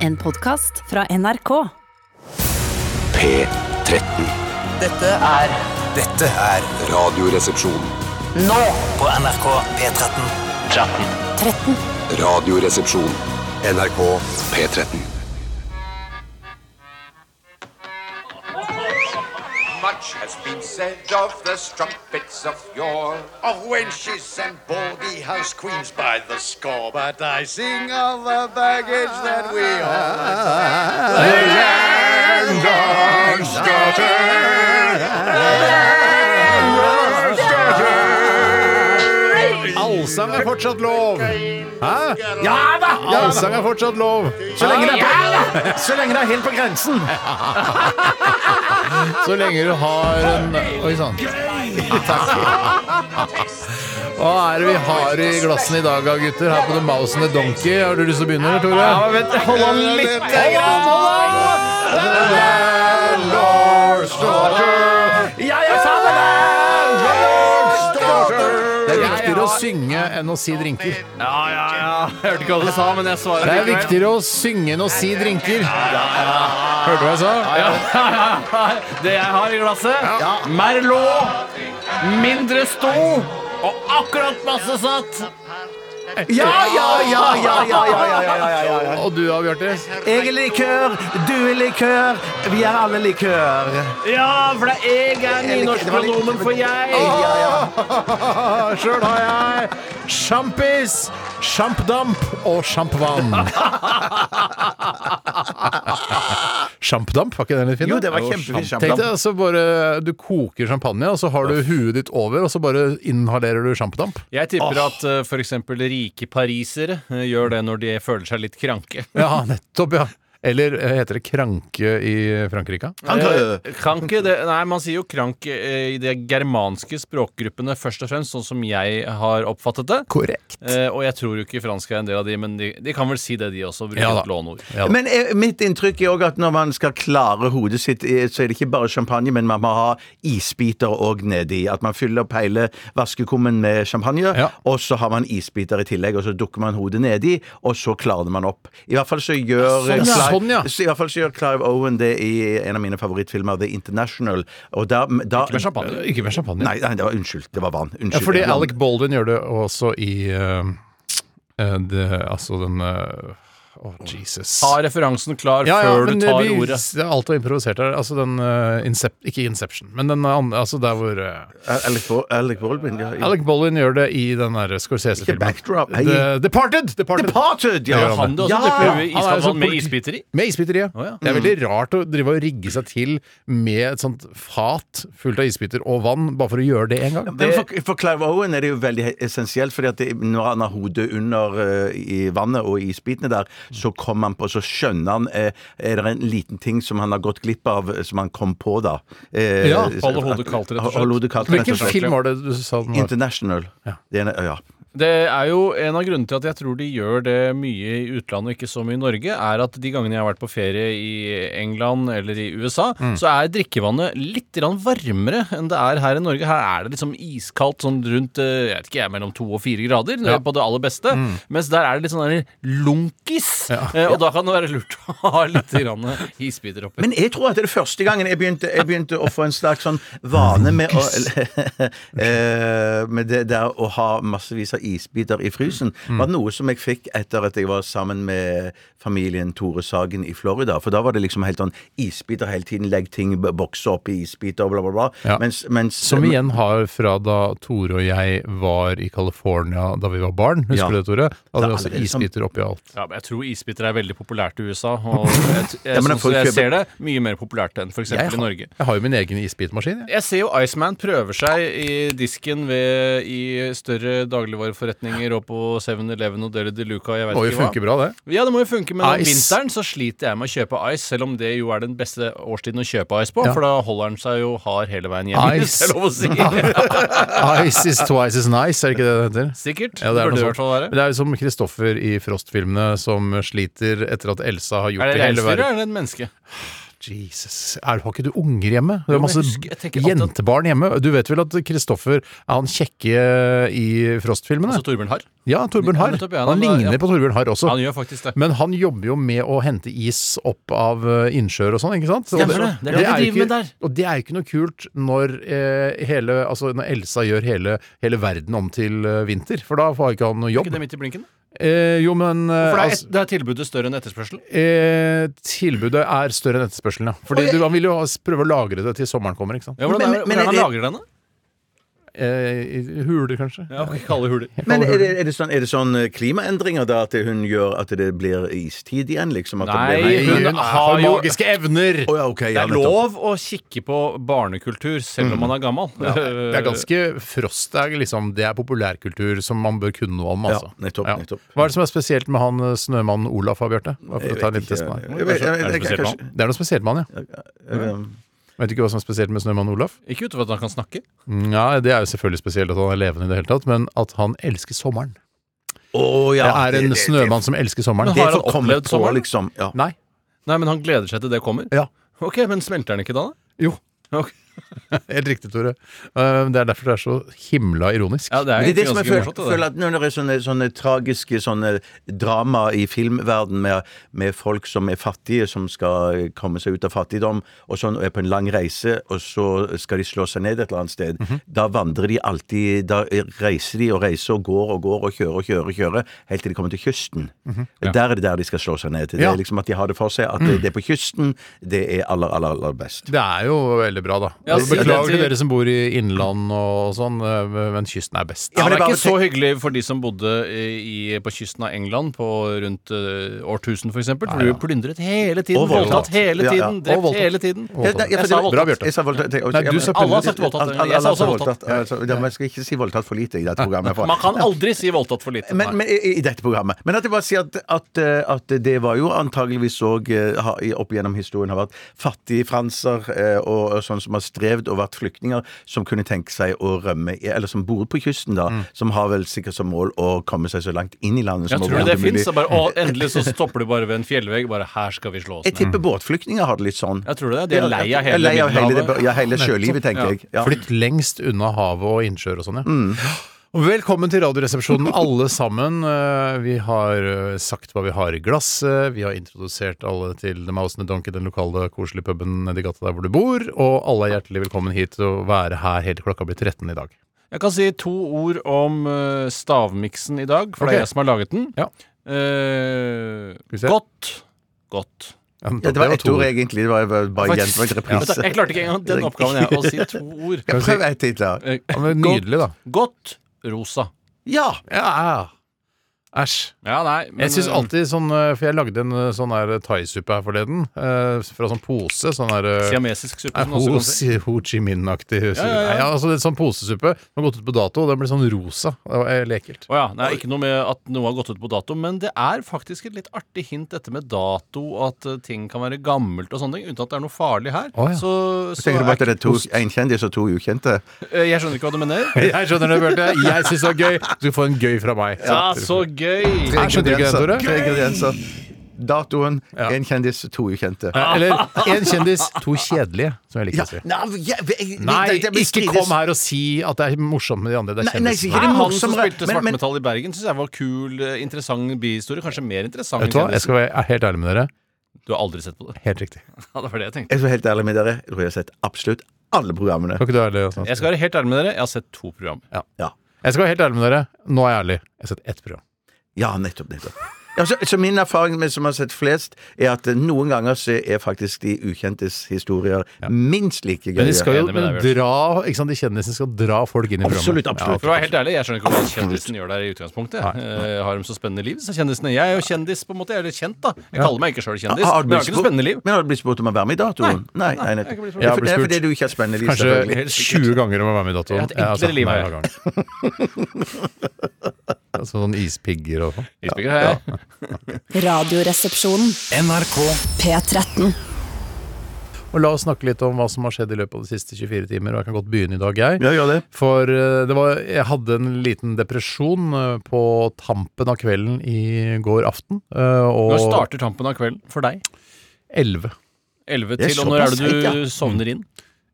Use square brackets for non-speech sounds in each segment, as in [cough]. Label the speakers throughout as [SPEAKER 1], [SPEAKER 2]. [SPEAKER 1] En podkast fra NRK.
[SPEAKER 2] P13.
[SPEAKER 3] Dette er Dette er
[SPEAKER 2] Radioresepsjon.
[SPEAKER 3] Nå på NRK P13 13
[SPEAKER 2] Radioresepsjon. NRK P13.
[SPEAKER 4] Much has been said of the strumpets of yore.
[SPEAKER 5] of wenches and baldy house queens by the score. But I sing of the baggage that we are.
[SPEAKER 6] Allsang er fortsatt lov! Hæ? Ja da! Allsang er fortsatt lov. Så lenge det er, helt på grensen. [laughs] Så lenge du har en Oi sann. Takk. Hva er det vi har i glassene i dag, da, gutter? Her på The Mouse and the Donkey. Har du lyst til å begynne, eller, Tore? Ja, vent, hold an litt. Ja, jeg sa det! Det er viktigere å synge enn å si drinker.
[SPEAKER 7] Ja, ja, ja. Jeg hørte ikke hva du sa, men jeg svarer
[SPEAKER 6] Det er
[SPEAKER 7] likevel.
[SPEAKER 6] viktigere å synge enn å si drinker. Hørte du hva jeg sa?
[SPEAKER 7] [laughs] Ja, det jeg har i glasset Merlot, mindre sto og akkurat passe satt.
[SPEAKER 6] Ja, ja, ja, ja, ja, ja, Og du da, Bjarte?
[SPEAKER 8] Jeg er likør, du er likør, vi er alle likør.
[SPEAKER 7] Ja, for det er jeg er nynorskpronomen for jeg.
[SPEAKER 6] Sjøl har jeg sjampis, sjampdamp og sjampvann. Sjampdamp, var ikke den litt fin? da?
[SPEAKER 8] Jo, det var kjempefint
[SPEAKER 6] Tenk deg
[SPEAKER 8] sjampdamp.
[SPEAKER 6] altså bare Du koker champagne, og så har du huet ditt over, og så bare inhalerer du sjampdamp.
[SPEAKER 7] Jeg tipper at uh, f.eks. rike parisere eh, gjør det når de føler seg litt kranke.
[SPEAKER 6] Ja, nettopp, ja. Eller eh, heter det kranke i Frankrike?
[SPEAKER 7] Eh, Kranke, det, nei, man sier jo krank eh, i de germanske språkgruppene først og fremst, sånn som jeg har oppfattet det.
[SPEAKER 6] Korrekt.
[SPEAKER 7] Eh, og jeg tror jo ikke fransk er en del av de, men de, de kan vel si det, de også. Bruke
[SPEAKER 6] Ja da.
[SPEAKER 7] et låneord.
[SPEAKER 6] Ja.
[SPEAKER 8] Men eh, mitt inntrykk er òg at når man skal klare hodet sitt, eh, så er det ikke bare champagne, men man må ha isbiter òg nedi. At man fyller opp hele vaskekummen med champagne,
[SPEAKER 6] Ja.
[SPEAKER 8] og så har man isbiter i tillegg, og så dukker man hodet nedi, og så klarer man opp. I hvert fall så gjør
[SPEAKER 6] Sånn,
[SPEAKER 8] eh,
[SPEAKER 6] ja.
[SPEAKER 8] Clive-
[SPEAKER 6] Sånn, ja.
[SPEAKER 8] så i hvert fall så gjør Clive Owen det i en av mine favorittfilmer, The International, og da, da
[SPEAKER 7] Ikke med champagne.
[SPEAKER 6] Ikke med champagne.
[SPEAKER 8] Nei, nei, det var unnskyld. Det var vann.
[SPEAKER 6] Ja,
[SPEAKER 8] Unnskyld.
[SPEAKER 6] fordi
[SPEAKER 8] det var vann.
[SPEAKER 6] Alec Baldwin gjør det også i eh, eh, det, Altså den eh, Åh, Jesus.
[SPEAKER 7] Ta referansen klar
[SPEAKER 6] Ja, ja,
[SPEAKER 7] før
[SPEAKER 6] men eh,
[SPEAKER 7] du tar
[SPEAKER 6] vi,
[SPEAKER 7] ordet.
[SPEAKER 6] Det er alt er improvisert her. Altså den eh, Incep, Ikke Inception, men den andre Altså der hvor eh,
[SPEAKER 8] Alec, Bo Alec Baldwin, ja. ja.
[SPEAKER 6] Alec Baldwin gjør det i den der
[SPEAKER 8] Ikke
[SPEAKER 6] Scorsese-filmen.
[SPEAKER 8] Backdrop, hei.
[SPEAKER 6] The- Departed! Departed!
[SPEAKER 8] Departed!
[SPEAKER 6] Det
[SPEAKER 8] Ja,
[SPEAKER 6] gjør
[SPEAKER 7] Han det også
[SPEAKER 8] Ja,
[SPEAKER 7] dukker jo i
[SPEAKER 6] han er jo sånn
[SPEAKER 7] iskaldt vann med
[SPEAKER 6] politi-
[SPEAKER 7] isbiter i.
[SPEAKER 6] Med isbiteriet.
[SPEAKER 7] Å, ja.
[SPEAKER 6] Det er veldig rart å drive og rigge seg til med et sånt fat fullt av isbiter og vann, bare for å gjøre det én gang.
[SPEAKER 8] Men for, for Clive Owen er det jo veldig he- essensielt, fordi at det, når han har hodet under eh, i vannet og i isbitene der, så kommer han på, så skjønner han eh, Er det en liten ting som han har gått glipp av, eh, som han kom på da? Eh,
[SPEAKER 6] Ja,
[SPEAKER 7] holde hodet kaldt, rett og slett.
[SPEAKER 8] Holde hodet kaldt, rett
[SPEAKER 6] Hvilken
[SPEAKER 8] og slett.
[SPEAKER 6] film var det du sa den var?
[SPEAKER 8] International. Det er, en- ja.
[SPEAKER 7] Det er jo en av grunnene til at jeg tror de gjør det mye i utlandet og ikke så mye i Norge, er at de gangene jeg har vært på ferie i England eller i USA,
[SPEAKER 8] Mm.
[SPEAKER 7] så er drikkevannet litt grann varmere enn det er her i Norge. Her er det liksom iskaldt sånn rundt eh, jeg vet ikke, jeg, mellom to og fire grader eh, på det aller beste,
[SPEAKER 8] Mm.
[SPEAKER 7] mens der er det litt sånn der lunkis, eh, og da kan det være lurt å ha litt grann isbiter oppi.
[SPEAKER 8] Men jeg tror at det er første gangen jeg begynte, jeg begynte å få en slags sånn vane med [laughs] å eh, Med det der å ha massevis av isbiter i frysen. var noe som jeg fikk etter at jeg var sammen med familien Tore Sagen i Florida. For da var det liksom helt sånn isbiter hele tiden. Legg ting, b- bokse opp i isbiter og bla, bla, bla.
[SPEAKER 6] Ja.
[SPEAKER 8] Mens, mens
[SPEAKER 6] Som igjen har fra da Tore og jeg var i California da vi var barn. Husker
[SPEAKER 8] Ja.
[SPEAKER 6] du det, Tore? Da hadde vi
[SPEAKER 8] Det er
[SPEAKER 6] også
[SPEAKER 8] allerede som-
[SPEAKER 6] isbiter oppi alt.
[SPEAKER 7] Ja, men jeg tror isbiter er veldig populært i USA, og jeg, t- jeg,
[SPEAKER 8] Ja, men
[SPEAKER 7] sånn som
[SPEAKER 8] folk
[SPEAKER 7] jeg
[SPEAKER 8] kjøper-
[SPEAKER 7] ser det, mye mer populært enn f.eks.
[SPEAKER 6] Jeg
[SPEAKER 7] i
[SPEAKER 6] har,
[SPEAKER 7] Norge.
[SPEAKER 6] jeg har jo min egen isbitmaskin. Jeg.
[SPEAKER 7] Jeg ser jo Iceman prøver seg i disken ved, i større dagligvareforretninger og på 7-Eleven og Deli de Luca. Jeg vet
[SPEAKER 6] Må jo
[SPEAKER 7] ikke
[SPEAKER 6] funke
[SPEAKER 7] hva.
[SPEAKER 6] bra, det.
[SPEAKER 7] Ja, det må jo funke, men om
[SPEAKER 6] Ice.
[SPEAKER 7] vinteren så sliter jeg med å kjøpe ice, selv om det jo er den beste årstiden å kjøpe ice på,
[SPEAKER 6] Ja.
[SPEAKER 7] for da holder den seg jo hard hele veien hjem. hvis
[SPEAKER 6] Ice.
[SPEAKER 7] [laughs] det er lov
[SPEAKER 6] [laughs]
[SPEAKER 7] å si.
[SPEAKER 6] [laughs] Ice is twice as nice, er det ikke det det heter?
[SPEAKER 7] [laughs] Sikkert.
[SPEAKER 6] Ja, det er noe
[SPEAKER 7] burde det i
[SPEAKER 6] sånt.
[SPEAKER 7] hvert fall
[SPEAKER 6] Men
[SPEAKER 7] være.
[SPEAKER 6] det er jo som Kristoffer i Frost-filmene som sliter etter at Elsa har gjort
[SPEAKER 7] Er det
[SPEAKER 6] hele
[SPEAKER 7] reinsdyr eller
[SPEAKER 6] verden.
[SPEAKER 7] er det et menneske?
[SPEAKER 6] Jesus. Er, har ikke du unger hjemme? Det er
[SPEAKER 7] men
[SPEAKER 6] masse
[SPEAKER 7] jeg husker- jeg tenker alltid at-
[SPEAKER 6] jentebarn hjemme. Du vet vel at Kristoffer er han kjekke i Frost-filmene?
[SPEAKER 7] Altså Torbjørn Harr.
[SPEAKER 6] Ja, Torbjørn
[SPEAKER 7] Ja,
[SPEAKER 6] Harr.
[SPEAKER 7] nettopp, ja,
[SPEAKER 6] Han
[SPEAKER 7] han er-
[SPEAKER 6] ligner
[SPEAKER 7] ja.
[SPEAKER 6] på Torbjørn Harr også.
[SPEAKER 7] Han gjør faktisk det.
[SPEAKER 6] Men han jobber jo med å hente is opp av eh, innsjøer og sånn, ikke sant? Og
[SPEAKER 7] Stemmer det. Det er det de
[SPEAKER 6] jo
[SPEAKER 7] driver
[SPEAKER 6] ikke,
[SPEAKER 7] med der.
[SPEAKER 6] Og det er jo ikke noe kult når, eh, hele, altså når Elsa gjør hele, hele verden om til eh, vinter, for da får ikke han noe
[SPEAKER 7] Er
[SPEAKER 6] jobb.
[SPEAKER 7] ikke det midt i blinken?
[SPEAKER 6] Eh, jo, men eh,
[SPEAKER 7] For det er,
[SPEAKER 6] altså-
[SPEAKER 7] et, det er tilbudet større enn etterspørselen.
[SPEAKER 6] Eh, tilbudet er større enn etterspørselen, ja. Fordi du, Han vil jo ha- prøve å lagre det til sommeren kommer. ikke sant?
[SPEAKER 7] Ja, hvordan
[SPEAKER 8] Men-
[SPEAKER 7] er,
[SPEAKER 8] men-
[SPEAKER 7] hvordan er han
[SPEAKER 8] men-
[SPEAKER 7] lager denne?
[SPEAKER 6] Eh, i huler, kanskje.
[SPEAKER 7] Ja, ok, Kalde huler.
[SPEAKER 8] Men er det, er, det sånn, er det sånn klimaendringer da at hun gjør at det blir istid igjen, liksom? At det
[SPEAKER 7] Nei,
[SPEAKER 8] blir...
[SPEAKER 7] hun har jo-
[SPEAKER 6] magiske evner!
[SPEAKER 8] Å ja, ok,
[SPEAKER 7] Det
[SPEAKER 8] ja,
[SPEAKER 7] er
[SPEAKER 8] nettopp. Mm.
[SPEAKER 7] lov å kikke på barnekultur selv om man er gammel.
[SPEAKER 6] Det
[SPEAKER 7] [laughs]
[SPEAKER 6] er ganske frost. Det er, liksom, det er populærkultur som man bør kunne noe om.
[SPEAKER 8] Ja,
[SPEAKER 6] Altså.
[SPEAKER 8] nettopp, nettopp.
[SPEAKER 6] Hva er det som er spesielt med han eh, snømannen Olaf, av Bjarte? Bare for
[SPEAKER 8] Jeg
[SPEAKER 6] å ta en liten
[SPEAKER 8] vet ikke.
[SPEAKER 6] test med deg.
[SPEAKER 8] Jeg vet- jeg- jeg-
[SPEAKER 7] Er det
[SPEAKER 8] jeg-
[SPEAKER 7] spesielt
[SPEAKER 8] kanskje-
[SPEAKER 6] Det er noe spesielt med han, ja. Vet du ikke hva som er spesielt med snømannen Olaf?
[SPEAKER 7] Ikke utover at han kan snakke.
[SPEAKER 6] Ja, Det er jo selvfølgelig spesielt at han er levende i det hele tatt, men at han elsker sommeren.
[SPEAKER 8] Å ja.
[SPEAKER 6] Det er
[SPEAKER 8] det-
[SPEAKER 6] en
[SPEAKER 8] det-
[SPEAKER 6] snømann som elsker sommeren.
[SPEAKER 7] Men
[SPEAKER 8] Det
[SPEAKER 7] har
[SPEAKER 8] er
[SPEAKER 7] han
[SPEAKER 8] for å komme
[SPEAKER 7] opplevd
[SPEAKER 8] på,
[SPEAKER 7] sommeren?
[SPEAKER 8] liksom. Ja.
[SPEAKER 6] Nei.
[SPEAKER 7] Nei, men han gleder seg til det kommer.
[SPEAKER 6] Ja.
[SPEAKER 7] Ok, men smelter han ikke da? da?
[SPEAKER 6] Jo.
[SPEAKER 7] Ok.
[SPEAKER 6] Helt riktig, Tore. Eh, Det er derfor det er så himla ironisk.
[SPEAKER 7] Ja, det er
[SPEAKER 8] Men det er det
[SPEAKER 7] egentlig
[SPEAKER 8] som jeg
[SPEAKER 7] ganske
[SPEAKER 8] føler,
[SPEAKER 7] morsomt. det
[SPEAKER 8] føler
[SPEAKER 7] der.
[SPEAKER 8] at når det er sånne, sånne tragiske sånne drama i filmverden med, med folk som er fattige, som skal komme seg ut av fattigdom, og sånn, og er på en lang reise, og så skal de slå seg ned et eller annet sted, da vandrer de alltid Da reiser de og reiser og går og går og kjører og kjører og kjører, helt til de kommer til kysten. Der er det der de skal slå seg ned. Det
[SPEAKER 6] Ja.
[SPEAKER 8] er liksom at de har det for seg at det, det er på kysten, det er aller, aller, aller best.
[SPEAKER 6] Det er jo veldig bra, da.
[SPEAKER 7] Ja,
[SPEAKER 6] Altså,
[SPEAKER 7] si det
[SPEAKER 6] Beklager til
[SPEAKER 7] til-
[SPEAKER 6] dere som bor i innland og sånn, eh, men kysten er best.
[SPEAKER 7] Ja,
[SPEAKER 8] men
[SPEAKER 7] det er
[SPEAKER 8] jeg
[SPEAKER 7] ikke
[SPEAKER 8] bare
[SPEAKER 7] så hyggelig for de som bodde i, på kysten av England på rundt eh, årtusen, for eksempel. For du plyndret hele tiden,
[SPEAKER 8] Og
[SPEAKER 7] voldtatt
[SPEAKER 8] voldtatt.
[SPEAKER 7] hele
[SPEAKER 8] Ja, ja.
[SPEAKER 7] tiden, drept
[SPEAKER 6] voldtatt.
[SPEAKER 7] hele tiden.
[SPEAKER 8] Ja, nei, ja, for
[SPEAKER 7] Jeg sa
[SPEAKER 8] det-
[SPEAKER 6] voldtatt.
[SPEAKER 8] Jeg sa voldtatt. jeg-
[SPEAKER 6] Nei, du sa
[SPEAKER 7] Alle har sagt voldtatt,
[SPEAKER 8] Alle- alle
[SPEAKER 7] jeg sa
[SPEAKER 8] har
[SPEAKER 7] også
[SPEAKER 8] sagt
[SPEAKER 7] voldtatt.
[SPEAKER 8] Ja, så- ja, men jeg skal ikke si voldtatt for lite i dette programmet. for-
[SPEAKER 7] Man kan aldri si voldtatt for lite.
[SPEAKER 8] men,
[SPEAKER 7] Nei.
[SPEAKER 8] men, i, I dette programmet. Men at jeg bare sier at, at, eh, at det var jo antageligvis òg opp gjennom historien har vært fattige franser eh, og, og sånn som har strevd og vært flyktninger, som kunne tenke seg å rømme i- Eller som bor på kysten, da. Som har vel sikkert som mål å komme seg så langt inn i landet
[SPEAKER 7] Mm. Jeg
[SPEAKER 8] som
[SPEAKER 7] tror det
[SPEAKER 8] overhodet
[SPEAKER 7] fins.
[SPEAKER 8] mulig.
[SPEAKER 7] Endelig så stopper du bare ved en fjellvegg. Bare her skal vi slå oss
[SPEAKER 8] Jeg
[SPEAKER 7] ned.
[SPEAKER 8] tipper båtflyktninger har det litt sånn.
[SPEAKER 7] Mm. Jeg tror det. De er lei av
[SPEAKER 8] Ja,
[SPEAKER 7] hele
[SPEAKER 8] lei av hele,
[SPEAKER 7] Middelhavet.
[SPEAKER 8] det- ja, hele sjølivet, tenker jeg. Ja.
[SPEAKER 6] Flytt lengst unna havet og innsjøer og sånn, ja. Og Velkommen til
[SPEAKER 8] [laughs]
[SPEAKER 6] Radioresepsjonen, alle sammen. Eh, Vi har eh, sagt hva vi har i glasset. Vi har introdusert alle til The Mouse and the Donkey, den lokale koselige puben nedi gata der hvor du bor. Og alle er hjertelig velkommen hit til å være her helt til klokka blir 13 i dag.
[SPEAKER 7] Jeg kan si to ord om eh, stavmiksen i dag, for
[SPEAKER 6] Ok.
[SPEAKER 7] det er jeg som har laget den.
[SPEAKER 6] Ja.
[SPEAKER 7] Eh,
[SPEAKER 6] vi se.
[SPEAKER 7] godt. Godt.
[SPEAKER 8] Ja, det var ett ord, egentlig. Det var bare, bare
[SPEAKER 7] Faktisk-
[SPEAKER 8] gjent på en
[SPEAKER 7] Vet du,
[SPEAKER 8] reprise.
[SPEAKER 7] Jeg klarte ikke engang den oppgaven, jeg, å si to ord.
[SPEAKER 8] Ja, Prøv ett til, da.
[SPEAKER 7] Eh,
[SPEAKER 6] Ja, men Nydelig, da.
[SPEAKER 7] Godt, godt rosa.
[SPEAKER 8] Ja!
[SPEAKER 6] Ja. Æsj.
[SPEAKER 7] Ja, nei, men,
[SPEAKER 6] Jeg synes
[SPEAKER 7] eh,
[SPEAKER 6] alltid sånn eh, For jeg lagde en eh, sånn her thaisuppe her forleden. eh, Fra sånn pose. Sånn her eh,
[SPEAKER 7] Siamesisk suppe,
[SPEAKER 6] eh,
[SPEAKER 7] som man
[SPEAKER 6] Ho
[SPEAKER 7] også kan si.
[SPEAKER 6] Si- Ho Chi Minh-aktig. Ja,
[SPEAKER 7] ja, ja.
[SPEAKER 6] altså, det er sånn posesuppe som har gått ut på dato. og Den ble sånn rosa. Det var helt ekkelt.
[SPEAKER 7] Å ja, nei, ikke noe med at noe har gått ut på dato, men det er faktisk et litt artig hint dette med dato, at eh, ting kan være gammelt og sånne ting, uten at det er noe farlig her.
[SPEAKER 6] Å ja.
[SPEAKER 7] Så, så
[SPEAKER 8] Tenker du bare at
[SPEAKER 7] er
[SPEAKER 8] det er to, en kjendis og to ukjente?
[SPEAKER 7] ikke- eh, Jeg skjønner ikke hva du mener.
[SPEAKER 6] Jeg skjønner det, Bjarte. Jeg syns det var gøy. Du skal få en gøy fra meg.
[SPEAKER 7] Ja, så gøy!
[SPEAKER 6] Nei, skjønte du ikke den, Tore?
[SPEAKER 8] Tre ingredienser. Datoen, en kjendis, to ukjente.
[SPEAKER 6] Eller én kjendis, to kjedelige, som jeg liker å si.
[SPEAKER 8] Nei, jeg- jeg-
[SPEAKER 6] Nei,
[SPEAKER 8] det- det- det-
[SPEAKER 6] ikke kom her og si at det er morsomt med de andre. Det
[SPEAKER 8] Nei,
[SPEAKER 6] er
[SPEAKER 8] nei,
[SPEAKER 6] kjendisene.
[SPEAKER 8] sikkert. Er det
[SPEAKER 7] Nei, han som
[SPEAKER 8] morsommere?
[SPEAKER 7] spilte
[SPEAKER 8] Men- men-
[SPEAKER 7] svartmetall i Bergen, syns jeg var kul, eh, interessant bihistorie. Kanskje mer interessant
[SPEAKER 6] Vet du hva, jeg
[SPEAKER 7] kjendisen.
[SPEAKER 6] skal være helt ærlig med dere.
[SPEAKER 7] Du har aldri sett på det.
[SPEAKER 6] Helt riktig.
[SPEAKER 7] Ja, det var det jeg tenkte.
[SPEAKER 8] Jeg skal være helt ærlig med dere, jeg tror jeg har sett absolutt alle programmene.
[SPEAKER 6] Kan ikke du være ærlig? Åsne?
[SPEAKER 7] Jeg skal være helt ærlig med dere, jeg har sett to program.
[SPEAKER 8] Ja,
[SPEAKER 6] Jeg skal være helt ærlig med dere. Nå er jeg ærlig. Jeg har sett ett program.
[SPEAKER 8] ja nettopp, nettopp. Ja, så, så min erfaring med som har sett flest, er at eh, noen ganger så er faktisk de ukjentes historier minst like
[SPEAKER 6] Men
[SPEAKER 8] gøye.
[SPEAKER 6] de skal jo
[SPEAKER 7] enig med deg, Bjørn.
[SPEAKER 6] dra, ikke sant, de kjendisene skal dra folk inn i
[SPEAKER 8] Absolutt,
[SPEAKER 6] programmet.
[SPEAKER 8] absolutt.
[SPEAKER 7] For å være helt ærlig, Jeg skjønner ikke hva kjendisen gjør der i utgangspunktet. Eh, har de så spennende liv, disse kjendisene? Jeg er jo kjendis, på en måte. Eller kjent, da. Jeg kaller meg ikke sjøl kjendis,
[SPEAKER 8] Har- har du
[SPEAKER 7] men jeg har
[SPEAKER 8] blitt
[SPEAKER 7] ikke noe
[SPEAKER 8] spurt-
[SPEAKER 7] spennende liv.
[SPEAKER 8] Men har du blitt spurt om å være med i datoen? Nei, nei, nei,
[SPEAKER 7] ikke blitt spurt.
[SPEAKER 8] Ja,
[SPEAKER 6] Jeg
[SPEAKER 8] for-
[SPEAKER 6] ble
[SPEAKER 8] det er
[SPEAKER 6] spurt.
[SPEAKER 8] fordi du ikke har spennende liv,
[SPEAKER 6] Kanskje
[SPEAKER 8] selvfølgelig.
[SPEAKER 6] 20 ganger om å være med i altså, datoen.
[SPEAKER 7] Jeg har hatt enklere liv, jeg.
[SPEAKER 6] [laughs] Sånn ispigger og sånn.
[SPEAKER 7] Isbygger har jeg.
[SPEAKER 1] Radioresepsjonen. P13.
[SPEAKER 6] Og la oss snakke litt om hva som har skjedd i løpet av de siste 24 timer, og jeg kan godt begynne i dag, jeg.
[SPEAKER 8] Ja, gjør det.
[SPEAKER 6] For eh, det var, jeg hadde en liten depresjon eh, på tampen av kvelden i går aften. eh,
[SPEAKER 7] Når
[SPEAKER 6] Og
[SPEAKER 7] starter tampen av kvelden for deg?
[SPEAKER 6] 11.
[SPEAKER 7] 11
[SPEAKER 8] Det er
[SPEAKER 7] til. Og når er det
[SPEAKER 8] såpass
[SPEAKER 7] du
[SPEAKER 8] seint, ja.
[SPEAKER 7] sovner inn?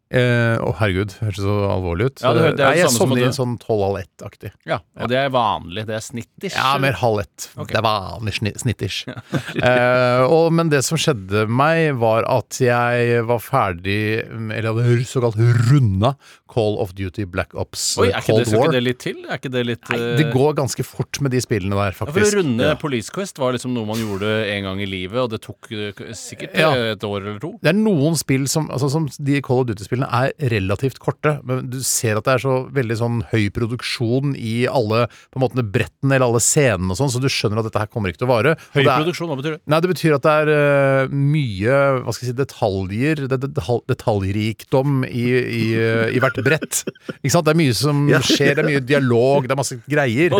[SPEAKER 6] Å, eh, å, herregud. Høres så alvorlig ut.
[SPEAKER 7] Ja, det hø- det er jo
[SPEAKER 6] Nei, jeg
[SPEAKER 7] det samme som
[SPEAKER 6] sovner
[SPEAKER 7] at
[SPEAKER 6] i
[SPEAKER 7] du-
[SPEAKER 6] sånn tolv halv ett-aktig.
[SPEAKER 7] Ja, Og det er vanlig. Det er snitters.
[SPEAKER 6] Ja, mer halv ett. Det er vanlig sni- snitters.
[SPEAKER 7] [laughs]
[SPEAKER 6] Eh, og, men det som skjedde meg, var at jeg var ferdig med- Eller hadde såkalt runda Call of Duty Black Ops eh,
[SPEAKER 7] Oi, er ikke
[SPEAKER 6] Cold
[SPEAKER 7] det, skal
[SPEAKER 6] War.
[SPEAKER 7] ikke det litt til? Er ikke det litt
[SPEAKER 6] Nei,
[SPEAKER 7] eh,
[SPEAKER 6] det går ganske fort med de spillene der,
[SPEAKER 7] ja, For å
[SPEAKER 6] faktisk.
[SPEAKER 7] runde Police Quest var liksom noe man gjorde en gang i livet, og det tok eh, k- sikkert
[SPEAKER 6] Ja.
[SPEAKER 7] eh, et år eller to.
[SPEAKER 6] Det er noen spill som, altså, som de Call of Duty-spillene er relativt korte, men du ser at det er så veldig sånn høy produksjon i alle på en måte, brettene eller alle scenene og sånn, så du skjønner at dette her kommer ikke til å vare. Og
[SPEAKER 7] Høy
[SPEAKER 6] det er-
[SPEAKER 7] produksjon, hva
[SPEAKER 6] [laughs]
[SPEAKER 7] betyr det?
[SPEAKER 6] Nei, det betyr at det er eh, mye hva skal jeg si, detaljer, det, det, detal- detaljrikdom i, i, eh, i hvert brett. Ikke sant? Det er mye som skjer, det er mye dialog, det er masse greier.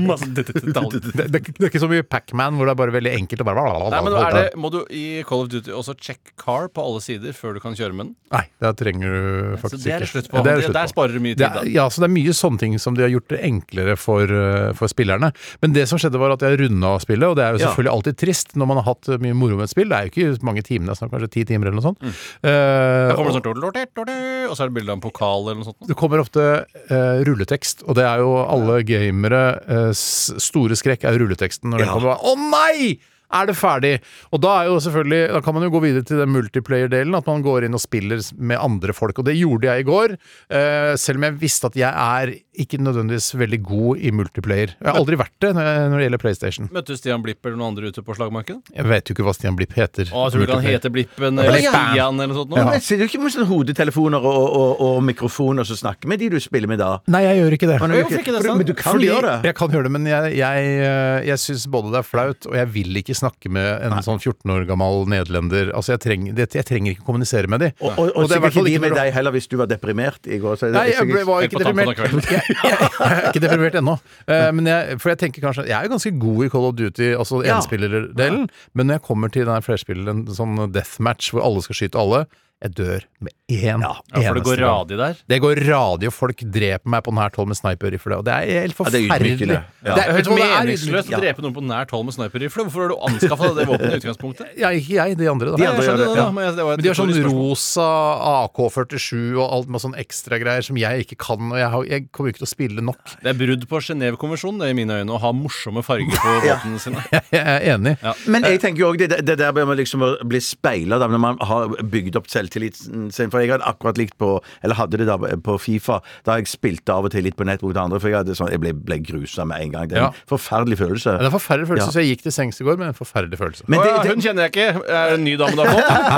[SPEAKER 7] Masse det- det- detaljer.
[SPEAKER 6] Det, det, det er ikke så mye Pac-Man hvor det er bare veldig enkelt og bare
[SPEAKER 7] Nei, men er det, Må du i Call of Duty også check car på alle sider før du kan kjøre med den?
[SPEAKER 6] Nei, det trenger du
[SPEAKER 7] Så
[SPEAKER 6] faktisk
[SPEAKER 7] det er det
[SPEAKER 6] ikke.
[SPEAKER 7] slutt på.
[SPEAKER 6] det er
[SPEAKER 7] Det-
[SPEAKER 6] slutt
[SPEAKER 7] Der
[SPEAKER 6] på.
[SPEAKER 7] sparer du mye
[SPEAKER 6] Det
[SPEAKER 7] tid, da.
[SPEAKER 6] er, ja, så det er mye sånne ting som de har gjort det enklere for, eh, for spillerne. Men det som skjedde var at jeg runda spillet, og det er jo
[SPEAKER 8] Ja.
[SPEAKER 6] selvfølgelig alltid trist når man har hatt eh, mye moro med et spill. Det er jo ikke mange timene, det er snart kanskje ti timer eller noe
[SPEAKER 7] Mm.
[SPEAKER 6] sånt. Eh,
[SPEAKER 7] Da kommer
[SPEAKER 6] og-
[SPEAKER 7] det sånn lortet, lortet, Og så er det bilde av en pokal eller noe sånt.
[SPEAKER 6] det kommer ofte eh, rulletekst, og det er jo alle gamere eh, s- store skrekk er jo rulleteksten. Når den kommer bare, Å nei! Er det ferdig? Og da er jo selvfølgelig Da kan man jo gå videre til den multiplayer-delen, at man går inn og spiller s- med andre folk. Og det gjorde jeg i går, eh, selv om jeg visste at jeg er ikke nødvendigvis veldig god i multiplayer. Jeg har aldri vært det når når det gjelder PlayStation.
[SPEAKER 7] Møtte Stian Blipp eller noen andre ute på slagmarken?
[SPEAKER 6] Jeg vet jo ikke hva Stian Blipp heter.
[SPEAKER 7] Å, jeg tror du ikke han
[SPEAKER 6] Multiplayer.
[SPEAKER 7] heter Blippen eller
[SPEAKER 8] Ja.
[SPEAKER 7] Stian eller noe sånt.
[SPEAKER 8] Men
[SPEAKER 7] Nå.
[SPEAKER 8] Sitter du ikke med sånne hodetelefoner og, og, og, og mikrofon og så snakker med de du spiller med da?
[SPEAKER 6] Nei, jeg gjør ikke det.
[SPEAKER 8] Men
[SPEAKER 7] Hvorfor ikke det, sant?
[SPEAKER 8] Men du kan
[SPEAKER 6] Fordi-
[SPEAKER 8] gjøre det.
[SPEAKER 6] Jeg kan gjøre det, men jeg, jeg, eh, jeg syns både det er flaut, og jeg vil ikke snakke med en sånn 14 år gammel nederlender. Altså, jeg, treng, det, jeg trenger ikke kommunisere med de.
[SPEAKER 8] Og, og, og,
[SPEAKER 6] Og det er i hvert
[SPEAKER 8] sikkert
[SPEAKER 6] fall
[SPEAKER 8] ikke de
[SPEAKER 6] ikke
[SPEAKER 8] med
[SPEAKER 6] noe-
[SPEAKER 8] deg heller, hvis du var deprimert i går. Så er det
[SPEAKER 6] Nei, jeg ble,
[SPEAKER 8] sikkert-
[SPEAKER 6] var
[SPEAKER 7] Helt
[SPEAKER 6] ikke
[SPEAKER 7] på tampen av
[SPEAKER 6] deprimert.
[SPEAKER 7] kvelden.
[SPEAKER 6] [laughs] Jeg, jeg, jeg er ikke deprimert ennå. Eh, men jeg, for jeg tenker kanskje at Jeg er jo ganske god i Call of Duty, altså
[SPEAKER 8] Ja.
[SPEAKER 6] enspillerdelen, men når jeg kommer til den her flerspilleren, sånn deathmatch hvor alle skal skyte alle, jeg dør med én
[SPEAKER 7] Ja, for det
[SPEAKER 6] eneste
[SPEAKER 7] går
[SPEAKER 6] gang.
[SPEAKER 7] radig der.
[SPEAKER 6] Det går radio, folk dreper meg på nært hold med sniperrifle, og det er helt
[SPEAKER 8] det er
[SPEAKER 6] forferdelig.
[SPEAKER 8] ydmykende. Ja.
[SPEAKER 6] Det er- vet
[SPEAKER 7] Helt
[SPEAKER 6] du hva, det er
[SPEAKER 7] meningsløst
[SPEAKER 6] ydmykende.
[SPEAKER 7] å drepe noen på nært hold med sniperrifle. Hvorfor har du anskaffa det våpenet i utgangspunktet?
[SPEAKER 6] Ja, ikke jeg, de andre, da.
[SPEAKER 7] Nei, jeg skjønner det, da, men jeg- det var et
[SPEAKER 6] Men de har sånn
[SPEAKER 7] retorisk spørsmål.
[SPEAKER 6] rosa AK-47 og alt med sånn ekstragreier som jeg ikke kan, og jeg, har, jeg kommer jo ikke til å spille nok. [laughs]
[SPEAKER 7] Det er brudd på Genévekonvensjonen det er i mine øyne å ha morsomme farger på våpnene sine.
[SPEAKER 6] Jeg er enig.
[SPEAKER 8] Men jeg tenker jo òg det, det der med liksom å bli speila når man har bygd opp selvtilliten sin. For jeg hadde akkurat likt på Eller hadde det da på Fifa, da jeg spilte av og til litt på nett mot andre. For jeg, hadde sånn, jeg ble, ble grusa med en gang. Det er en
[SPEAKER 6] Ja.
[SPEAKER 8] forferdelig følelse.
[SPEAKER 6] Ja, Det er en forferdelig følelse,
[SPEAKER 8] Ja.
[SPEAKER 6] så jeg gikk til sengs i går med en forferdelig følelse. [laughs]
[SPEAKER 8] Men
[SPEAKER 7] Å
[SPEAKER 8] det,
[SPEAKER 7] ja,
[SPEAKER 8] det,
[SPEAKER 7] hun kjenner jeg ikke. Er det en ny dame du har fått?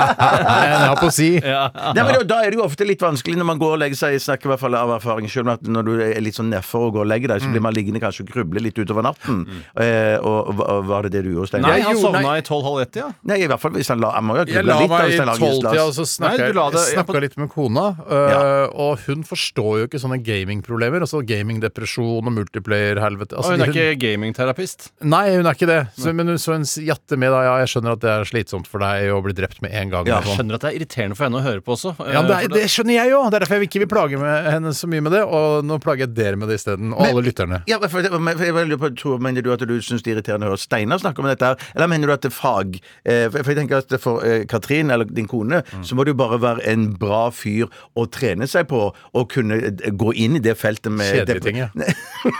[SPEAKER 6] jeg har på å si
[SPEAKER 8] Nei, men da- Da er det jo ofte litt vanskelig når man går og legger seg. Jeg snakker i hvert fall av erfaring selv om at når du er litt sånn nedfor og går og legger deg, så blir
[SPEAKER 6] Mm.
[SPEAKER 8] man liggende kanskje og gruble litt utover natten. Eh, og, og, og Var det det du gjorde, Steinar?
[SPEAKER 7] Nei, han
[SPEAKER 6] gjorde-
[SPEAKER 7] sovna i tolv halv ett, ja.
[SPEAKER 8] Nei, i hvert fall hvis han la Han må jo ha
[SPEAKER 6] Jeg
[SPEAKER 8] grubla
[SPEAKER 6] la
[SPEAKER 8] litt. da,
[SPEAKER 6] meg i
[SPEAKER 8] hvis han lager
[SPEAKER 6] tolvtida, altså. og
[SPEAKER 8] glas.
[SPEAKER 6] så snakka
[SPEAKER 7] Nei, du la
[SPEAKER 6] jeg,
[SPEAKER 7] det-
[SPEAKER 6] jeg snakket
[SPEAKER 7] jeg på-
[SPEAKER 6] litt med kona. øh, Og hun forstår jo ikke sånne gamingproblemer. Altså gamingdepresjon og multiplayer-helvete.
[SPEAKER 7] Og
[SPEAKER 6] Altså,
[SPEAKER 7] hun er
[SPEAKER 6] de- hun-
[SPEAKER 7] ikke gamingterapist.
[SPEAKER 6] Nei, hun er ikke det. Så, men hun så hun jatte med da. Ja, jeg skjønner at det er slitsomt for deg å bli drept med en gang.
[SPEAKER 8] Ja,
[SPEAKER 6] og sånn.
[SPEAKER 7] Skjønner at det er irriterende for henne å høre på også.
[SPEAKER 6] Ja, men det,
[SPEAKER 7] Eh,
[SPEAKER 6] er,
[SPEAKER 7] for
[SPEAKER 6] det skjønner jeg jo! Det er derfor jeg ikke vil plage med henne så mye med det. Og nå plager jeg dere med det isteden. Og alle lytterne.
[SPEAKER 8] Ja, men for, men for jeg lurer på, tror, Mener du at du syns det er irriterende å høre Steinar snakke om dette, her, eller mener du at det er fag eh, For for jeg tenker at for eh, Katrin, eller din kone,
[SPEAKER 6] Mm.
[SPEAKER 8] så må du bare være en bra fyr å trene seg på, og kunne eh, gå inn i det feltet med
[SPEAKER 6] Kjedelige
[SPEAKER 8] depre-
[SPEAKER 6] ting, ja.
[SPEAKER 8] Nei,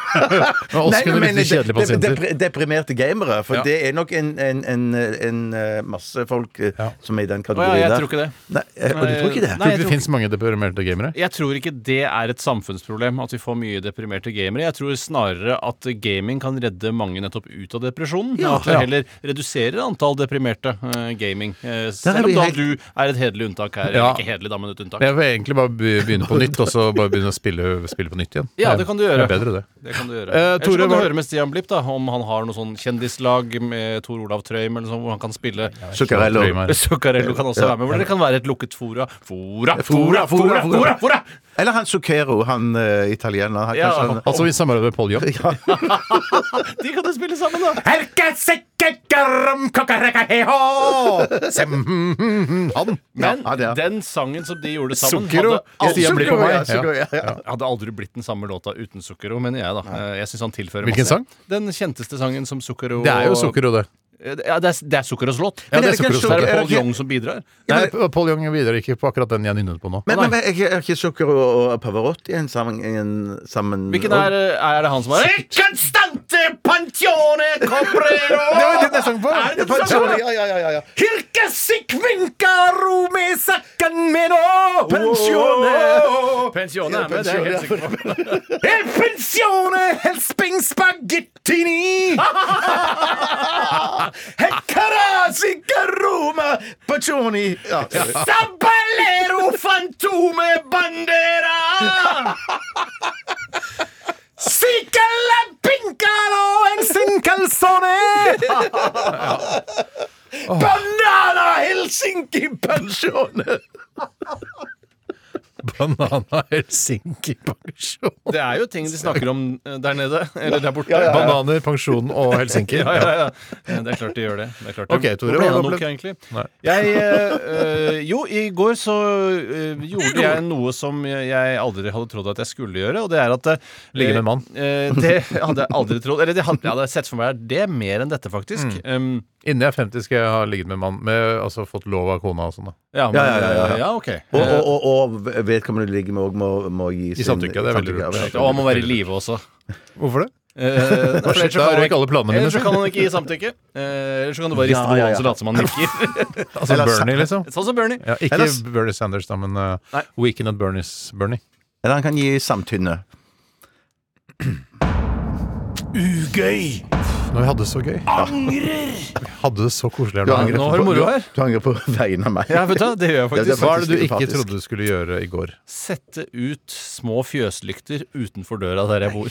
[SPEAKER 6] Men også kunne
[SPEAKER 8] men
[SPEAKER 6] bli kjedelige
[SPEAKER 8] de- de-
[SPEAKER 6] pasienter.
[SPEAKER 8] depre- Deprimerte gamere. For
[SPEAKER 6] Ja.
[SPEAKER 8] det er nok en, en, en, en eh, masse folk eh,
[SPEAKER 6] Ja.
[SPEAKER 8] som er i den
[SPEAKER 7] Å ja,
[SPEAKER 8] kategorien
[SPEAKER 7] jeg
[SPEAKER 8] der.
[SPEAKER 7] tror ikke det.
[SPEAKER 8] Nei, eh, og du tror
[SPEAKER 6] Tror
[SPEAKER 7] Nei,
[SPEAKER 8] ikke det?
[SPEAKER 7] jeg
[SPEAKER 6] ikke
[SPEAKER 7] tror
[SPEAKER 6] det fins mange deprimerte gamere?
[SPEAKER 7] Jeg tror ikke det er et samfunnsproblem at vi får mye deprimerte gamere. Jeg tror snarere at gaming kan redde mange nettopp ut av depresjonen. at det
[SPEAKER 6] Ja.
[SPEAKER 7] heller reduserer antall deprimerte eh, gaming. Eh,
[SPEAKER 8] er
[SPEAKER 7] selv om
[SPEAKER 8] vi
[SPEAKER 7] da
[SPEAKER 8] helt-
[SPEAKER 7] du er et hederlig unntak her.
[SPEAKER 6] Ja.
[SPEAKER 7] Eller ikke hederlig, da, men et unntak.
[SPEAKER 6] Jeg vil egentlig bare be- begynne på nytt, og så bare begynne å spille, spille på nytt igjen.
[SPEAKER 7] Ja, det kan du gjøre.
[SPEAKER 6] Det er bedre, det.
[SPEAKER 7] Det kan du gjøre.
[SPEAKER 6] Eh,
[SPEAKER 7] Eller så
[SPEAKER 6] Tore,
[SPEAKER 7] kan du
[SPEAKER 6] var-
[SPEAKER 7] høre med Stian Blipp da, om han har noe sånn kjendislag med Tor Olav Trøim eller sånn, hvor han kan spille
[SPEAKER 8] Zuccarello.
[SPEAKER 6] Trøim er-
[SPEAKER 7] Zuccarello kan også være med. Hvor det kan være et lukket fora. Fora,
[SPEAKER 8] Fora,
[SPEAKER 7] fora,
[SPEAKER 8] fora,
[SPEAKER 7] fora! fora, fora.
[SPEAKER 8] Eller han Zucchero, han eh, italieneren. Han,
[SPEAKER 7] Ja,
[SPEAKER 8] kanskje han-
[SPEAKER 6] Altså i samarbeid med Paul Jobb.
[SPEAKER 7] [laughs]
[SPEAKER 6] [laughs]
[SPEAKER 7] De kan jo spille sammen, da!
[SPEAKER 6] Han!
[SPEAKER 7] Men
[SPEAKER 8] Ja, det er-
[SPEAKER 7] den sangen som de gjorde sammen
[SPEAKER 6] Zucchero.
[SPEAKER 7] hadde
[SPEAKER 6] Stian blir på
[SPEAKER 7] Zucchero,
[SPEAKER 6] meg.
[SPEAKER 7] ja, Zucchero,
[SPEAKER 6] Ja.
[SPEAKER 7] ja. Hadde aldri blitt den samme låta uten Zucchero, mener jeg, da. Eh, Jeg syns han tilfører
[SPEAKER 6] Hvilken sang?
[SPEAKER 7] Den kjenteste sangen som Zucchero
[SPEAKER 6] Det er jo sukker og det.
[SPEAKER 7] Ja, det, er, det er sukker og slått.
[SPEAKER 6] Ja, det er
[SPEAKER 7] Men det er
[SPEAKER 6] sukker og slått.
[SPEAKER 7] det
[SPEAKER 8] Er det
[SPEAKER 7] Paul
[SPEAKER 8] ikke-
[SPEAKER 7] Young som bidrar.
[SPEAKER 6] Nei, Paul Young bidrar ikke på akkurat den jeg nynnet på nå.
[SPEAKER 8] Men, men, men er ikke- er ikke sukker og, og Pavarotti en sammen, en sammen
[SPEAKER 7] Hvilken er, eh, er det han som er Constante pantione comprero!
[SPEAKER 6] Det var den jeg
[SPEAKER 8] sånn-
[SPEAKER 6] sang på!
[SPEAKER 7] Er det den
[SPEAKER 6] Ja,
[SPEAKER 7] sangen?
[SPEAKER 6] sorry, ja, ja, ja, ja, ja.
[SPEAKER 7] Kirke sikvinka rome sakken min å Pensjone Pensjone er med, det er jeg helt sikker på El pensjone helsping spagettini Hekkarasika roma
[SPEAKER 8] Pacioni! Ja,
[SPEAKER 7] Sabalero fantome bandera Sica la pincaro en sin calzone
[SPEAKER 8] Banana Helsinki Pacione!
[SPEAKER 6] Banana Helsinki pensjon.
[SPEAKER 7] Det er jo ting de snakker om eh, der nede. Eller der borte.
[SPEAKER 6] Bananer, pensjon og Helsinki.
[SPEAKER 7] Ja, ja, ja. Eh, Det er klart de gjør det. det er klart de.
[SPEAKER 6] Ok, Tore,
[SPEAKER 7] Hvor ble
[SPEAKER 6] hva
[SPEAKER 7] det
[SPEAKER 6] har
[SPEAKER 7] av
[SPEAKER 6] du
[SPEAKER 7] Nokia,
[SPEAKER 6] opplevd?
[SPEAKER 7] egentlig?
[SPEAKER 6] Nei.
[SPEAKER 7] Jeg, eh, eh, jo, i går så eh, gjorde jeg noe som jeg aldri hadde trodd at jeg skulle gjøre, og det er at eh,
[SPEAKER 6] Ligge med en mann.
[SPEAKER 7] eh, det hadde jeg aldri trodd. Eller det hadde, jeg hadde sett for meg det er mer enn dette, faktisk.
[SPEAKER 6] Mm.
[SPEAKER 7] Um,
[SPEAKER 6] Innen jeg er 50 skal jeg ha ligget med en mann, med, altså fått lov av kona og sånn. da.
[SPEAKER 7] ja, men,
[SPEAKER 8] ja, ja, ja.
[SPEAKER 7] ja, ok. Eh,
[SPEAKER 8] Og, og, og, og vedkommende ligger med òg må, må gi sin
[SPEAKER 6] samtykke, det er veldig
[SPEAKER 8] samtykke,
[SPEAKER 6] lurt.
[SPEAKER 8] ja.
[SPEAKER 7] Og han må være i live også.
[SPEAKER 6] Hvorfor det?
[SPEAKER 7] Eh, for ellers
[SPEAKER 6] da
[SPEAKER 7] så kan han
[SPEAKER 6] røyk
[SPEAKER 7] ikke-
[SPEAKER 6] alle planene mine.
[SPEAKER 7] Ellers så kan han ikke gi samtykke. Eh, Ellers så kan du bare riste
[SPEAKER 8] Ja,
[SPEAKER 7] på
[SPEAKER 8] ja,
[SPEAKER 7] hodet
[SPEAKER 8] ja.
[SPEAKER 7] og late som han
[SPEAKER 8] [laughs]
[SPEAKER 7] nikker.
[SPEAKER 6] Altså Bernie, liksom?
[SPEAKER 7] Sånn som Bernie.
[SPEAKER 6] Ja, ikke
[SPEAKER 8] Ellers-
[SPEAKER 6] Bernie Sanders, da, men uh,
[SPEAKER 7] Nei.
[SPEAKER 6] Weekend at Bernies Bernie.
[SPEAKER 8] Eller han kan gi samtynne.
[SPEAKER 3] Ugøy.
[SPEAKER 6] Når vi hadde det så gøy.
[SPEAKER 3] Angrer.
[SPEAKER 6] Vi hadde det så koselig her
[SPEAKER 8] Du
[SPEAKER 6] nå.
[SPEAKER 8] angrer
[SPEAKER 7] nå
[SPEAKER 8] på-
[SPEAKER 7] har du moro
[SPEAKER 8] du-
[SPEAKER 7] her.
[SPEAKER 8] Du angrer på vegne av meg.
[SPEAKER 7] Ja, vet du, hva,
[SPEAKER 8] [laughs]
[SPEAKER 7] det gjør jeg
[SPEAKER 8] Ja,
[SPEAKER 7] faktisk.
[SPEAKER 8] det er
[SPEAKER 6] Hva er det du
[SPEAKER 8] faktisk
[SPEAKER 6] ikke
[SPEAKER 8] sympatisk.
[SPEAKER 6] trodde du skulle gjøre i går?
[SPEAKER 7] Sette ut små fjøslykter utenfor døra der jeg
[SPEAKER 8] [laughs]
[SPEAKER 7] bor.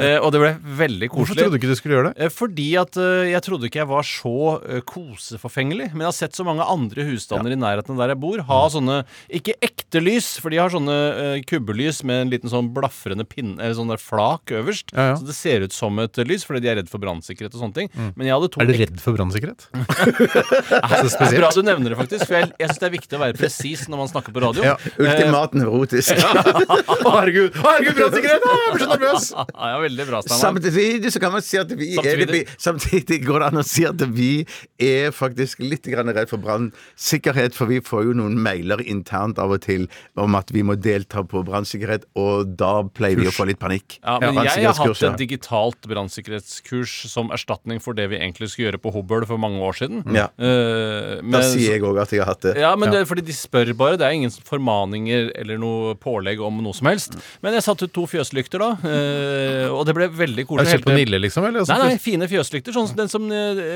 [SPEAKER 7] Eh, og det ble veldig
[SPEAKER 6] Hvorfor trodde du ikke
[SPEAKER 7] koselig.
[SPEAKER 6] du skulle gjøre det?
[SPEAKER 7] Eh, Fordi at eh, jeg trodde ikke jeg var så eh, koseforfengelig. Men jeg har sett så mange andre husstander i nærheten av der jeg bor, ha
[SPEAKER 6] Mm.
[SPEAKER 7] sånne Ikke ekte lys, for de har sånne eh, kubbelys med en liten sånn blafrende pinne, eller sånn der flak øverst.
[SPEAKER 6] Ja, ja.
[SPEAKER 7] Så det ser ut som et eh, lys, fordi de er redd for brannsikkerhet og sånne ting. Men jeg hadde to
[SPEAKER 6] Er du
[SPEAKER 7] ekte-
[SPEAKER 6] redd for brannsikkerhet? Så
[SPEAKER 7] Det [laughs] er bra
[SPEAKER 6] spesielt.
[SPEAKER 7] du nevner det, faktisk. For jeg, jeg syns det er viktig å være presis når man snakker på radio.
[SPEAKER 6] Ja.
[SPEAKER 8] Ultimat
[SPEAKER 7] [laughs]
[SPEAKER 8] nevrotisk.
[SPEAKER 6] Å, herregud, Å, herregud brannsikkerhet! Å, Jeg blir så nervøs!
[SPEAKER 7] ja, veldig bra, Steinar.
[SPEAKER 8] Samtidig så kan man si at vi er
[SPEAKER 7] Samtidig.
[SPEAKER 8] det, Samtidig går det an å si at vi er faktisk litt grann redd for brannsikkerhet, for vi får jo noen mailer internt av og til om at vi må delta på brannsikkerhet, og da pleier vi å få litt panikk.
[SPEAKER 7] Ja, men jeg har hatt
[SPEAKER 8] Brannsikkerhetskurs,
[SPEAKER 7] et digitalt brannsikkerhetskurs som erstatning for det vi egentlig skulle gjøre på Hobøl for mange år
[SPEAKER 6] Mm.
[SPEAKER 7] siden.
[SPEAKER 8] Ja.
[SPEAKER 7] Eh, men,
[SPEAKER 8] Da sier jeg òg at jeg har hatt det.
[SPEAKER 7] ja, men det er fordi de spør bare. Det er ingen formaninger eller noe pålegg om noe som helst. Men jeg satte ut to fjøslykter da, eh, og det ble veldig
[SPEAKER 6] Er du
[SPEAKER 7] koselig.
[SPEAKER 6] kjøpt på Nille, liksom? Eller?
[SPEAKER 7] Nei, nei, fine fjøslykter. Sånn som den som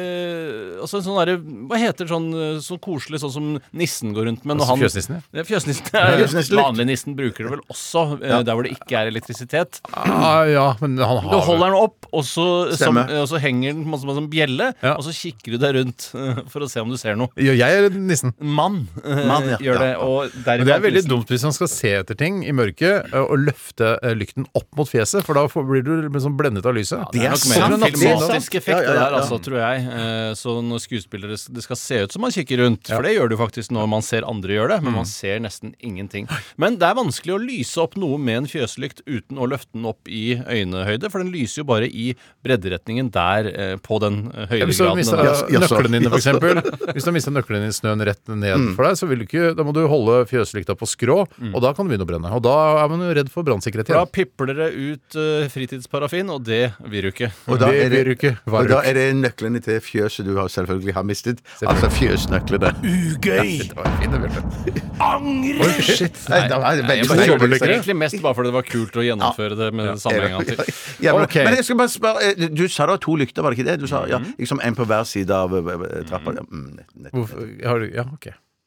[SPEAKER 7] eh, Altså en sånn derre Hva heter det sånn, eh, sånn koselig, sånn som nissen går rundt med når
[SPEAKER 6] Altså
[SPEAKER 7] han
[SPEAKER 6] fjøsnissen, ja.
[SPEAKER 7] ja. Fjøsnissen. Ja,
[SPEAKER 8] Fjøsnisselykter.
[SPEAKER 7] Vanlig nissen bruker det vel også eh, der hvor det ikke er elektrisitet.
[SPEAKER 6] Ah, ja, men han
[SPEAKER 7] Du
[SPEAKER 6] har
[SPEAKER 7] holder den opp, og så, som,
[SPEAKER 8] Stemmer.
[SPEAKER 7] eh, og så henger den på en måte som en sånn bjelle,
[SPEAKER 6] Ja.
[SPEAKER 7] og så kikker du deg rundt eh, for å se om du ser noe.
[SPEAKER 6] Gjør jeg eller nissen?
[SPEAKER 7] Mann, eh,
[SPEAKER 8] Mann, ja.
[SPEAKER 7] gjør det,
[SPEAKER 8] Ja, ja.
[SPEAKER 7] og
[SPEAKER 6] Men
[SPEAKER 7] deriblant
[SPEAKER 6] det er veldig
[SPEAKER 7] nissen.
[SPEAKER 6] dumt hvis man skal se etter ting i mørket eh, og løfte eh, lykten opp mot fjeset, for da får- blir du liksom blendet av lyset.
[SPEAKER 7] Det er nok mer
[SPEAKER 8] sant,
[SPEAKER 7] en
[SPEAKER 8] det er sant.
[SPEAKER 7] filmatisk effekt,
[SPEAKER 8] Ja, ja,
[SPEAKER 7] det
[SPEAKER 8] ja,
[SPEAKER 7] der,
[SPEAKER 8] ja.
[SPEAKER 7] altså, tror jeg. Eh, Så når skuespillere Det skal se ut som man kikker rundt, for det gjør du faktisk når man ser andre gjøre det, men
[SPEAKER 8] Mm.
[SPEAKER 7] man ser nesten ingenting. Men det er vanskelig å lyse opp noe med en fjøslykt uten å løfte den opp i øynehøyde, for den lyser jo bare i bredderetningen der, eh, på den eh,
[SPEAKER 6] Ja, Hvis du har
[SPEAKER 7] høydegraden.
[SPEAKER 6] mista
[SPEAKER 7] den er.
[SPEAKER 8] Jaså, jaså. Mm.
[SPEAKER 6] nøklene dine, f.eks. Hvis du har mista nøklene dine i snøen rett ned for deg, så vil du ikke, da må du holde fjøslykta på skrå,
[SPEAKER 7] Mm.
[SPEAKER 6] og da kan du begynne å brenne. Og da er man jo redd for brannsikkerhet
[SPEAKER 7] Da
[SPEAKER 6] igjen.
[SPEAKER 7] pipler det ut eh, fritidsparaffin, og det vil du ikke.
[SPEAKER 8] Og da,
[SPEAKER 6] Det
[SPEAKER 8] er det,
[SPEAKER 6] blir ikke
[SPEAKER 8] og da
[SPEAKER 6] varuk.
[SPEAKER 8] er det nøklene til fjøset du har selvfølgelig har mistet. Altså fjøsnøklene.
[SPEAKER 3] Ugøy. Angrer.
[SPEAKER 6] Shit.
[SPEAKER 8] Nei, da var det veldig
[SPEAKER 7] Jeg bare
[SPEAKER 8] streng.
[SPEAKER 7] gjorde det egentlig mest bare fordi det var kult å gjennomføre det med samme en gang til.
[SPEAKER 8] [laughs] Ja, men,
[SPEAKER 7] Ok.
[SPEAKER 8] men jeg skal bare spørre eh, Du sa det var to lykter, var det ikke det? Du sa, ja, liksom En på hver side av eh, eh, trappa. Ja, mm, nett- nett.
[SPEAKER 6] Hvorfor, har du, ja, ok.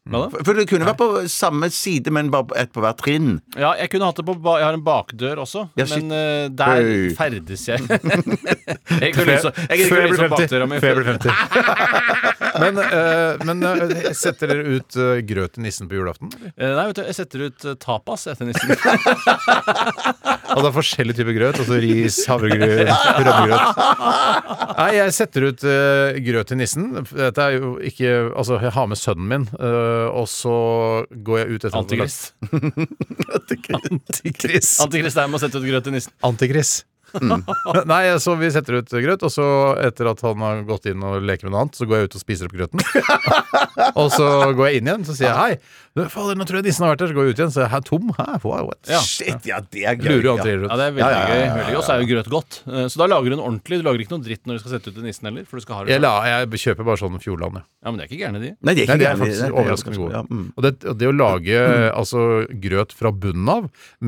[SPEAKER 7] Hva da?
[SPEAKER 8] For det kunne vært på samme side, men bare på- ett på hver trinn.
[SPEAKER 7] Ja, jeg kunne hatt det på ba Jeg har en bakdør også,
[SPEAKER 8] Ja, shit.
[SPEAKER 7] men eh, der
[SPEAKER 8] Øy.
[SPEAKER 7] ferdes
[SPEAKER 6] [laughs]
[SPEAKER 7] jeg. jeg gidder ikke å lyse opp-
[SPEAKER 6] Før
[SPEAKER 7] jeg gidder ikke å
[SPEAKER 6] jeg
[SPEAKER 7] lyse
[SPEAKER 6] blir
[SPEAKER 7] opp
[SPEAKER 6] 50.
[SPEAKER 7] bakdøra mi.
[SPEAKER 6] Før jeg blir 50. [laughs] Men, eh, men eh, setter dere ut eh, grøt til nissen på julaften? eller?
[SPEAKER 7] Eh, Nei, vet du, jeg setter ut eh, tapas etter
[SPEAKER 6] [laughs]
[SPEAKER 7] nissen.
[SPEAKER 6] Og det er forskjellig type grøt. Altså ris, havregrøt, rømmegrøt. Nei, jeg setter ut eh, grøt til nissen. Dette er jo ikke Altså, jeg har med sønnen min, eh, og så går jeg ut etter
[SPEAKER 7] Antikrist.
[SPEAKER 6] Antikris.
[SPEAKER 7] Antikrist er med å sette ut grøt til nissen.
[SPEAKER 6] Antikris. Mm. [laughs] Nei, så vi setter ut grøt, og så etter at han har gått inn og leker med noe annet, så går jeg ut og spiser opp
[SPEAKER 7] [laughs]
[SPEAKER 6] grøten. og så går jeg inn igjen, så sier jeg hei. Du, Fader, nå tror jeg nissen har vært der. Så går jeg ut igjen, så er jeg tom. Hæ, Wow, what?
[SPEAKER 7] Ja.
[SPEAKER 8] Shit, ja, det er gøy.
[SPEAKER 6] Lurer jo
[SPEAKER 8] ja.
[SPEAKER 6] alltid
[SPEAKER 7] Ja,
[SPEAKER 6] rundt.
[SPEAKER 7] det er veldig gøy. veldig gøy. Og så er jo grøt godt. Eh, Så da lager hun ordentlig. Du lager ikke noe dritt når du skal sette ut til nissen heller. For du skal ha det
[SPEAKER 6] Jeg,
[SPEAKER 7] selv.
[SPEAKER 6] la, jeg kjøper bare sånn Fjordland, jeg.
[SPEAKER 7] Ja, men det er ikke gærne, de.
[SPEAKER 8] Nei, det er
[SPEAKER 6] Nei, de
[SPEAKER 8] ikke
[SPEAKER 6] er
[SPEAKER 8] gærent.
[SPEAKER 6] faktisk
[SPEAKER 8] Det er-
[SPEAKER 6] overraskende
[SPEAKER 8] Ja,
[SPEAKER 6] gode.
[SPEAKER 8] mm.
[SPEAKER 6] Og det, og det å lage altså, grøt fra bunnen av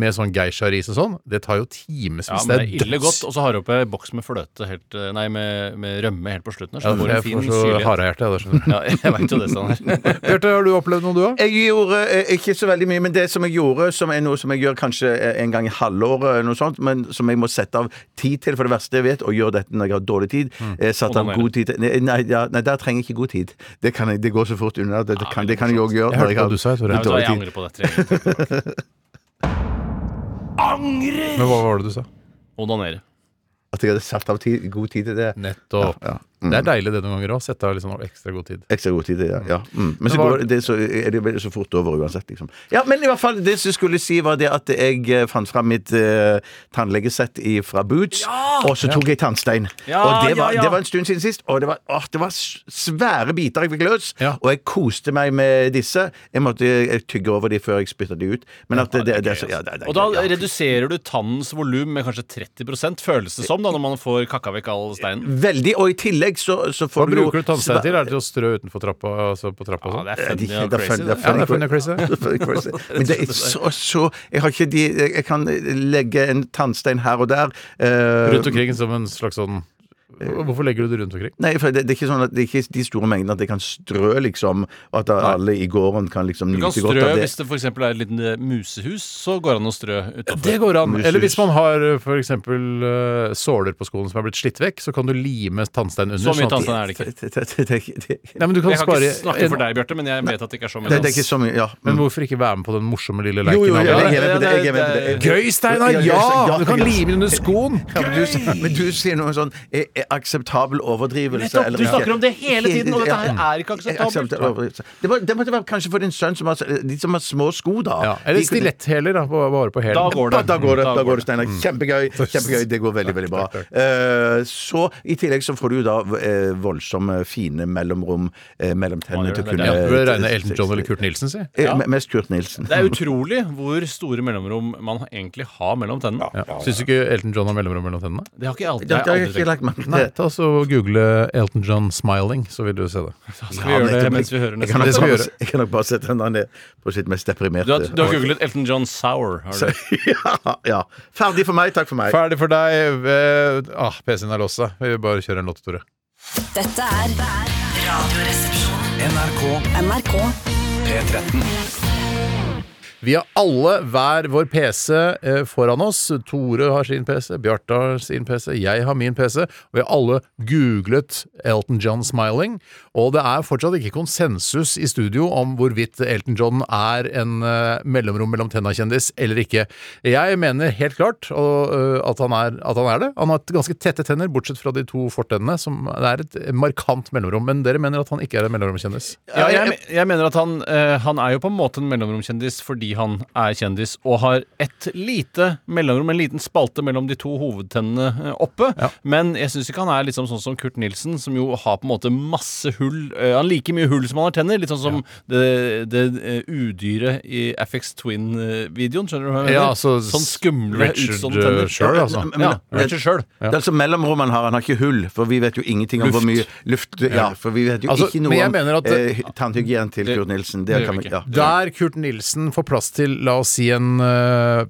[SPEAKER 6] med sånn geisha-ris og sånn, det tar jo timevis.
[SPEAKER 7] Ja, men det er ille godt. Og så har du oppi boks med fløte helt eh, Nei, med, med rømme helt på slutten her. Så
[SPEAKER 6] Ja,
[SPEAKER 7] det
[SPEAKER 6] for
[SPEAKER 7] får en
[SPEAKER 6] jeg
[SPEAKER 7] fin
[SPEAKER 6] får så
[SPEAKER 7] syrlighet.
[SPEAKER 6] harehjerte, jeg, da, skjønner du.
[SPEAKER 7] Ja, [laughs] jeg veit jo det,
[SPEAKER 6] [laughs]
[SPEAKER 7] Steinar.
[SPEAKER 6] Bjarte, har du opplevd noe, du òg?
[SPEAKER 8] Jeg gjorde eh, ikke så veldig mye, men det som jeg gjorde, som er noe som jeg gjør kanskje eh, en gang i halvåret, eller noe sånt, men som jeg må sette av tid til, for det verste jeg vet, å gjøre dette når jeg har dårlig tid.
[SPEAKER 6] Mm.
[SPEAKER 8] Eh, Satt av
[SPEAKER 7] Onanere.
[SPEAKER 8] god tid til- Nei, nei, ja, nei, der trenger jeg ikke god tid. Det, kan jeg, det går så fort unna. Det, det kan, det kan jeg òg gjøre.
[SPEAKER 6] Jeg
[SPEAKER 8] når
[SPEAKER 6] hørte hva
[SPEAKER 8] har
[SPEAKER 6] du sa, jeg tror
[SPEAKER 7] Nei, vet du hva,
[SPEAKER 8] dårlig
[SPEAKER 7] Jeg
[SPEAKER 8] tid.
[SPEAKER 7] angrer på det. tre ganger.
[SPEAKER 8] Eh.
[SPEAKER 6] Men hva var det du sa?
[SPEAKER 7] Onanere.
[SPEAKER 8] At jeg hadde satt av tid, god tid til det.
[SPEAKER 6] Nettopp.
[SPEAKER 8] mm.
[SPEAKER 6] Det er deilig det noen ganger òg. Sette av litt sånn ekstra god tid.
[SPEAKER 8] Ekstra god tid til det, ja. ja. Mm. Men så,
[SPEAKER 6] var-
[SPEAKER 8] går, det, så er det vel så fort over uansett, liksom. Ja, men i hvert fall, det som skulle si, var det at jeg eh, fant fram mitt eh, tannlegesett i- fra Boots, og så tok jeg tannstein.
[SPEAKER 7] Ja,
[SPEAKER 8] og det var,
[SPEAKER 7] ja, ja.
[SPEAKER 8] det var en stund siden sist, og det var, åh, det var s- svære biter jeg fikk løs,
[SPEAKER 6] Ja.
[SPEAKER 8] og jeg koste meg med disse. Jeg måtte eh, tygge over de før jeg spytta de ut. Men at det, det, det, er så- ja, det, det,
[SPEAKER 7] altså. Og da
[SPEAKER 8] ja.
[SPEAKER 7] reduserer du tannens volum med kanskje 30 føles det som, da, når man får kakka vekk all steinen.
[SPEAKER 8] Veldig. Og i tillegg så, så
[SPEAKER 6] Hva
[SPEAKER 8] får du
[SPEAKER 6] bruker du tannstein
[SPEAKER 8] sva-
[SPEAKER 6] til? Er det til å strå utenfor trappa? Altså på trappa og
[SPEAKER 7] Ja,
[SPEAKER 6] sånn?
[SPEAKER 7] det er
[SPEAKER 8] Ja, de-
[SPEAKER 7] funny og
[SPEAKER 8] det er
[SPEAKER 7] crazy.
[SPEAKER 8] funny-
[SPEAKER 7] det.
[SPEAKER 8] det er
[SPEAKER 6] Ja, det er funny
[SPEAKER 8] [laughs]
[SPEAKER 6] og crazy.
[SPEAKER 8] Men det er så, så Jeg har ikke de Jeg kan legge en tannstein her og der. eh,
[SPEAKER 6] Rundt omkring som en slags sånn Hvorfor legger du det rundt omkring?
[SPEAKER 8] Nei, for det, det er ikke sånn at det er ikke de store mengdene at jeg kan strø, liksom. Og at alle i gården kan liksom
[SPEAKER 7] Du kan
[SPEAKER 8] nyte
[SPEAKER 7] strø
[SPEAKER 8] godt av det.
[SPEAKER 7] hvis det f.eks. er et lite musehus, så går det an å strø utafor.
[SPEAKER 6] Det går an.
[SPEAKER 8] Mushus.
[SPEAKER 6] Eller hvis man har eh, f.eks. Uh, såler på skoen som er blitt slitt vekk, så kan du lime tannstein under.
[SPEAKER 7] Så
[SPEAKER 6] sånn
[SPEAKER 7] mye
[SPEAKER 6] at-
[SPEAKER 7] tannstein er det ikke.
[SPEAKER 8] Det- det- det- det- det-
[SPEAKER 6] Nei, men du kan
[SPEAKER 7] Jeg kan ikke
[SPEAKER 6] spare
[SPEAKER 7] snakke for deg, Bjarte, men jeg vet at det ikke er så mye.
[SPEAKER 8] Det det er ikke så mye, ja. mm.
[SPEAKER 6] Men hvorfor ikke være med på den morsomme lille
[SPEAKER 8] Jo, jo,
[SPEAKER 6] leken?
[SPEAKER 8] jeg
[SPEAKER 6] av
[SPEAKER 8] er
[SPEAKER 6] det?
[SPEAKER 8] helt med på det. Jeg er med på det.
[SPEAKER 6] Gøy, Steinar!
[SPEAKER 8] Ja,
[SPEAKER 6] Ja!
[SPEAKER 8] ja,
[SPEAKER 6] Du kan
[SPEAKER 8] ja.
[SPEAKER 6] lime den under skoen!
[SPEAKER 8] Ja, men, du, men du sier noe sånn er, er akseptabel overdrivelse.
[SPEAKER 7] Nettopp,
[SPEAKER 8] eller
[SPEAKER 7] du
[SPEAKER 8] ikke.
[SPEAKER 7] snakker om det hele tiden, og dette her
[SPEAKER 8] Ja. Eh,
[SPEAKER 7] er ikke akseptabelt.
[SPEAKER 8] Akseptabel overdrivelse. Det, må, det måtte være kanskje for din sønn, som har, eh, de som har små sko, da.
[SPEAKER 6] Ja, eller
[SPEAKER 8] De kunne-
[SPEAKER 6] stiletthæler, da. Bare bare på hælen.
[SPEAKER 7] Da går
[SPEAKER 8] Da, da går det,
[SPEAKER 7] Da
[SPEAKER 8] da
[SPEAKER 7] går
[SPEAKER 8] går det, Steinar. Kjempegøy.
[SPEAKER 6] Mm.
[SPEAKER 8] kjempegøy, Det går veldig, veldig bra. Eh, så I tillegg så får du jo da eh, voldsomme, fine mellomrom eh, mellom tennene til å
[SPEAKER 7] det er
[SPEAKER 8] kunne
[SPEAKER 7] det.
[SPEAKER 6] Du bør regne Elton John eller Kurt Nilsen, si.
[SPEAKER 8] Eh, me- Mest Kurt Nilsen.
[SPEAKER 7] Det er utrolig hvor store mellomrom man egentlig har mellom tennene.
[SPEAKER 6] Ja. Syns du ikke Elton John har mellomrom mellom tennene?
[SPEAKER 7] Det har ikke jeg alltid,
[SPEAKER 8] Det
[SPEAKER 7] det har
[SPEAKER 8] har
[SPEAKER 7] jeg
[SPEAKER 8] jeg
[SPEAKER 7] aldri
[SPEAKER 8] ikke
[SPEAKER 7] tenkt.
[SPEAKER 8] lagt merke til.
[SPEAKER 6] Nei, ta så Google Elton John 'smiling', så vil du se det.
[SPEAKER 7] Skal vi gjøre det
[SPEAKER 8] nettopp.
[SPEAKER 7] mens vi hører
[SPEAKER 8] Jeg kan
[SPEAKER 6] Det
[SPEAKER 7] neste
[SPEAKER 8] nok
[SPEAKER 6] skal vi
[SPEAKER 8] bare-
[SPEAKER 6] gjøre.
[SPEAKER 8] Jeg kan nok bare sette henne ned på sitt mest deprimerte
[SPEAKER 7] Du har, du har googlet Elton John Sour. Har du.
[SPEAKER 8] [laughs] ja, ja. Ferdig for meg. Takk for meg.
[SPEAKER 6] Ferdig for deg. eh, Ah, PC-en er låst seg. Vi bare kjører en låt, Tore.
[SPEAKER 1] Dette er Radioresepsjonen. NRK. NRK.
[SPEAKER 6] Vi har alle hver vår PC eh, foran oss. Tore har sin PC, Bjarte har sin PC, jeg har min PC. Og vi har alle googlet Elton John smiling. Og det er fortsatt ikke konsensus i studio om hvorvidt Elton John er en eh, mellomrom mellom tenna-kjendis eller ikke. Jeg mener helt klart og, eh, at, han er, at han er det. Han har et ganske tette tenner, bortsett fra de to fortennene, som det er et markant mellomrom. Men dere mener at han ikke er en mellomromkjendis?
[SPEAKER 7] Ja, jeg, jeg mener at han, eh, han er jo på en måte en mellomromkjendis fordi han er kjendis og har et lite mellomrom, en liten spalte mellom de to hovedtennene eh, oppe. Men jeg syns ikke han er liksom sånn som Kurt Nilsen, som jo har på en måte masse hull. eh, han har like mye hull som han har tenner. Litt sånn som det, det eh, udyret i FX Twin-videoen. Skjønner du hva jeg mener?
[SPEAKER 6] Ja, altså,
[SPEAKER 7] sånn skumle,
[SPEAKER 6] Richard,
[SPEAKER 7] utstående tenner.
[SPEAKER 6] eh, Schur, altså.
[SPEAKER 8] Men-
[SPEAKER 7] Ja,
[SPEAKER 8] men-
[SPEAKER 7] Richard Schur.
[SPEAKER 8] Det er altså mellomrommet han har. Han har ikke hull, for vi vet jo ingenting om
[SPEAKER 7] Luft.
[SPEAKER 8] hvor mye luft Ja, for vi vet jo
[SPEAKER 6] Altså,
[SPEAKER 8] ikke
[SPEAKER 6] men
[SPEAKER 8] noe
[SPEAKER 6] jeg
[SPEAKER 8] om
[SPEAKER 6] mener at-
[SPEAKER 8] eh, tannhygienen til Kurt Nilsen. Det,
[SPEAKER 7] det
[SPEAKER 8] kan
[SPEAKER 7] gjør
[SPEAKER 8] vi
[SPEAKER 7] vi
[SPEAKER 8] ja.
[SPEAKER 6] Der Kurt Nilsen får plass til, la oss si, en eh,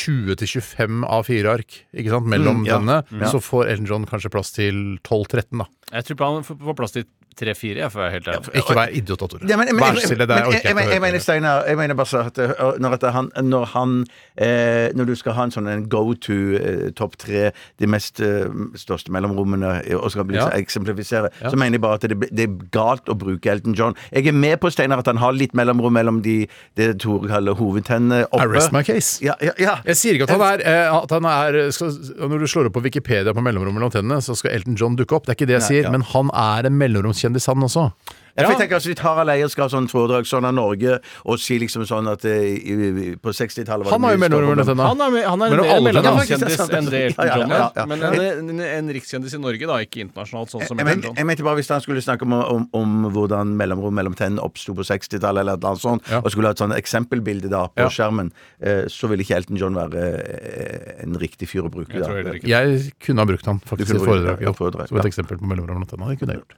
[SPEAKER 6] 20-25 A4-ark ikke sant, mellom
[SPEAKER 8] Mm, ja.
[SPEAKER 6] denne,
[SPEAKER 8] Mm.
[SPEAKER 6] så får Elton John kanskje plass til 12-13, da.
[SPEAKER 7] Jeg tror på han får får plass til tre-fire, for å være helt ærlig.
[SPEAKER 6] Ikke vær idiot, da, Tore.
[SPEAKER 8] Ja, men, men,
[SPEAKER 6] Vær så snill, det
[SPEAKER 8] men-
[SPEAKER 6] der orker
[SPEAKER 8] jeg,
[SPEAKER 6] jeg ikke å
[SPEAKER 8] jeg,
[SPEAKER 6] høre
[SPEAKER 8] jeg mener,
[SPEAKER 6] på.
[SPEAKER 8] Steinar, jeg mener bare så at eh, når, at han, når han eh, Når du skal ha en sånn en go to eh, topp tre, de mest eh, største mellomrommene, eh, og skal bli,
[SPEAKER 6] Ja.
[SPEAKER 8] så eksemplifisere, så mener jeg bare at det, det er galt å bruke Elton John. Jeg er med på, Steinar, at han har litt mellomrom mellom de det Tore kaller hovedtennene oppe.
[SPEAKER 6] I rest my case.
[SPEAKER 8] Ja, ja, ja.
[SPEAKER 6] Jeg sier ikke at han er, eh, at han er skal, Når du slår opp på Wikipedia på mellomrom mellom tennene, så skal Elton John dukke opp. Det er ikke det jeg sier, men han er en mellomromskjendis, han også.
[SPEAKER 8] Ja, for
[SPEAKER 7] Ja.
[SPEAKER 8] jeg tenker altså, Litt Harald Eia skal ha sånn trådrag sånn av Norge, og si liksom sånn at eh, i, i, på 60-tallet var
[SPEAKER 6] Han har jo mer nordmenn enn
[SPEAKER 7] Han er, han er
[SPEAKER 6] Men
[SPEAKER 7] en,
[SPEAKER 6] om alle
[SPEAKER 7] en
[SPEAKER 8] kjendiser,
[SPEAKER 7] mellomlandskjendis
[SPEAKER 8] ja, sant,
[SPEAKER 7] enn det Elton
[SPEAKER 8] ja, ja,
[SPEAKER 7] John
[SPEAKER 8] ja,
[SPEAKER 7] er.
[SPEAKER 8] ja.
[SPEAKER 7] Men en, en, en rikskjendis i Norge, da, ikke internasjonalt, sånn som
[SPEAKER 8] jeg, Eh, men,
[SPEAKER 7] Elton John.
[SPEAKER 8] jeg mente bare hvis han skulle snakke om, om, om hvordan mellomrom mellom tennene oppsto på 60-tallet, eller et eller annet sånt,
[SPEAKER 6] Ja.
[SPEAKER 8] og skulle ha et sånn eksempelbilde da på
[SPEAKER 6] Ja.
[SPEAKER 8] skjermen, eh, så ville ikke Elton John være eh, en riktig fyr å bruke.
[SPEAKER 7] Jeg tror heller
[SPEAKER 8] da.
[SPEAKER 7] ikke det.
[SPEAKER 6] Jeg kunne ha brukt han faktisk i
[SPEAKER 8] Du kunne
[SPEAKER 6] et foredrag.
[SPEAKER 8] brukt han,
[SPEAKER 6] jo,
[SPEAKER 8] ja, foredrag,
[SPEAKER 6] Som et
[SPEAKER 8] ja.
[SPEAKER 6] eksempel på mellomrom og tenna. Det kunne jeg gjort.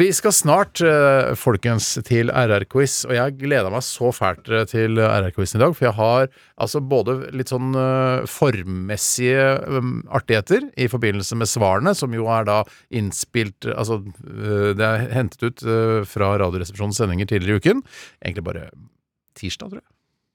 [SPEAKER 6] Vi skal snart, eh, folkens, til RR-quiz, og jeg gleda meg så fælt eh, til RR-quizen i dag, for jeg har altså både litt sånn eh, formmessige eh, artigheter i forbindelse med svarene, som jo er da innspilt eh, Altså, eh, det er hentet ut eh, fra Radioresepsjonens sendinger tidligere i uken. Egentlig bare tirsdag, tror jeg.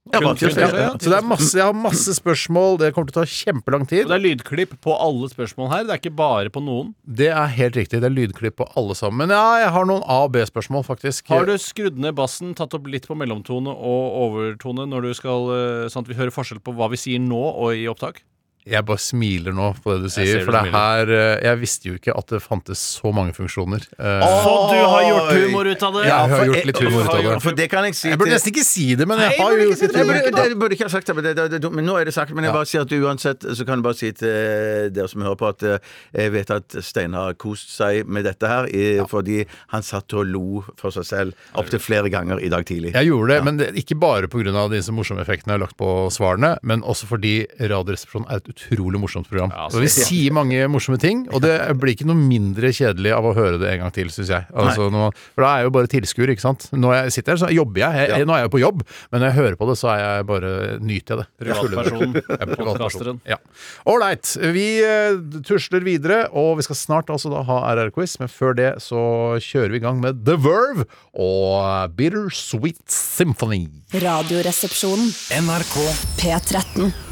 [SPEAKER 8] Ja, bare til å
[SPEAKER 7] Kun-
[SPEAKER 8] si
[SPEAKER 7] kun-
[SPEAKER 8] det.
[SPEAKER 7] ja.
[SPEAKER 6] Så det er masse, jeg har masse spørsmål, det kommer til å ta kjempelang tid.
[SPEAKER 7] Og det er lydklipp på alle spørsmål her, det er ikke bare på noen.
[SPEAKER 6] Det er helt riktig. Det er lydklipp på alle sammen. Men ja, jeg har noen A- og B-spørsmål, faktisk.
[SPEAKER 7] Har du skrudd ned bassen, tatt opp litt på mellomtone og overtone når du skal, eh, sånn at vi hører forskjell på hva vi sier nå og i opptak?
[SPEAKER 6] Jeg bare smiler nå på det du
[SPEAKER 7] ser
[SPEAKER 6] sier.
[SPEAKER 7] du
[SPEAKER 6] For det er her
[SPEAKER 7] smiler.
[SPEAKER 6] eh, Jeg visste jo ikke at det fantes så mange funksjoner. Eh,
[SPEAKER 7] Så du har gjort
[SPEAKER 8] Oi.
[SPEAKER 7] humor ut av det?
[SPEAKER 6] Ja, jeg har
[SPEAKER 8] for-
[SPEAKER 6] gjort litt humor ut av det.
[SPEAKER 8] Eh, For det kan jeg si
[SPEAKER 6] Jeg burde nesten ikke si det, men jeg
[SPEAKER 7] Nei,
[SPEAKER 6] har
[SPEAKER 7] jeg burde
[SPEAKER 6] jo
[SPEAKER 7] ikke si
[SPEAKER 8] Jeg burde,
[SPEAKER 6] Jeg burde-
[SPEAKER 8] det, burde ikke ha sagt det, men, det, det, det, men nå er det sagt. Men jeg bare sier at uansett så kan jeg bare si til eh, dere som hører på, at eh, jeg vet at Stein har kost seg med dette her, i, fordi han satt og lo for seg selv opptil flere ganger i dag tidlig.
[SPEAKER 6] Jeg gjorde det, men det, ikke bare pga. disse morsomme effektene jeg har lagt på svarene, men også fordi Radioresepsjonen er et utrolig morsomt program. så Vi sier mange morsomme ting, og det blir ikke noe mindre kjedelig av å høre det en gang til, syns jeg. Altså, når man, for da er jeg jo bare tilskuer, ikke sant. Når jeg sitter her, så jobber jeg. jeg, Nå er jeg jo på jobb, men når jeg hører på det, så er jeg bare, nyter jeg det.
[SPEAKER 7] Privatpersonen.
[SPEAKER 6] Jeg er privatperson.
[SPEAKER 7] Kontrasteren.
[SPEAKER 6] Ja. Ålreit, vi eh, tusler videre, og vi skal snart altså da ha RR-quiz, men før det så kjører vi i gang med The Verve og Bitter Sweet Symphony.
[SPEAKER 1] Radioresepsjonen. NRK P13.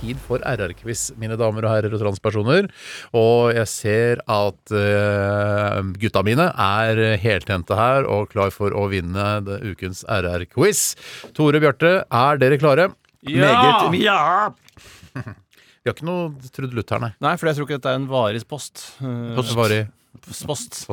[SPEAKER 6] Tid for RR-quiz, mine damer og herrer og transpersoner. Og jeg ser at eh, gutta mine er heltente her og klar for å vinne det ukens RR-quiz. Tore Bjarte, er dere klare?
[SPEAKER 7] Ja!
[SPEAKER 6] Vi har ikke noe trudelutt her, nei.
[SPEAKER 7] Nei, for jeg tror ikke dette er en varig post. Eh,
[SPEAKER 6] Varig.
[SPEAKER 7] post.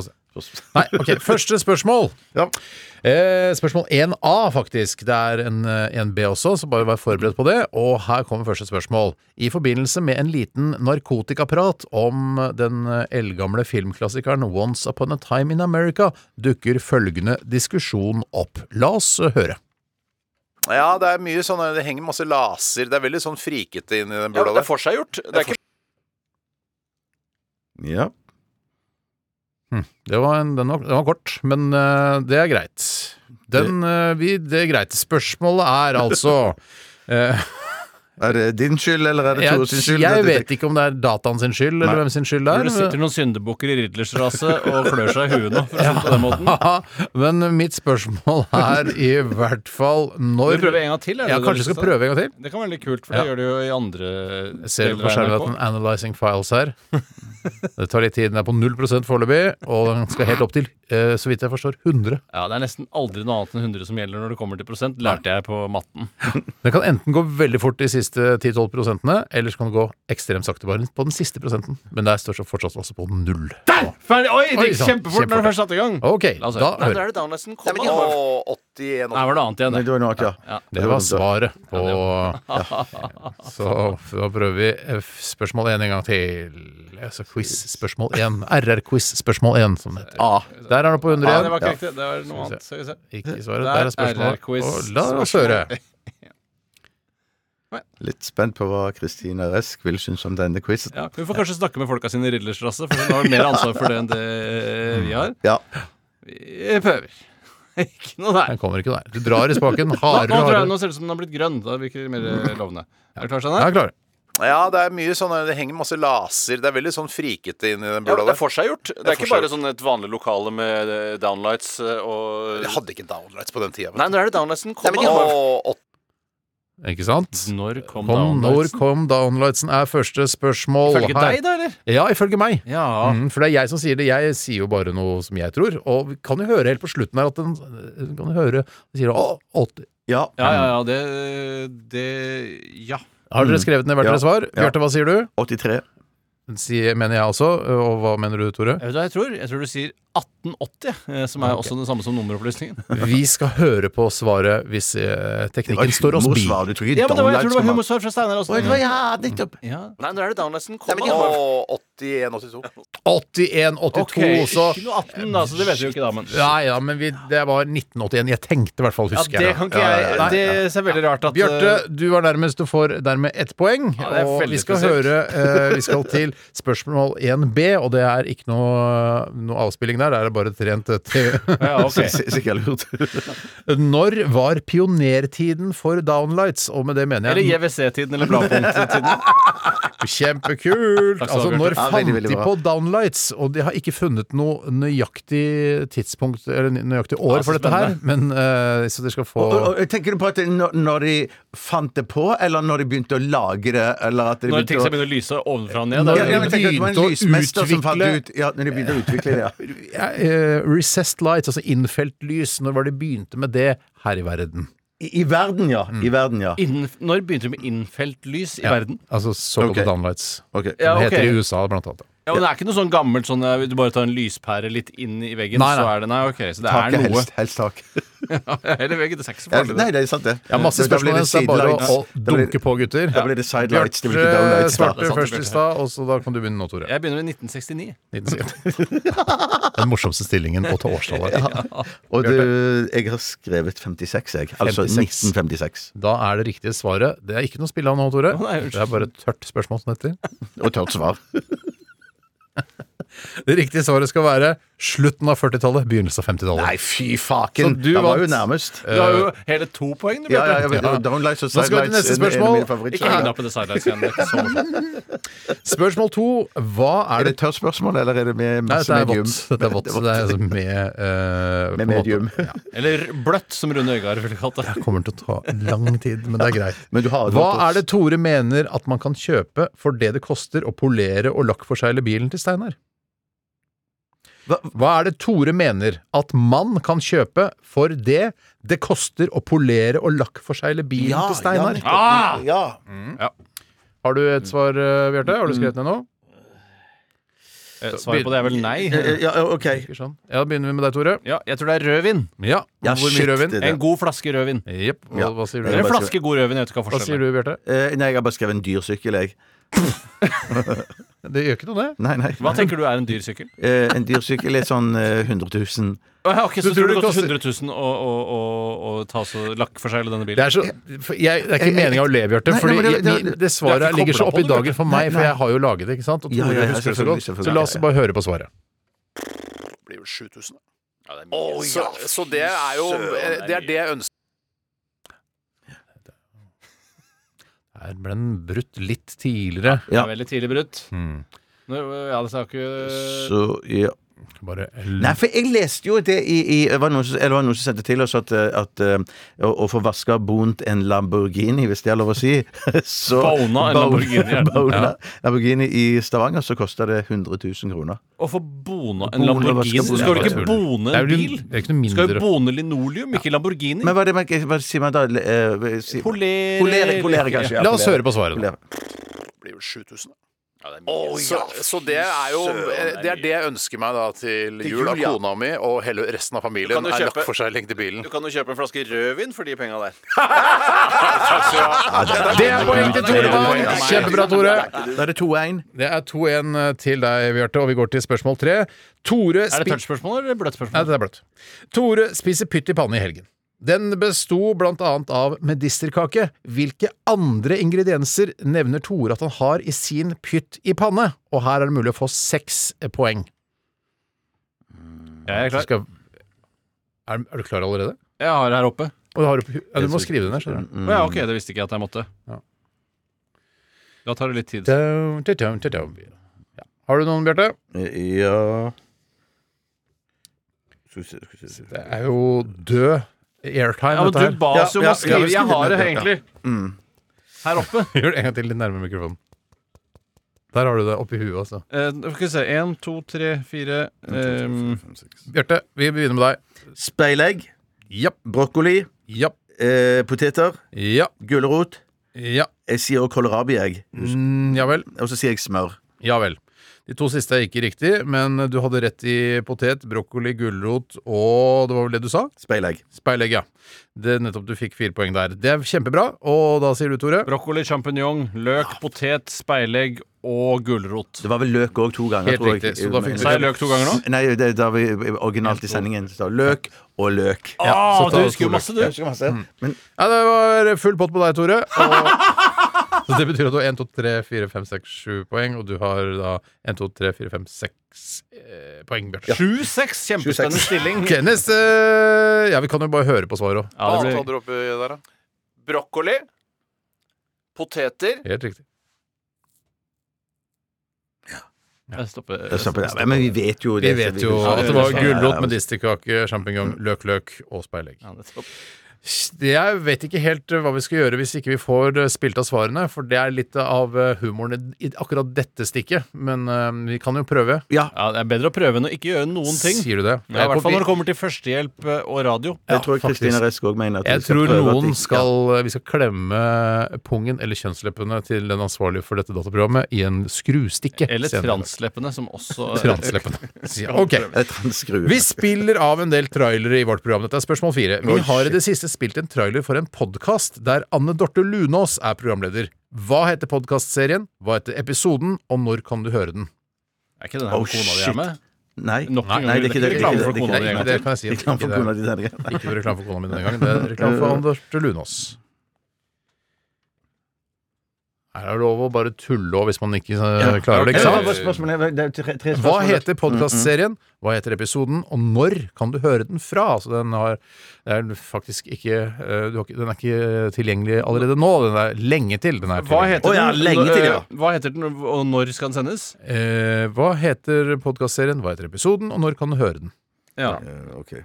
[SPEAKER 6] Nei, ok, første spørsmål. Eh, spørsmål 1A, faktisk. Det er en, eh, en B også, så bare vær forberedt på det. Og her kommer første spørsmål. I forbindelse med en liten narkotikaprat om den eh, eldgamle filmklassikeren Once Upon a Time in America, dukker følgende diskusjon opp. La oss eh, høre. Ja, det er mye sånn Det henger masse laser. Det er veldig sånn frikete inni den bula der.
[SPEAKER 7] forseggjort. Det er ikke
[SPEAKER 8] Ja.
[SPEAKER 6] Det var en, den, var, den var kort, men eh, det er greit. Den, eh, vi, det er greit. Spørsmålet er altså
[SPEAKER 8] [laughs]
[SPEAKER 6] eh,
[SPEAKER 8] Er det din skyld, eller er det Tore sin
[SPEAKER 6] jeg,
[SPEAKER 8] skyld?
[SPEAKER 6] jeg vet ikke om det er dataen sin skyld, eller
[SPEAKER 8] Nei.
[SPEAKER 6] hvem sin skyld det
[SPEAKER 7] Det
[SPEAKER 6] er.
[SPEAKER 7] sitter noen syndebukker i Ridlers rase og klør seg i huet nå. For å si det på den måten.
[SPEAKER 6] Haha, Men [laughs] mitt spørsmål er i hvert fall
[SPEAKER 7] Skal
[SPEAKER 6] når
[SPEAKER 7] vi prøve en gang til? er det
[SPEAKER 6] Ja,
[SPEAKER 7] det
[SPEAKER 6] kanskje
[SPEAKER 7] du har
[SPEAKER 6] vi skal
[SPEAKER 7] lyst til?
[SPEAKER 6] prøve en gang til?
[SPEAKER 7] Det kan være litt kult, for
[SPEAKER 6] Ja.
[SPEAKER 7] det gjør det jo i andre
[SPEAKER 6] Jeg ser
[SPEAKER 7] deler
[SPEAKER 6] på skjermen
[SPEAKER 7] av
[SPEAKER 6] at
[SPEAKER 7] NRK.
[SPEAKER 6] den analyzing files her. Det tar litt tid. Den er på 0 foreløpig, og den skal helt opp til, eh, så vidt jeg forstår, 100.
[SPEAKER 7] Ja, Det er nesten aldri noe annet enn 100 som gjelder når det kommer til prosent, lærte jeg på matten.
[SPEAKER 6] Den kan enten gå veldig fort de siste 10-12 prosentene, eller så kan den gå ekstremt sakte bare på den siste prosenten. Men det er størst og fortsatt også på null.
[SPEAKER 7] Der! Ferdig! Oi, det
[SPEAKER 6] Oi,
[SPEAKER 7] gikk
[SPEAKER 6] sant.
[SPEAKER 7] kjempefort når
[SPEAKER 6] Kjempefort.
[SPEAKER 7] du først satte i gang.
[SPEAKER 6] Ok, da
[SPEAKER 7] La oss høre. Nei, da
[SPEAKER 6] hører
[SPEAKER 7] er det downlessen. Kom an. altså. Nei, var det annet igjen?
[SPEAKER 8] Nei, det var noe annet, ja.
[SPEAKER 6] Det var svaret på [laughs] Så da prøver vi eh, spørsmål 1 en gang til. Altså quiz spørsmål 1. RR-quiz spørsmål 1, som det heter. Der er det på 100
[SPEAKER 7] Ja, det var
[SPEAKER 6] igjen.
[SPEAKER 7] ikke riktig. Det var noe annet. Skal vi se.
[SPEAKER 6] Ikke svaret.
[SPEAKER 7] Der
[SPEAKER 6] Der
[SPEAKER 7] er
[SPEAKER 6] er spørsmålet.
[SPEAKER 7] RR-quiz
[SPEAKER 6] Og La oss høre.
[SPEAKER 8] Litt spent på hva Kristina Resk vil synes om denne quizen.
[SPEAKER 7] Ja, vi får kanskje snakke med folka sine i Ridlers rase, for hun har mer ansvar for det enn det vi har.
[SPEAKER 6] Mm.
[SPEAKER 8] Ja.
[SPEAKER 7] Vi prøver. [laughs] Ikke noe der.
[SPEAKER 6] Den kommer ikke der. Du drar i spaken
[SPEAKER 7] [laughs] Nå,
[SPEAKER 6] hardere
[SPEAKER 7] nå,
[SPEAKER 6] og
[SPEAKER 7] tror jeg,
[SPEAKER 6] hardere.
[SPEAKER 7] nå ser det ut som den har blitt grønn. Da virker det mer eh, lovende. Er du klar,
[SPEAKER 6] Jeg
[SPEAKER 7] Steinar?
[SPEAKER 6] er klar.
[SPEAKER 9] Ja, det er mye sånn Det henger masse laser. Det er veldig sånn frikete inni den bula der.
[SPEAKER 7] forseggjort. Det er ikke bare sånn et vanlig lokale med eh, downlights og
[SPEAKER 9] Jeg hadde ikke downlights på den tida.
[SPEAKER 7] Nei, nå er det downlightsen.
[SPEAKER 9] Nei, men jeg har- Å,
[SPEAKER 6] Ikke sant?
[SPEAKER 7] Når kom
[SPEAKER 6] Kom, når
[SPEAKER 7] downlights?
[SPEAKER 6] kom downlightsen er første spørsmål.
[SPEAKER 7] Følge
[SPEAKER 6] her.
[SPEAKER 7] deg, da, eller?
[SPEAKER 6] Ja, ifølge meg.
[SPEAKER 7] Ja.
[SPEAKER 6] Mm, for det er jeg som sier det. Jeg sier jo bare noe som jeg tror. Og vi kan jo høre helt på slutten her at den kan jo høre den sier, å, 80.
[SPEAKER 8] ja.
[SPEAKER 7] Ja, ja, ja. Det, det Ja.
[SPEAKER 6] Har dere skrevet ned hvert
[SPEAKER 8] Ja.
[SPEAKER 6] deres svar?
[SPEAKER 8] Ja.
[SPEAKER 6] Bjarte, hva sier du?
[SPEAKER 8] 83.
[SPEAKER 6] sier- mener jeg også. Og hva mener du, Tore?
[SPEAKER 7] Jeg vet hva jeg tror. Jeg tror du sier 1880, eh, som er også det samme som nummeropplysningen.
[SPEAKER 6] Vi skal høre på svaret hvis eh, teknikken står oss bi.
[SPEAKER 8] Humorsvar, du tror ikke
[SPEAKER 7] Ja, men det var, jeg
[SPEAKER 8] downlights
[SPEAKER 7] tror det var
[SPEAKER 8] kommer-
[SPEAKER 7] humorsvar fra Steinar også.
[SPEAKER 8] Oi, det var- Ja, nettopp.
[SPEAKER 7] Ja. Nei, nå er det downlisten.
[SPEAKER 9] Nei,
[SPEAKER 7] Kom,
[SPEAKER 9] men de har
[SPEAKER 7] da.
[SPEAKER 9] 81-82.
[SPEAKER 6] 81, 82,
[SPEAKER 7] Ok,
[SPEAKER 6] så
[SPEAKER 7] Ikke noe 18, da, så det vet vi jo ikke, da. Men
[SPEAKER 6] Nei ja, men vi, det var 1981. Jeg tenkte i hvert fall,
[SPEAKER 7] ja,
[SPEAKER 6] husker
[SPEAKER 7] det
[SPEAKER 6] jeg.
[SPEAKER 7] kan ikke jeg Det er veldig rart at
[SPEAKER 6] Bjarte,
[SPEAKER 7] eh,
[SPEAKER 6] du var nærmest og får dermed ett poeng.
[SPEAKER 7] Ja, det er
[SPEAKER 6] og vi
[SPEAKER 7] veldig
[SPEAKER 6] skal høre
[SPEAKER 7] spesielt.
[SPEAKER 6] eh, Vi
[SPEAKER 7] [laughs]
[SPEAKER 6] skal til spørsmål 1B, og det er ikke noe, noe avspilling der. Det er bare et rent eh, TV.
[SPEAKER 7] [laughs] ja, ok.
[SPEAKER 8] Så- [laughs] Sikkert lurt.
[SPEAKER 6] [laughs] Når var pionertiden for Downlights? Og med det mener
[SPEAKER 7] Eller
[SPEAKER 6] jeg
[SPEAKER 7] JWC-tiden, eller bladpunkttiden.
[SPEAKER 6] kjempekult!
[SPEAKER 7] [laughs] Takk skal
[SPEAKER 6] Altså,
[SPEAKER 7] du ha,
[SPEAKER 6] når
[SPEAKER 7] Bjarte.
[SPEAKER 8] Ja,
[SPEAKER 6] fant
[SPEAKER 8] veldig, veldig
[SPEAKER 6] de
[SPEAKER 8] bra.
[SPEAKER 6] på Downlights? Og de har ikke funnet noe nøyaktig tidspunkt, eller nøyaktig år
[SPEAKER 7] Ja, så
[SPEAKER 6] for dette her, men eh, så dere skal få
[SPEAKER 8] Og, og, og Tenker du på at det- når, når de fant det på, eller når de begynte å lage det? Eller at de
[SPEAKER 7] Når ting skal
[SPEAKER 8] begynte å
[SPEAKER 7] begynne å lyse ovenfra og ned.
[SPEAKER 8] ja,
[SPEAKER 7] Da.
[SPEAKER 8] ja, men tenker du at det var
[SPEAKER 6] begynte å
[SPEAKER 8] en lysmester som fant
[SPEAKER 6] utvikle-
[SPEAKER 8] ut Ja, når de begynte å utvikle det, ja.
[SPEAKER 6] ja, eh, Recessed lights, altså innfelt lys. Når var det begynte med det her i verden?
[SPEAKER 8] [laughs] I, i verden, ja. I verden, ja.
[SPEAKER 7] Innf- Når begynte du med innfelt lys i verden?
[SPEAKER 6] Altså såkalte
[SPEAKER 8] Ok.
[SPEAKER 6] downlights.
[SPEAKER 8] Ok.
[SPEAKER 7] Ja,
[SPEAKER 6] Det heter
[SPEAKER 7] ok.
[SPEAKER 6] det i USA, blant annet.
[SPEAKER 7] Ja, men Det er ikke noe sånn gammelt sånn eh, du bare tar en lyspære litt inn i veggen,
[SPEAKER 6] Nei, nei.
[SPEAKER 7] så er det Nei, ok, så det
[SPEAKER 8] Taket,
[SPEAKER 7] er noe. [laughs]
[SPEAKER 8] helst, helst tak.
[SPEAKER 7] Eller veggen, det er ikke så
[SPEAKER 8] Ja,
[SPEAKER 7] farlig.
[SPEAKER 8] Nei,
[SPEAKER 7] det.
[SPEAKER 8] det er sant, det.
[SPEAKER 6] Ja, masse
[SPEAKER 8] Da
[SPEAKER 6] spørsmål,
[SPEAKER 8] blir det
[SPEAKER 6] så det er bare å,
[SPEAKER 8] sidelights.
[SPEAKER 6] å
[SPEAKER 8] Da blir det-
[SPEAKER 6] dunke på, gutter.
[SPEAKER 8] Da blir det sidelights, det blir ikke
[SPEAKER 6] Bjarte
[SPEAKER 8] downlights. da.
[SPEAKER 6] svarte
[SPEAKER 7] Det er sant,
[SPEAKER 6] først i
[SPEAKER 7] Bjarte.
[SPEAKER 6] stad, og så da kan du begynne nå, Tore.
[SPEAKER 7] Jeg begynner med 1969.
[SPEAKER 6] 1970. Den morsomste stillingen og til årstallet.
[SPEAKER 8] Og du, jeg har skrevet 56, jeg. Altså
[SPEAKER 6] 56.
[SPEAKER 8] 1956.
[SPEAKER 6] Da er det riktige svaret Det er ikke noe spill av nå, Tore.
[SPEAKER 7] Å, nei, unnskyld.
[SPEAKER 6] Det er bare et tørt spørsmål som heter.
[SPEAKER 8] Og tørt svar.
[SPEAKER 6] Det riktige svaret skal være slutten av 40-tallet, begynnelsen av 50-tallet.
[SPEAKER 8] Nei, fy faken!
[SPEAKER 6] Så du
[SPEAKER 8] Han var jo
[SPEAKER 6] vant.
[SPEAKER 8] nærmest.
[SPEAKER 7] Du har jo hele to poeng, du,
[SPEAKER 8] Ja, ja, jeg
[SPEAKER 7] Bjarte.
[SPEAKER 8] vet, Downlights
[SPEAKER 6] Nå
[SPEAKER 8] og
[SPEAKER 6] skal vi til
[SPEAKER 8] sidelights
[SPEAKER 6] neste
[SPEAKER 8] er en- en av
[SPEAKER 6] spørsmål.
[SPEAKER 8] mine favoritter.
[SPEAKER 7] Ikke heng deg opp i det sidelightsgreiene. det er ikke så morsomt.
[SPEAKER 6] Spørsmål to. Hva
[SPEAKER 8] Er
[SPEAKER 6] er
[SPEAKER 8] det
[SPEAKER 6] det
[SPEAKER 8] et tørt spørsmål, eller er det med
[SPEAKER 6] Nei,
[SPEAKER 8] masse
[SPEAKER 6] dette er
[SPEAKER 8] medium?
[SPEAKER 6] vått. Dette er vått. Det er altså med eh, på en måte-
[SPEAKER 8] Med medium.
[SPEAKER 7] Eller bløtt, som Rune Øygard ville kalt det.
[SPEAKER 6] Det kommer til å ta lang tid, men det er greit.
[SPEAKER 8] [laughs] Men du har det
[SPEAKER 6] Hva
[SPEAKER 8] vått også.
[SPEAKER 6] er det Tore mener at man kan kjøpe for det det koster å polere og lakkforsegle bilen til Steinar?
[SPEAKER 8] Hva-
[SPEAKER 6] Hva er det Tore mener at man kan kjøpe for det det koster å polere og lakkforsegle bilen
[SPEAKER 8] Ja,
[SPEAKER 6] til Steinar?
[SPEAKER 8] ja, nettopp. ja.
[SPEAKER 6] Har du et svar, eh, Bjarte?
[SPEAKER 8] Mm.
[SPEAKER 6] Har du skrevet ned noe?
[SPEAKER 7] Eh, Svaret på det er vel nei.
[SPEAKER 8] Eh, ja, ok.
[SPEAKER 6] Ikke Sånn. Ja, Da begynner vi med deg, Tore.
[SPEAKER 7] Ja, jeg tror det er rødvin.
[SPEAKER 6] Ja,
[SPEAKER 8] Ja,
[SPEAKER 6] Hvor
[SPEAKER 8] shit,
[SPEAKER 6] mye rødvin?
[SPEAKER 8] det der.
[SPEAKER 7] En god flaske rødvin.
[SPEAKER 6] Jepp. Hva,
[SPEAKER 8] Ja.
[SPEAKER 6] hva sier
[SPEAKER 7] Eller
[SPEAKER 6] du?
[SPEAKER 7] en flaske god rødvin. Jeg vet ikke hva
[SPEAKER 6] Hva sier
[SPEAKER 7] forskjellen
[SPEAKER 6] du,
[SPEAKER 7] er.
[SPEAKER 6] Bjarte?
[SPEAKER 8] Eh, nei, jeg har bare skrevet en dyr sykkel, jeg.
[SPEAKER 6] Det gjør ikke noe, det.
[SPEAKER 8] Nei, nei.
[SPEAKER 7] Hva tenker du er en dyr sykkel?
[SPEAKER 8] Eh, en dyr sykkel er sånn eh, 100 000.
[SPEAKER 7] Å, ja, ok, så
[SPEAKER 6] Du tror
[SPEAKER 7] tror
[SPEAKER 6] det
[SPEAKER 7] du det koster
[SPEAKER 6] koster-
[SPEAKER 7] 100 000 å, å, å, å ta så lakkforsegle denne
[SPEAKER 6] Det
[SPEAKER 7] bilen?
[SPEAKER 6] er, så, for jeg, det er ikke meningen å le, Bjarte.
[SPEAKER 8] Nei, nei,
[SPEAKER 6] fordi
[SPEAKER 8] men det-
[SPEAKER 6] jeg-
[SPEAKER 8] det-
[SPEAKER 6] det svaret
[SPEAKER 7] det er ikke
[SPEAKER 6] ligger så
[SPEAKER 7] koblet
[SPEAKER 6] opp i
[SPEAKER 7] på,
[SPEAKER 6] dagen for meg, for jeg har jo laget det. ikke sant? Og
[SPEAKER 8] Ja,
[SPEAKER 6] Tore
[SPEAKER 8] ja, ja,
[SPEAKER 6] husker det så
[SPEAKER 8] selvfølgelig,
[SPEAKER 6] godt. Så
[SPEAKER 8] selvfølgelig.
[SPEAKER 6] la oss bare høre på svaret.
[SPEAKER 9] Det blir jo 7000. så, så det er jo eh,
[SPEAKER 7] søren,
[SPEAKER 9] Det er det jeg ønsker.
[SPEAKER 6] [laughs] Her ble den brutt litt tidligere.
[SPEAKER 7] Det
[SPEAKER 8] Ja.
[SPEAKER 7] er veldig tidlig brutt.
[SPEAKER 6] Mm.
[SPEAKER 7] Nå, ja, det sa ikke
[SPEAKER 8] Så, ja.
[SPEAKER 6] Bare
[SPEAKER 8] Nei, for jeg leste jo det i, i det var noen, som- eller det var noen som sendte til oss at, eh, at eh, å, å få vaska bont en Lamborghini, hvis det er lov å si [laughs] så,
[SPEAKER 7] Bona en Lamborghini, er det.
[SPEAKER 8] Bona, Lamborghini i Stavanger, så koster det 100 000 kroner.
[SPEAKER 7] Å få bona en
[SPEAKER 8] Bona,
[SPEAKER 7] Lamborghini?
[SPEAKER 8] hva
[SPEAKER 7] Du
[SPEAKER 8] skal
[SPEAKER 7] skal
[SPEAKER 8] bona?
[SPEAKER 7] jo ikke bone
[SPEAKER 6] Det er
[SPEAKER 7] en
[SPEAKER 6] jo-
[SPEAKER 7] bil?
[SPEAKER 6] det er ikke noe
[SPEAKER 7] Du skal
[SPEAKER 6] mindre.
[SPEAKER 7] jo bone linoleum, ikke Lamborghini.
[SPEAKER 8] Men hva, er det, man- hva sier man da? Eh, si-
[SPEAKER 7] Polere-
[SPEAKER 8] Polere, polere, kanskje. ja,
[SPEAKER 6] La oss
[SPEAKER 8] polere.
[SPEAKER 6] høre på svaret. nå.
[SPEAKER 8] Polere.
[SPEAKER 9] blir jo 7000. så, så det er jo eh, Det er det jeg ønsker meg da til jul av
[SPEAKER 8] jul, ja.
[SPEAKER 9] kona mi og hele resten av familien.
[SPEAKER 7] kan jo
[SPEAKER 9] Er
[SPEAKER 7] kjøpe-
[SPEAKER 9] lakkforsegling til bilen.
[SPEAKER 7] kan jo kjøpe en flaske rødvin for de penga der.
[SPEAKER 6] Det er poeng til Tore Bang! Kjempebra, Tore.
[SPEAKER 8] Da er det 2-1.
[SPEAKER 6] Det er 2-1 til deg, Bjarte, og vi går til spørsmål tre. Tore
[SPEAKER 7] Er det
[SPEAKER 6] spi-
[SPEAKER 7] tørt spørsmål eller bløtt
[SPEAKER 6] Nei,
[SPEAKER 7] spørsmål?
[SPEAKER 6] det er bløtt. Tore spiser pytt i panne i helgen. Den besto blant annet av medisterkake. Hvilke andre ingredienser nevner Tore at han har i sin pytt i panne? Og her er det mulig å få seks poeng.
[SPEAKER 7] Jeg er
[SPEAKER 6] Du
[SPEAKER 7] klar.
[SPEAKER 6] skal... er, er du klar allerede?
[SPEAKER 7] Jeg har det her oppe.
[SPEAKER 6] Og har du, ja, du må skrive det ned, skjønner du.
[SPEAKER 7] Å ja, ok, det visste ikke jeg at jeg måtte.
[SPEAKER 6] Ja.
[SPEAKER 7] Da tar det litt tid.
[SPEAKER 6] Dum, dum, dum, dum, dum. Ja. Har du noen, Bjarte?
[SPEAKER 8] Ja Skal vi se, skal vi se.
[SPEAKER 6] Det er jo død airtime,
[SPEAKER 7] Ja, men
[SPEAKER 6] dette her.
[SPEAKER 7] du ba oss jo om
[SPEAKER 8] ja,
[SPEAKER 7] å skrive.
[SPEAKER 8] ja,
[SPEAKER 7] Jeg har det
[SPEAKER 8] ja, ja.
[SPEAKER 7] egentlig. Her oppe.
[SPEAKER 6] Gjør det en gang til litt nærmere mikrofonen. Der har du det oppi huet, altså.
[SPEAKER 7] Eh, Skal vi se. Én, to, tre, fire ehm,
[SPEAKER 6] Bjarte, vi begynner med deg.
[SPEAKER 8] Speilegg,
[SPEAKER 6] Japp,
[SPEAKER 8] brokkoli,
[SPEAKER 6] japp,
[SPEAKER 8] eh, poteter,
[SPEAKER 6] japp,
[SPEAKER 8] gulrot.
[SPEAKER 6] japp.
[SPEAKER 8] Jeg sier også kålrabi, jeg.
[SPEAKER 6] Mm, ja vel.
[SPEAKER 8] Og så sier jeg smør.
[SPEAKER 6] Ja vel. De to siste er ikke riktig, men du hadde rett i potet, brokkoli, gulrot og Det var vel det du sa?
[SPEAKER 8] Speilegg.
[SPEAKER 6] Speilegg, ja. Det er nettopp du fikk fire poeng der. Det er kjempebra. Og da sier du, Tore
[SPEAKER 7] Brokkoli, sjampinjong, løk, potet, speilegg og gulrot.
[SPEAKER 8] Det var vel løk òg to ganger.
[SPEAKER 6] Helt
[SPEAKER 8] tror jeg.
[SPEAKER 6] riktig, så da fikk du-
[SPEAKER 7] Sa jeg løk to ganger nå?
[SPEAKER 8] Nei, det, da vi originalt i sendingen sa løk og løk.
[SPEAKER 7] Å,
[SPEAKER 6] så
[SPEAKER 7] Ah, du
[SPEAKER 6] ta
[SPEAKER 7] husker
[SPEAKER 6] to
[SPEAKER 7] jo masse, du.
[SPEAKER 8] Jeg husker masse. Men
[SPEAKER 6] Ja, det var full pott på deg, Tore. Og [laughs] så det betyr at du har 1, 2, 3, 4, 5, 6, 7 poeng, og du har da 1, 2, 3, 4, 5, 6 eh, poeng, Bjarte.
[SPEAKER 7] 7-6. Kjempespennende stilling.
[SPEAKER 6] Ok, neste eh, Ja, vi kan jo bare høre på svaret òg.
[SPEAKER 7] Ja,
[SPEAKER 9] Hva annet
[SPEAKER 7] det blir...
[SPEAKER 9] hadde du oppi der, da?
[SPEAKER 10] Brokkoli, poteter
[SPEAKER 6] Helt riktig.
[SPEAKER 7] Jeg stopper.
[SPEAKER 8] Ja, stopp det. Men vi vet jo
[SPEAKER 6] Vi
[SPEAKER 8] det.
[SPEAKER 6] vet
[SPEAKER 8] så
[SPEAKER 6] jo at det var
[SPEAKER 8] Ja, ja, ja.
[SPEAKER 6] gulrot, medisterkake, sjampinjong, løk-løk og speilegg.
[SPEAKER 7] Ja, det stopper.
[SPEAKER 6] Jeg vet ikke helt eh, hva vi skal gjøre hvis ikke vi får eh, spilt av svarene, for det er litt av eh, humoren i akkurat dette stikket. Men eh, vi kan jo prøve.
[SPEAKER 7] Ja, det er bedre å prøve enn å ikke gjøre noen ting.
[SPEAKER 6] Sier du det?
[SPEAKER 7] Ja, I hvert fall når det kommer til førstehjelp eh, og radio.
[SPEAKER 8] Jeg tror
[SPEAKER 6] faktisk.
[SPEAKER 8] Kristine Resk òg mener at vi
[SPEAKER 6] Jeg
[SPEAKER 8] skal
[SPEAKER 6] tror
[SPEAKER 8] prøve at
[SPEAKER 6] noen
[SPEAKER 8] de-
[SPEAKER 6] skal eh, Vi skal klemme pungen eller kjønnsleppene til den ansvarlige for dette dataprogrammet i en skrustikke.
[SPEAKER 7] Eller
[SPEAKER 6] senere.
[SPEAKER 7] transleppene, som også
[SPEAKER 6] [laughs] Transleppene. Ok.
[SPEAKER 8] Ja, et transskru.
[SPEAKER 6] Vi spiller av en del trailere i vårt program. Dette er spørsmål fire. Vi har i det siste spilt en trailer for en podkast der Anne Dorthe Lunås er programleder. Hva heter podkastserien, hva heter episoden, og når kan du høre den?
[SPEAKER 7] Er ikke den her
[SPEAKER 8] Oh,
[SPEAKER 7] med kona di
[SPEAKER 8] shit.
[SPEAKER 7] hjemme?
[SPEAKER 8] Nei.
[SPEAKER 7] Nok en gang.
[SPEAKER 8] Nei, det er ikke det. det er
[SPEAKER 7] Reklame
[SPEAKER 8] ikke
[SPEAKER 7] for
[SPEAKER 8] det, det
[SPEAKER 7] kona
[SPEAKER 8] er
[SPEAKER 7] di.
[SPEAKER 8] ikke det.
[SPEAKER 6] Nei, det kan jeg si.
[SPEAKER 8] Reklame for
[SPEAKER 6] Ikke det.
[SPEAKER 8] kona di denne gangen.
[SPEAKER 6] Ikke reklame for kona mi denne gangen. Det er reklame
[SPEAKER 8] Eh,
[SPEAKER 6] for Anders Lunås. Her er det lov å bare tulle òg hvis man ikke eh, klarer det.
[SPEAKER 8] Eh,
[SPEAKER 6] ikke
[SPEAKER 8] Hva
[SPEAKER 6] sant?
[SPEAKER 8] var spørsmålet? Det er tre- tre
[SPEAKER 6] Hva
[SPEAKER 8] spørsmål.
[SPEAKER 6] heter podkastserien, hva heter episoden, og når kan du høre den fra? Altså, den, har, det er faktisk ikke, eh, du har ikke Den er ikke tilgjengelig allerede nå. Den er lenge til. Den er
[SPEAKER 7] Hva
[SPEAKER 6] tilgjengelig.
[SPEAKER 7] heter
[SPEAKER 8] Å, ja,
[SPEAKER 7] den?
[SPEAKER 8] lenge til, ja.
[SPEAKER 7] Eh, Hva heter den, og når skal den sendes?
[SPEAKER 6] Eh, hva heter podkastserien, hva heter episoden, og når kan du høre den?
[SPEAKER 7] Ja.
[SPEAKER 8] Eh, ok.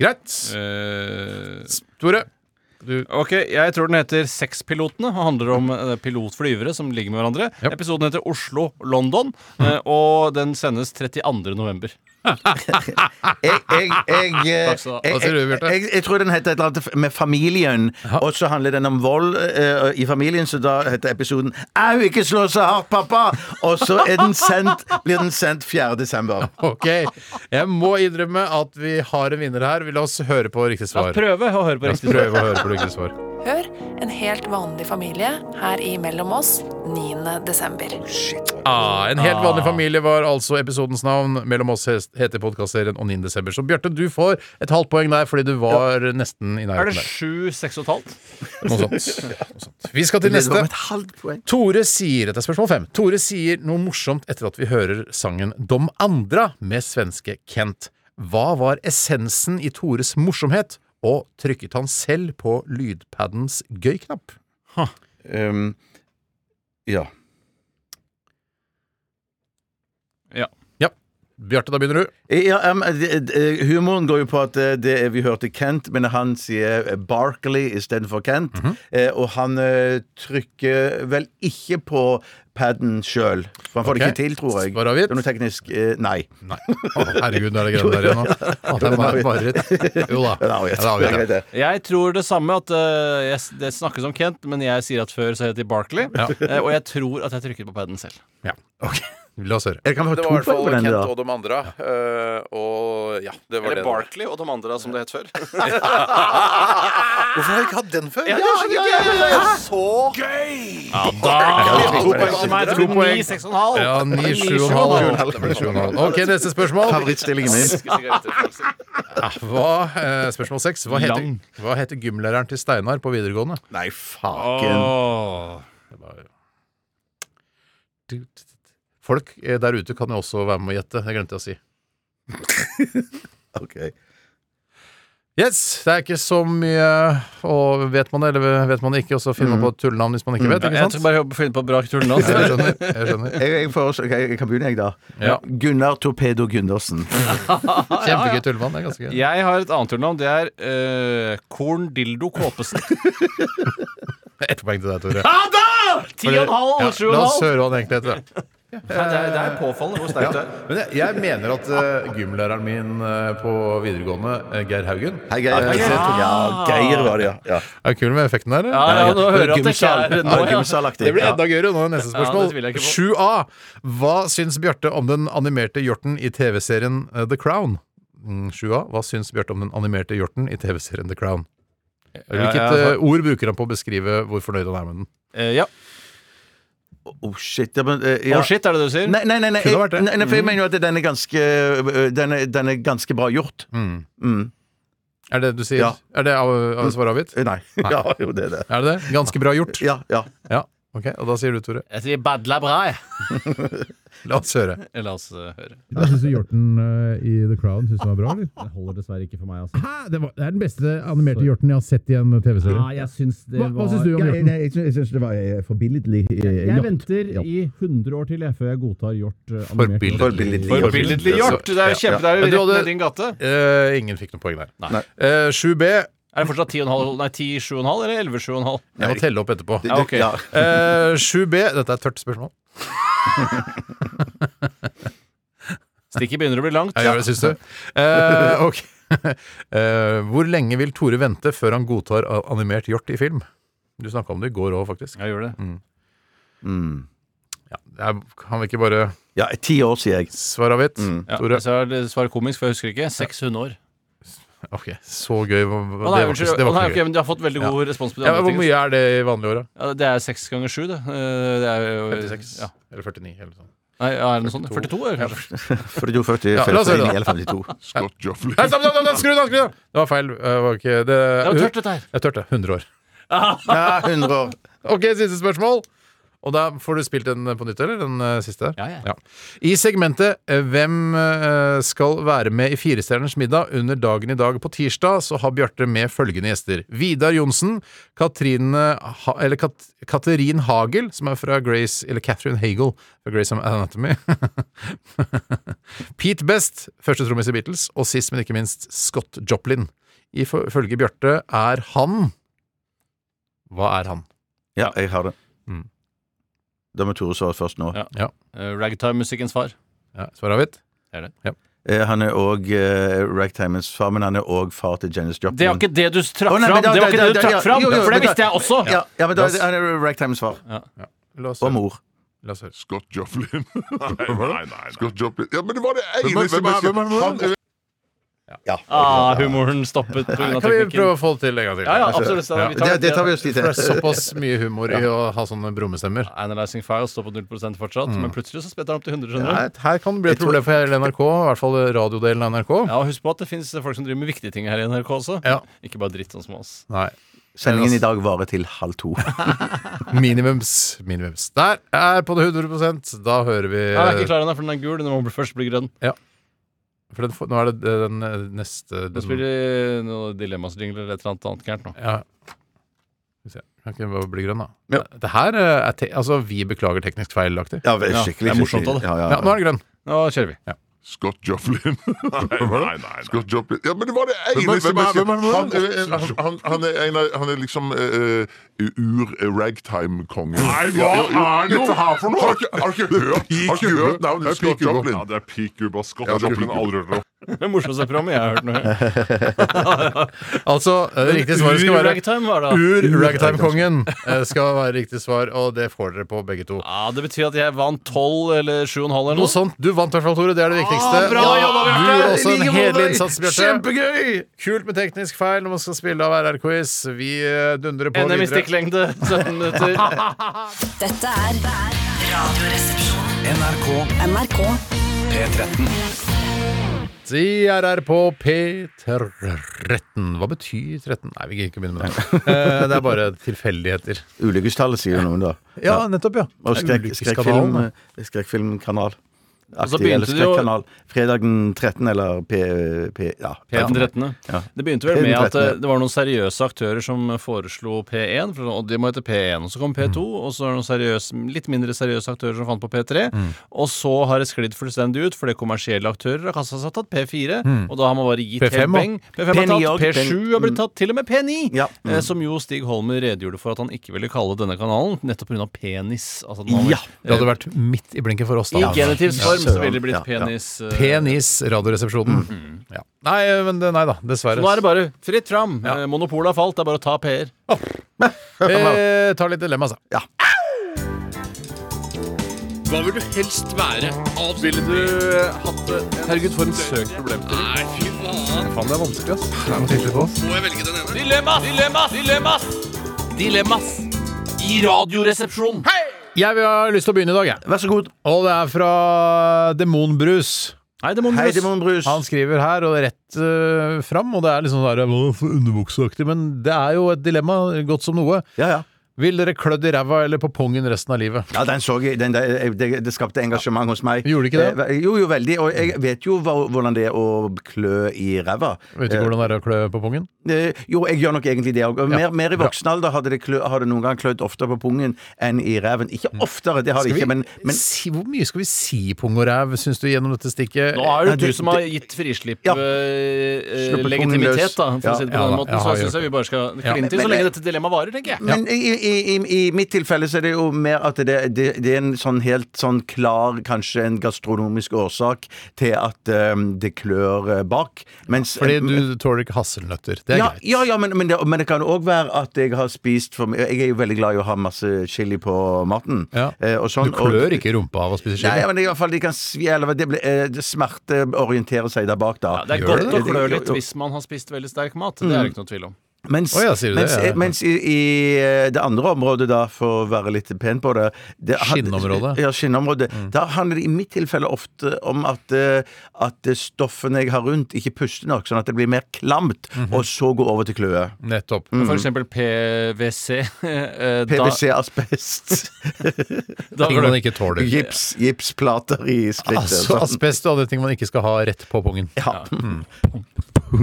[SPEAKER 6] Greit.
[SPEAKER 7] Eh,
[SPEAKER 6] Tore. Du,
[SPEAKER 7] Ok, jeg tror den heter Sexpilotene og handler om eh, pilotflyvere som ligger med hverandre.
[SPEAKER 6] Ja. Mm.
[SPEAKER 7] Episoden heter Oslo-London, eh, og den sendes 32. november.
[SPEAKER 8] Jeg, jeg, jeg, eh, jeg,
[SPEAKER 7] skal du ha.
[SPEAKER 8] jeg,
[SPEAKER 6] Hva sier du, Bjarte?
[SPEAKER 8] jeg- jeg tror den heter et eller annet med familien, og så handler den om vold eh, i familien, så da heter episoden 'Au, ikke slå så hardt, pappa!' Og så er den sendt, blir den sendt 4. desember.
[SPEAKER 6] [laughs] ok. Jeg må innrømme at vi har en vinner her. La oss høre på riktig
[SPEAKER 7] Ja,
[SPEAKER 6] svar.
[SPEAKER 7] prøve å høre på
[SPEAKER 6] La oss
[SPEAKER 7] riktig svar.
[SPEAKER 6] prøve å høre på riktig svar.
[SPEAKER 11] Hør en helt vanlig familie her i Mellom oss 9. desember.
[SPEAKER 6] Ah, en helt vanlig familie var altså episodens navn. Mellom oss het- heter podkastserien og 9. desember. Så Bjarte, du får et halvt poeng der fordi du var nesten i
[SPEAKER 7] Er det
[SPEAKER 6] nærheten der.
[SPEAKER 7] sju, seks og et halvt?
[SPEAKER 6] Noe sånt. Noe sånt. Vi skal til
[SPEAKER 8] Det var
[SPEAKER 6] neste.
[SPEAKER 8] et halvt poeng.
[SPEAKER 6] Tore sier dette er spørsmål fem. Tore sier noe morsomt etter at vi hører sangen Dom Andra med svenske Kent. Hva var essensen i Tores morsomhet, og trykket han selv på lydpaddens gøy-knapp?
[SPEAKER 8] Um, ja.
[SPEAKER 7] Ja.
[SPEAKER 6] Ja. Bjarte, da begynner du.
[SPEAKER 8] Ja, em, d- d- humoren går jo på at eh, det er- vi hørte Kent, men han sier eh, Barkley istedenfor Kent.
[SPEAKER 6] Mhm.
[SPEAKER 8] eh, og han eh, trykker vel ikke på paden sjøl. For han får det
[SPEAKER 6] Ok.
[SPEAKER 8] ikke til, tror jeg.
[SPEAKER 6] Svar avgitt?
[SPEAKER 8] Det er noe teknisk eh, Nei.
[SPEAKER 6] Nei. Å, herregud, nå er det greiene der igjen nå. Å, det er bare, bare et- Jo da.
[SPEAKER 8] Det er
[SPEAKER 6] Ja, det er avgitt,
[SPEAKER 8] avgitt.
[SPEAKER 6] ja.
[SPEAKER 8] [laughs] Det er greit, det.
[SPEAKER 7] Jeg tror det samme, at eh, jeg, s- det snakkes om Kent, men jeg sier at før så het de Barkley. eh, og jeg tror at jeg trykket på paden selv.
[SPEAKER 6] Ja, ok. La oss høre.
[SPEAKER 8] Jeg kan få
[SPEAKER 9] Det
[SPEAKER 8] to
[SPEAKER 9] var i hvert
[SPEAKER 8] poeng
[SPEAKER 9] fall
[SPEAKER 8] på den.
[SPEAKER 9] Kent
[SPEAKER 8] da
[SPEAKER 9] og de andre. eh, og ja, det var det.
[SPEAKER 10] Eller Barkley og de andre som det het før.
[SPEAKER 9] Hvorfor har jeg ikke hatt den før?
[SPEAKER 7] To poeng
[SPEAKER 8] til
[SPEAKER 6] [laughs]
[SPEAKER 7] meg.
[SPEAKER 6] To poeng.
[SPEAKER 7] Ni, seks og en halv.
[SPEAKER 6] Ja, ni, sju og en halv. Det ble sju og en halv. Ok, neste spørsmål.
[SPEAKER 8] Favorittstillingen min.
[SPEAKER 6] Hva, eh, spørsmål seks. Hva heter,
[SPEAKER 7] Lang.
[SPEAKER 6] hva heter gymlæreren til Steinar på videregående?
[SPEAKER 8] Nei, faken.
[SPEAKER 7] Åh.
[SPEAKER 6] Folk eh, der ute kan jo også være med å gjette. Det glemte jeg å si.
[SPEAKER 8] Ok.
[SPEAKER 6] Yes, det er ikke så mye Og vet man det, eller vet man det ikke? Og så finner man på et tullenavn hvis man ikke vet.
[SPEAKER 7] Ja,
[SPEAKER 6] Ikke
[SPEAKER 7] Jeg
[SPEAKER 6] sant?
[SPEAKER 7] skal bare jobbe- finne på bra tullenavn.
[SPEAKER 6] Ja, Jeg skjønner. Jeg skjønner.
[SPEAKER 8] Jeg, jeg, foreslår, ok, jeg kan begynne, jeg, da.
[SPEAKER 6] Ja.
[SPEAKER 8] Gunnar Torpedo Gundersen.
[SPEAKER 6] Kjempegøy tullemann. Det er ganske gøy.
[SPEAKER 7] Jeg har et annet tullenavn. Det er eh, Korn Dildo Kåpesen.
[SPEAKER 6] Ett poeng til deg, Tore.
[SPEAKER 7] [laughs] Ja da! Ti og en halv,
[SPEAKER 6] Ja,
[SPEAKER 7] sju
[SPEAKER 6] La
[SPEAKER 7] og en
[SPEAKER 6] oss
[SPEAKER 7] halv. eh,
[SPEAKER 6] høre hva han egentlig heter. da.
[SPEAKER 7] Nei, det, er, det er påfallende hvor sterkt
[SPEAKER 6] Ja.
[SPEAKER 7] det er.
[SPEAKER 6] Men jeg, jeg mener at eh, gymlæreren min eh, på videregående, eh, Geir Haugen
[SPEAKER 8] Hei, Geir. Ja, Geir var det, ja. ja.
[SPEAKER 6] Er det kul med effekten der? eller?
[SPEAKER 7] Ja, ja, nå hører jeg at det ikke
[SPEAKER 8] Gymsal.
[SPEAKER 7] er nå,
[SPEAKER 8] Ja,
[SPEAKER 7] ja.
[SPEAKER 8] gymsalaktig.
[SPEAKER 6] Det blir
[SPEAKER 8] Ja.
[SPEAKER 6] enda gøyere nå. Neste
[SPEAKER 7] Ja, det tviler
[SPEAKER 6] spørsmål.
[SPEAKER 7] jeg ikke på.
[SPEAKER 6] 7A. Hva syns Bjarte om den animerte hjorten i TV-serien eh, The Crown? Mm, 7A. Hva syns Bjarte om den animerte hjorten i TV-serien The Crown? Hvilket
[SPEAKER 7] ja, altså- ja.
[SPEAKER 6] eh, ord bruker han på å beskrive hvor fornøyd han er med den?
[SPEAKER 7] Eh, ja.
[SPEAKER 8] Oh, shit. Ja, men, eh, ja.
[SPEAKER 7] Å, shit, er det det du sier?
[SPEAKER 8] Nei, nei, nei, nei,
[SPEAKER 6] Kunne vært det. Mm.
[SPEAKER 8] jeg, nei, nei, for jeg mener jo at den er ganske, øh, den er, den er ganske bra gjort.
[SPEAKER 6] Mm. Er det du sier?
[SPEAKER 8] Ja.
[SPEAKER 6] Er det av, av svaret avgitt?
[SPEAKER 8] Eh, Nei. Ja, jo, det er det.
[SPEAKER 6] Er det det? Ganske bra gjort.
[SPEAKER 8] Ja, ja.
[SPEAKER 6] Ja. Ok, og da sier du, Tore.
[SPEAKER 7] Jeg sier badla bra, jeg.
[SPEAKER 6] [laughs] La oss høre.
[SPEAKER 7] [laughs] La oss eh, høre.
[SPEAKER 12] Hva syns du hjorten
[SPEAKER 13] eh,
[SPEAKER 12] i The Crown synes var bra, eller?
[SPEAKER 13] Det holder dessverre ikke for meg, altså.
[SPEAKER 12] Hæ? Det, var, det er den beste animerte hjorten jeg har sett i en TV-serie.
[SPEAKER 13] Ja, jeg syns det
[SPEAKER 12] Hva- hva
[SPEAKER 13] var
[SPEAKER 12] syns du om
[SPEAKER 13] Ja,
[SPEAKER 12] hjorten?
[SPEAKER 13] jeg-
[SPEAKER 12] Jeg, syns det var eh, forbilledlig
[SPEAKER 13] Jeg venter i 100 år til jeg før jeg godtar hjort. eh, animert.
[SPEAKER 6] Forbilledlig.
[SPEAKER 7] Forbilledlig hjort! Det er jo kjempe, det er jo
[SPEAKER 6] Men du
[SPEAKER 7] rett
[SPEAKER 6] hadde-
[SPEAKER 7] ned din gate.
[SPEAKER 6] Eh, ingen fikk noe poeng der.
[SPEAKER 7] Nei.
[SPEAKER 6] Eh, 7B.
[SPEAKER 7] Er det fortsatt 10,5, nei 10,7,5 eller 11,7,5?
[SPEAKER 6] Jeg må telle opp etterpå.
[SPEAKER 7] Ja, ok.
[SPEAKER 8] Ja.
[SPEAKER 6] Eh, 7B. Dette er et tørt spørsmål.
[SPEAKER 7] Stikket begynner å bli langt.
[SPEAKER 6] Jeg gjør det, syns du? [laughs] Eh, ok. [laughs] Eh, hvor lenge vil Tore vente før han godtar a- animert hjort i film? Du snakka om det i går òg, faktisk.
[SPEAKER 7] Jeg gjør det.
[SPEAKER 6] Jeg kan vi ikke bare
[SPEAKER 8] Ja, ti år, sier jeg.
[SPEAKER 6] svare avgitt?
[SPEAKER 7] Mm. Ja,
[SPEAKER 6] Tore?
[SPEAKER 7] Så er det svar komisk, for jeg husker ikke. 600 år.
[SPEAKER 6] Ok, så gøy. hva- hva-
[SPEAKER 7] Å nei,
[SPEAKER 6] det var ikke-
[SPEAKER 7] unnskyld.
[SPEAKER 6] det var
[SPEAKER 7] Å nei,
[SPEAKER 6] ikke
[SPEAKER 7] ok,
[SPEAKER 6] gøy.
[SPEAKER 7] men du har fått veldig god respons på
[SPEAKER 6] Ja,
[SPEAKER 7] de
[SPEAKER 6] men
[SPEAKER 7] andre
[SPEAKER 6] hvor
[SPEAKER 7] tingene.
[SPEAKER 6] mye er det i vanlige år, da?
[SPEAKER 7] Ja, det er 6 ganger 7, det. Eh, det er jo
[SPEAKER 6] 56?
[SPEAKER 7] Ja.
[SPEAKER 6] Eller 49? Eller sånn.
[SPEAKER 7] Nei, ja, er det noe sånt? 42, eller kanskje?
[SPEAKER 8] 42, 40,
[SPEAKER 6] Ja, la oss høre
[SPEAKER 8] 51,
[SPEAKER 6] det.
[SPEAKER 8] 52.
[SPEAKER 2] Scott Joffley.
[SPEAKER 6] Nei, stopp, stopp, stopp, skru den av! skru den av! Det var feil. Det var ikke Det,
[SPEAKER 7] Det var tørt, dette her.
[SPEAKER 6] Jeg tørte. 100 år.
[SPEAKER 8] Ja, 100 år.
[SPEAKER 6] Ok, siste spørsmål. Og da får du spilt den på nytt, eller? Den eh, siste?
[SPEAKER 7] Ja, ja.
[SPEAKER 6] I segmentet eh, Hvem eh, skal være med i Firestjerners middag under dagen i dag på tirsdag, så har Bjarte med følgende gjester. Vidar Johnsen, Katrine ha eller Kat Katerin Hagel, som er fra Grace Eller Catherine Hagel fra Grace Anatomy. [laughs] Pete Best, første trommis i Beatles, og sist, men ikke minst, Scott Joplin. Ifølge Bjarte er han Hva er han?
[SPEAKER 8] Ja, jeg har det.
[SPEAKER 6] Mm.
[SPEAKER 8] Da må Tore svare først nå.
[SPEAKER 7] Ja. Eh, Ragtime-musikkens far.
[SPEAKER 6] Ja, Svaret avgitt?
[SPEAKER 7] Det er det.
[SPEAKER 6] Ja.
[SPEAKER 8] Eh, Han er òg eh, Ragtimens far, men han er òg far til Janis Joplin.
[SPEAKER 7] Det var ikke det du trakk
[SPEAKER 8] Å, nei,
[SPEAKER 7] fram!
[SPEAKER 8] men da-
[SPEAKER 7] Det var
[SPEAKER 8] da-
[SPEAKER 7] ikke det
[SPEAKER 8] da-
[SPEAKER 7] du
[SPEAKER 8] ja,
[SPEAKER 7] trakk fram!
[SPEAKER 8] jo, jo,
[SPEAKER 7] For det
[SPEAKER 8] men da-
[SPEAKER 7] visste jeg også!
[SPEAKER 8] Ja, ja, men da,
[SPEAKER 6] La oss-
[SPEAKER 8] han er Ragtimens far.
[SPEAKER 6] La oss
[SPEAKER 8] Og
[SPEAKER 6] høre.
[SPEAKER 8] mor.
[SPEAKER 6] La oss høre.
[SPEAKER 2] Scott
[SPEAKER 9] [laughs]
[SPEAKER 2] Jofflin. Scott Joplin. Ja, men det var det
[SPEAKER 6] Hvem er-
[SPEAKER 2] eneste
[SPEAKER 6] hvem er- hvem er- hvem er-
[SPEAKER 2] Han-
[SPEAKER 7] Ah, humoren stoppet pga.
[SPEAKER 6] Kan vi prøve
[SPEAKER 7] teknikken.
[SPEAKER 6] å få det til en gang til?
[SPEAKER 7] Ja, ja, absolutt. Ja, vi tar
[SPEAKER 8] Det, det tar vi oss tid
[SPEAKER 6] For det er
[SPEAKER 8] til.
[SPEAKER 6] såpass mye humor i å ha sånne brummestemmer.
[SPEAKER 7] Analyzing Files står på 0 fortsatt,
[SPEAKER 6] Mm.
[SPEAKER 7] men plutselig så spretter han opp til 100. skjønner du?
[SPEAKER 6] Nei, Her kan det bli et problem for hele NRK, i hvert fall radiodelen av NRK.
[SPEAKER 7] Ja, og Husk på at det fins folk som driver med viktige ting her i NRK også.
[SPEAKER 6] Ja.
[SPEAKER 7] Ikke bare dritt sånn som oss.
[SPEAKER 6] Nei.
[SPEAKER 8] Sendingen i dag varer til halv to.
[SPEAKER 6] Minimums. Minimums. Der er på det 100 Da hører
[SPEAKER 7] Jeg er ikke
[SPEAKER 6] vi
[SPEAKER 7] klar ennå, for den er gul. Den må bli- først bli grønn.
[SPEAKER 6] For den, får- nå er det den eh, neste
[SPEAKER 7] Nå
[SPEAKER 6] den,
[SPEAKER 7] spiller de noe Dilemmasjingler eller et eller annet annet gærent nå.
[SPEAKER 6] Ja. Skal vi se. Kan ikke den bare bli grønn, da. Det her eh, er te altså, vi beklager teknisk feilaktig.
[SPEAKER 8] Ja, vel,
[SPEAKER 7] Ja, det
[SPEAKER 8] skikkelig.
[SPEAKER 7] er morsomt av det.
[SPEAKER 8] Ja, ja,
[SPEAKER 6] Ja, nå
[SPEAKER 8] ja.
[SPEAKER 6] er det grønn.
[SPEAKER 7] Nå kjører vi.
[SPEAKER 2] Scott Jofflin. Scott Joplin. Ja, men det var det eneste
[SPEAKER 9] Hvem er- hvem er- hvem er-
[SPEAKER 2] Han, er- han, eh, han, han, er en av, han er liksom eh, ur-ragtime-kongen. Nei, hva er dette her for noe?! Har ikke, har ikke hørt, har ikke hørt navnet Scott Joplin? Ja, det er Peak Uba. Scott Joplin har aldri hørt om.
[SPEAKER 7] Det morsomste programmet jeg har
[SPEAKER 6] [laughs]
[SPEAKER 7] hørt nå.
[SPEAKER 6] Altså, eh, det riktige svaret skal være
[SPEAKER 7] Ragtime var det.
[SPEAKER 6] Ur-ragtime-kongen [laughs] eh, skal være riktig svar, og det får dere på begge to.
[SPEAKER 7] Ja, det betyr at jeg vant 12 eller 7,5 eller
[SPEAKER 6] Noe
[SPEAKER 7] noe.
[SPEAKER 6] sånt. Du vant i hvert fall, Tore. Det er det viktigste.
[SPEAKER 7] Ah, bra jobba,
[SPEAKER 6] Du
[SPEAKER 7] Bjarte!
[SPEAKER 6] gjorde også en
[SPEAKER 7] Like måte.
[SPEAKER 6] hederlig innsats, Bjarte.
[SPEAKER 8] Kjempegøy!
[SPEAKER 6] Kult med teknisk feil når man skal spille av RR-quiz. Vi eh, dundrer på
[SPEAKER 7] NM i
[SPEAKER 6] videre.
[SPEAKER 7] stikklengde, 17 [laughs] minutter.
[SPEAKER 1] Dette er Radioresepsjonen.
[SPEAKER 3] NRK
[SPEAKER 1] NRK
[SPEAKER 3] P13.
[SPEAKER 6] De er her på P13. Hva betyr 13? Nei, vi gidder ikke å begynne med
[SPEAKER 7] [laughs]
[SPEAKER 6] det. Eh, det er bare tilfeldigheter.
[SPEAKER 8] Ulykkestallet, sier jo noen da.
[SPEAKER 6] Ja, nettopp, ja.
[SPEAKER 8] Og
[SPEAKER 6] Det er
[SPEAKER 8] skrekk,
[SPEAKER 6] ulykkeskanalen,
[SPEAKER 8] skrekkfilm, skrekkfilmkanal.
[SPEAKER 7] Og så
[SPEAKER 8] Aktig,
[SPEAKER 7] begynte
[SPEAKER 8] eller
[SPEAKER 7] det jo-
[SPEAKER 8] skrekkanal. Fredag den 13. eller P... P ja,
[SPEAKER 7] P1 13.
[SPEAKER 8] Ja.
[SPEAKER 7] Det begynte vel
[SPEAKER 8] P1
[SPEAKER 7] med at
[SPEAKER 8] 13, ja.
[SPEAKER 7] eh, det var noen seriøse aktører som foreslo P1, for, og det må hete P1. Og så kom P2, og så var det noen seriøse, litt mindre seriøse aktører som fant på P3.
[SPEAKER 6] Mm.
[SPEAKER 7] Og så har det sklidd fullstendig ut, fordi kommersielle aktører har kasta seg tatt P4,
[SPEAKER 6] Mm.
[SPEAKER 7] og da har man bare gitt
[SPEAKER 6] P5
[SPEAKER 7] helt peng.
[SPEAKER 6] også.
[SPEAKER 7] P5 har
[SPEAKER 6] P9
[SPEAKER 7] tatt,
[SPEAKER 6] også.
[SPEAKER 7] P7 har blitt tatt, til og med P9!
[SPEAKER 6] Mm.
[SPEAKER 7] eh, Som jo Stig Holmer redegjorde for at han ikke ville kalle denne kanalen, nettopp pga. penis. Altså, den har
[SPEAKER 6] Ja.
[SPEAKER 7] vært-
[SPEAKER 6] Det hadde vært midt i blinken for oss, da.
[SPEAKER 7] I genitivs
[SPEAKER 6] Ja.
[SPEAKER 7] form så ville det blitt penis, eh.
[SPEAKER 6] Penis, Radioresepsjonen. Ja. Nei, men det, nei da.
[SPEAKER 7] Så
[SPEAKER 6] Dessverre.
[SPEAKER 7] nå er det bare fritt fram. Eh, Monopolet har falt, det er bare å ta PR.
[SPEAKER 6] Eh, ta litt dilemma, altså. Ja.
[SPEAKER 7] Hva vil du helst være? Ville du hatt det? Herregud, for en søk problemstilling. Nei, fy faen.
[SPEAKER 6] Faen, det er vanskelig, ass.
[SPEAKER 7] Må jeg velge den ene? Dilemmas! Dilemmas! Dilemmas! Dilemmas i Radioresepsjonen.
[SPEAKER 6] Jeg vil ha lyst til å begynne i dag, jeg.
[SPEAKER 8] Vær så god.
[SPEAKER 6] Og det er fra Demonbrus.
[SPEAKER 7] Hei, Demonbrus.
[SPEAKER 8] Hei, Demonbrus.
[SPEAKER 6] Han skriver her, og det er rett eh, fram, og det er liksom sånn der, «Hva for underbukseaktig, men det er jo et dilemma, godt som noe. Vil dere klødd i ræva eller på pungen resten av livet?
[SPEAKER 8] Ja, den så jeg. Den, der- det, det skapte engasjement hos meg.
[SPEAKER 6] Gjorde det ikke det?
[SPEAKER 8] Eh, Jo, jo, veldig. Og jeg vet jo hva, hvordan det er å klø i ræva.
[SPEAKER 6] Vet du ikke hvordan det er å klø på pungen?
[SPEAKER 8] Eh, Jo, jeg gjør nok egentlig det òg. Mer,
[SPEAKER 6] Ja,
[SPEAKER 8] mer i
[SPEAKER 6] bra.
[SPEAKER 8] voksen alder har det, klø, har det noen gang klødd oftere på pungen enn i ræven. Ikke oftere, det har
[SPEAKER 6] Mm.
[SPEAKER 8] det
[SPEAKER 6] Skal vi
[SPEAKER 8] ikke, men, men
[SPEAKER 6] si, hvor mye skal vi si pung og ræv, syns du, gjennom dette stikket?
[SPEAKER 7] Nå er det
[SPEAKER 6] Nei,
[SPEAKER 7] du som har gitt frislipp eh, eh,
[SPEAKER 6] Sluppet pungen
[SPEAKER 7] legitimitet,
[SPEAKER 6] løs.
[SPEAKER 7] da, for
[SPEAKER 6] Ja,
[SPEAKER 7] å si det på
[SPEAKER 6] ja
[SPEAKER 7] den
[SPEAKER 6] da,
[SPEAKER 7] måten.
[SPEAKER 6] jeg
[SPEAKER 7] Så
[SPEAKER 6] har
[SPEAKER 7] jeg syns
[SPEAKER 6] gjort
[SPEAKER 7] jeg vi bare skal
[SPEAKER 6] Ja.
[SPEAKER 7] kline til så
[SPEAKER 8] Men-
[SPEAKER 7] lenge dette dilemmaet varer, tenker jeg.
[SPEAKER 8] Men i, i, i, i mitt tilfelle så er det jo mer at det, det, det er en sånn helt sånn klar, kanskje en gastronomisk årsak til at eh, det klør eh, bak. Mens,
[SPEAKER 6] Fordi du tåler ikke hasselnøtter. Det er
[SPEAKER 8] ja,
[SPEAKER 6] greit.
[SPEAKER 8] ja, ja, men, men, det, men det kan òg være at jeg har spist for mye. Jeg er jo veldig glad i å ha masse chili på maten. eh, og sånn,
[SPEAKER 6] Du klør
[SPEAKER 8] og,
[SPEAKER 6] ikke i rumpa av å spise
[SPEAKER 8] Nei,
[SPEAKER 6] chili.
[SPEAKER 8] men i hvert fall de kan svi, eller det blir, eh, det smerte orienterer seg der bak, da.
[SPEAKER 7] Det er godt å klø litt hvis man har spist veldig sterk mat. Det er det ikke noe tvil om.
[SPEAKER 8] Mens,
[SPEAKER 6] Å ja, sier du det?
[SPEAKER 8] mens,
[SPEAKER 6] Ja, ja.
[SPEAKER 8] mens i, i eh, det andre området, da, for å være litt pen på det, det had-
[SPEAKER 6] Skinnområdet. Mm.
[SPEAKER 8] Ja, skinnområdet. Da handler det i mitt tilfelle ofte om at, eh, at stoffene jeg har rundt, ikke puster nok, sånn at det blir mer klamt,
[SPEAKER 6] Mhm.
[SPEAKER 8] og så går over til kløe.
[SPEAKER 6] Nettopp.
[SPEAKER 8] Mm.
[SPEAKER 7] For eksempel PwC. [laughs] eh, da-
[SPEAKER 8] PVC,
[SPEAKER 6] [laughs]
[SPEAKER 8] asbest
[SPEAKER 7] Da
[SPEAKER 6] Ting man ikke tåler.
[SPEAKER 8] Gips, gipsplater i skrittet.
[SPEAKER 6] Altså,
[SPEAKER 8] sånn.
[SPEAKER 6] asbest og alle ting man ikke skal ha rett på pungen.
[SPEAKER 8] Ja.
[SPEAKER 6] Mm.
[SPEAKER 7] [laughs]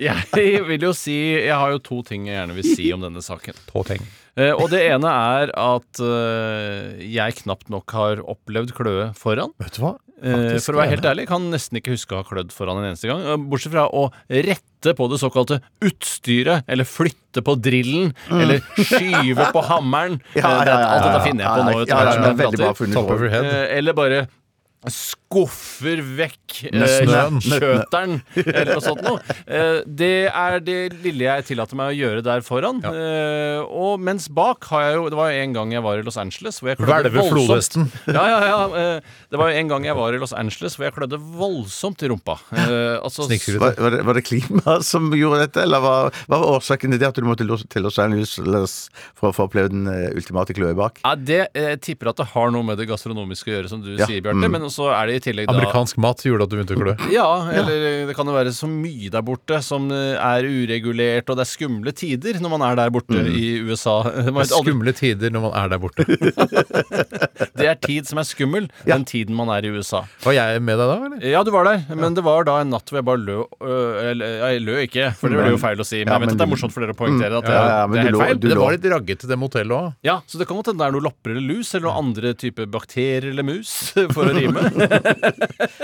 [SPEAKER 7] Jeg vil jo si Jeg har jo to ting jeg gjerne vil si om denne saken.
[SPEAKER 6] To ting.
[SPEAKER 7] Eh, og det ene er at eh, jeg knapt nok har opplevd kløe foran.
[SPEAKER 6] Vet du hva?
[SPEAKER 7] Eh,
[SPEAKER 6] Faktisk
[SPEAKER 7] for å være helt
[SPEAKER 6] det.
[SPEAKER 7] ærlig, kan nesten ikke huske å ha klødd foran en eneste gang. eh, Bortsett fra å rette på det såkalte utstyret, eller flytte på drillen,
[SPEAKER 6] Mm.
[SPEAKER 7] eller skyve på hammeren.
[SPEAKER 6] [laughs] Ja,
[SPEAKER 7] Eh, det er-
[SPEAKER 6] ja, ja,
[SPEAKER 7] Alt
[SPEAKER 6] ja,
[SPEAKER 7] dette
[SPEAKER 6] ja.
[SPEAKER 7] finner jeg på
[SPEAKER 6] Ja,
[SPEAKER 7] nå.
[SPEAKER 6] ja,
[SPEAKER 7] etter hvert
[SPEAKER 6] ja,
[SPEAKER 7] som
[SPEAKER 6] ja,
[SPEAKER 7] jeg
[SPEAKER 6] veldig bra
[SPEAKER 7] prater.
[SPEAKER 6] funnet Top of your head.
[SPEAKER 7] Eh, Eller bare skuffer vekk eh,
[SPEAKER 6] Nøttene.
[SPEAKER 7] kjøteren, eller noe sånt noe. Eh, Det er det lille jeg tillater meg å gjøre der foran. Eh, Og mens bak har jeg jo Det var jo en gang jeg var i Los Angeles hvor jeg
[SPEAKER 6] Hvelve
[SPEAKER 7] klødde voldsomt.
[SPEAKER 6] flodhesten.
[SPEAKER 7] Ja, ja, ja. eh, Det var jo en gang jeg var i Los Angeles hvor jeg klødde voldsomt i rumpa. Eh, Altså,
[SPEAKER 8] Var, var, det, var det klima som gjorde dette, eller var, hva var årsaken til det at du måtte til Los- til Los Angeles for å få opplevd den eh, ultimate kløe bak?
[SPEAKER 7] ja, det eh, tipper at det har noe med det gastronomiske å gjøre, som du
[SPEAKER 8] Ja,
[SPEAKER 7] sier, Bjarte.
[SPEAKER 8] mm.
[SPEAKER 7] Men så er det i tillegg da
[SPEAKER 6] Amerikansk mat gjorde at du begynte å
[SPEAKER 7] [laughs]
[SPEAKER 6] klø.
[SPEAKER 7] Ja, eller eh, det kan jo være så mye der borte som eh, er uregulert, og det er skumle tider når man er der borte i USA. [laughs]
[SPEAKER 6] Mm. Det
[SPEAKER 7] Man vet
[SPEAKER 6] er
[SPEAKER 7] aldri-
[SPEAKER 6] Skumle tider når man er der borte.
[SPEAKER 7] Det er tid som er skummel, den tiden man er i USA.
[SPEAKER 6] Var jeg med deg da, eller?
[SPEAKER 7] Ja, du var der, men det var da en natt hvor jeg bare lø øh, Eller ja, jeg lø ikke, for det blir jo feil å si. Men
[SPEAKER 6] Ja,
[SPEAKER 7] jeg vet
[SPEAKER 6] men
[SPEAKER 7] at det er
[SPEAKER 6] du-
[SPEAKER 7] morsomt for dere å poengtere at det,
[SPEAKER 6] Ja, ja, men
[SPEAKER 7] det er
[SPEAKER 6] du
[SPEAKER 7] helt
[SPEAKER 6] lå-
[SPEAKER 7] feil.
[SPEAKER 6] du Det lå- var litt raggete, det motellet òg.
[SPEAKER 7] Ja, så det kan godt hende det er noe lopper eller lus, eller noen andre type bakterier eller mus, [laughs] for å rime.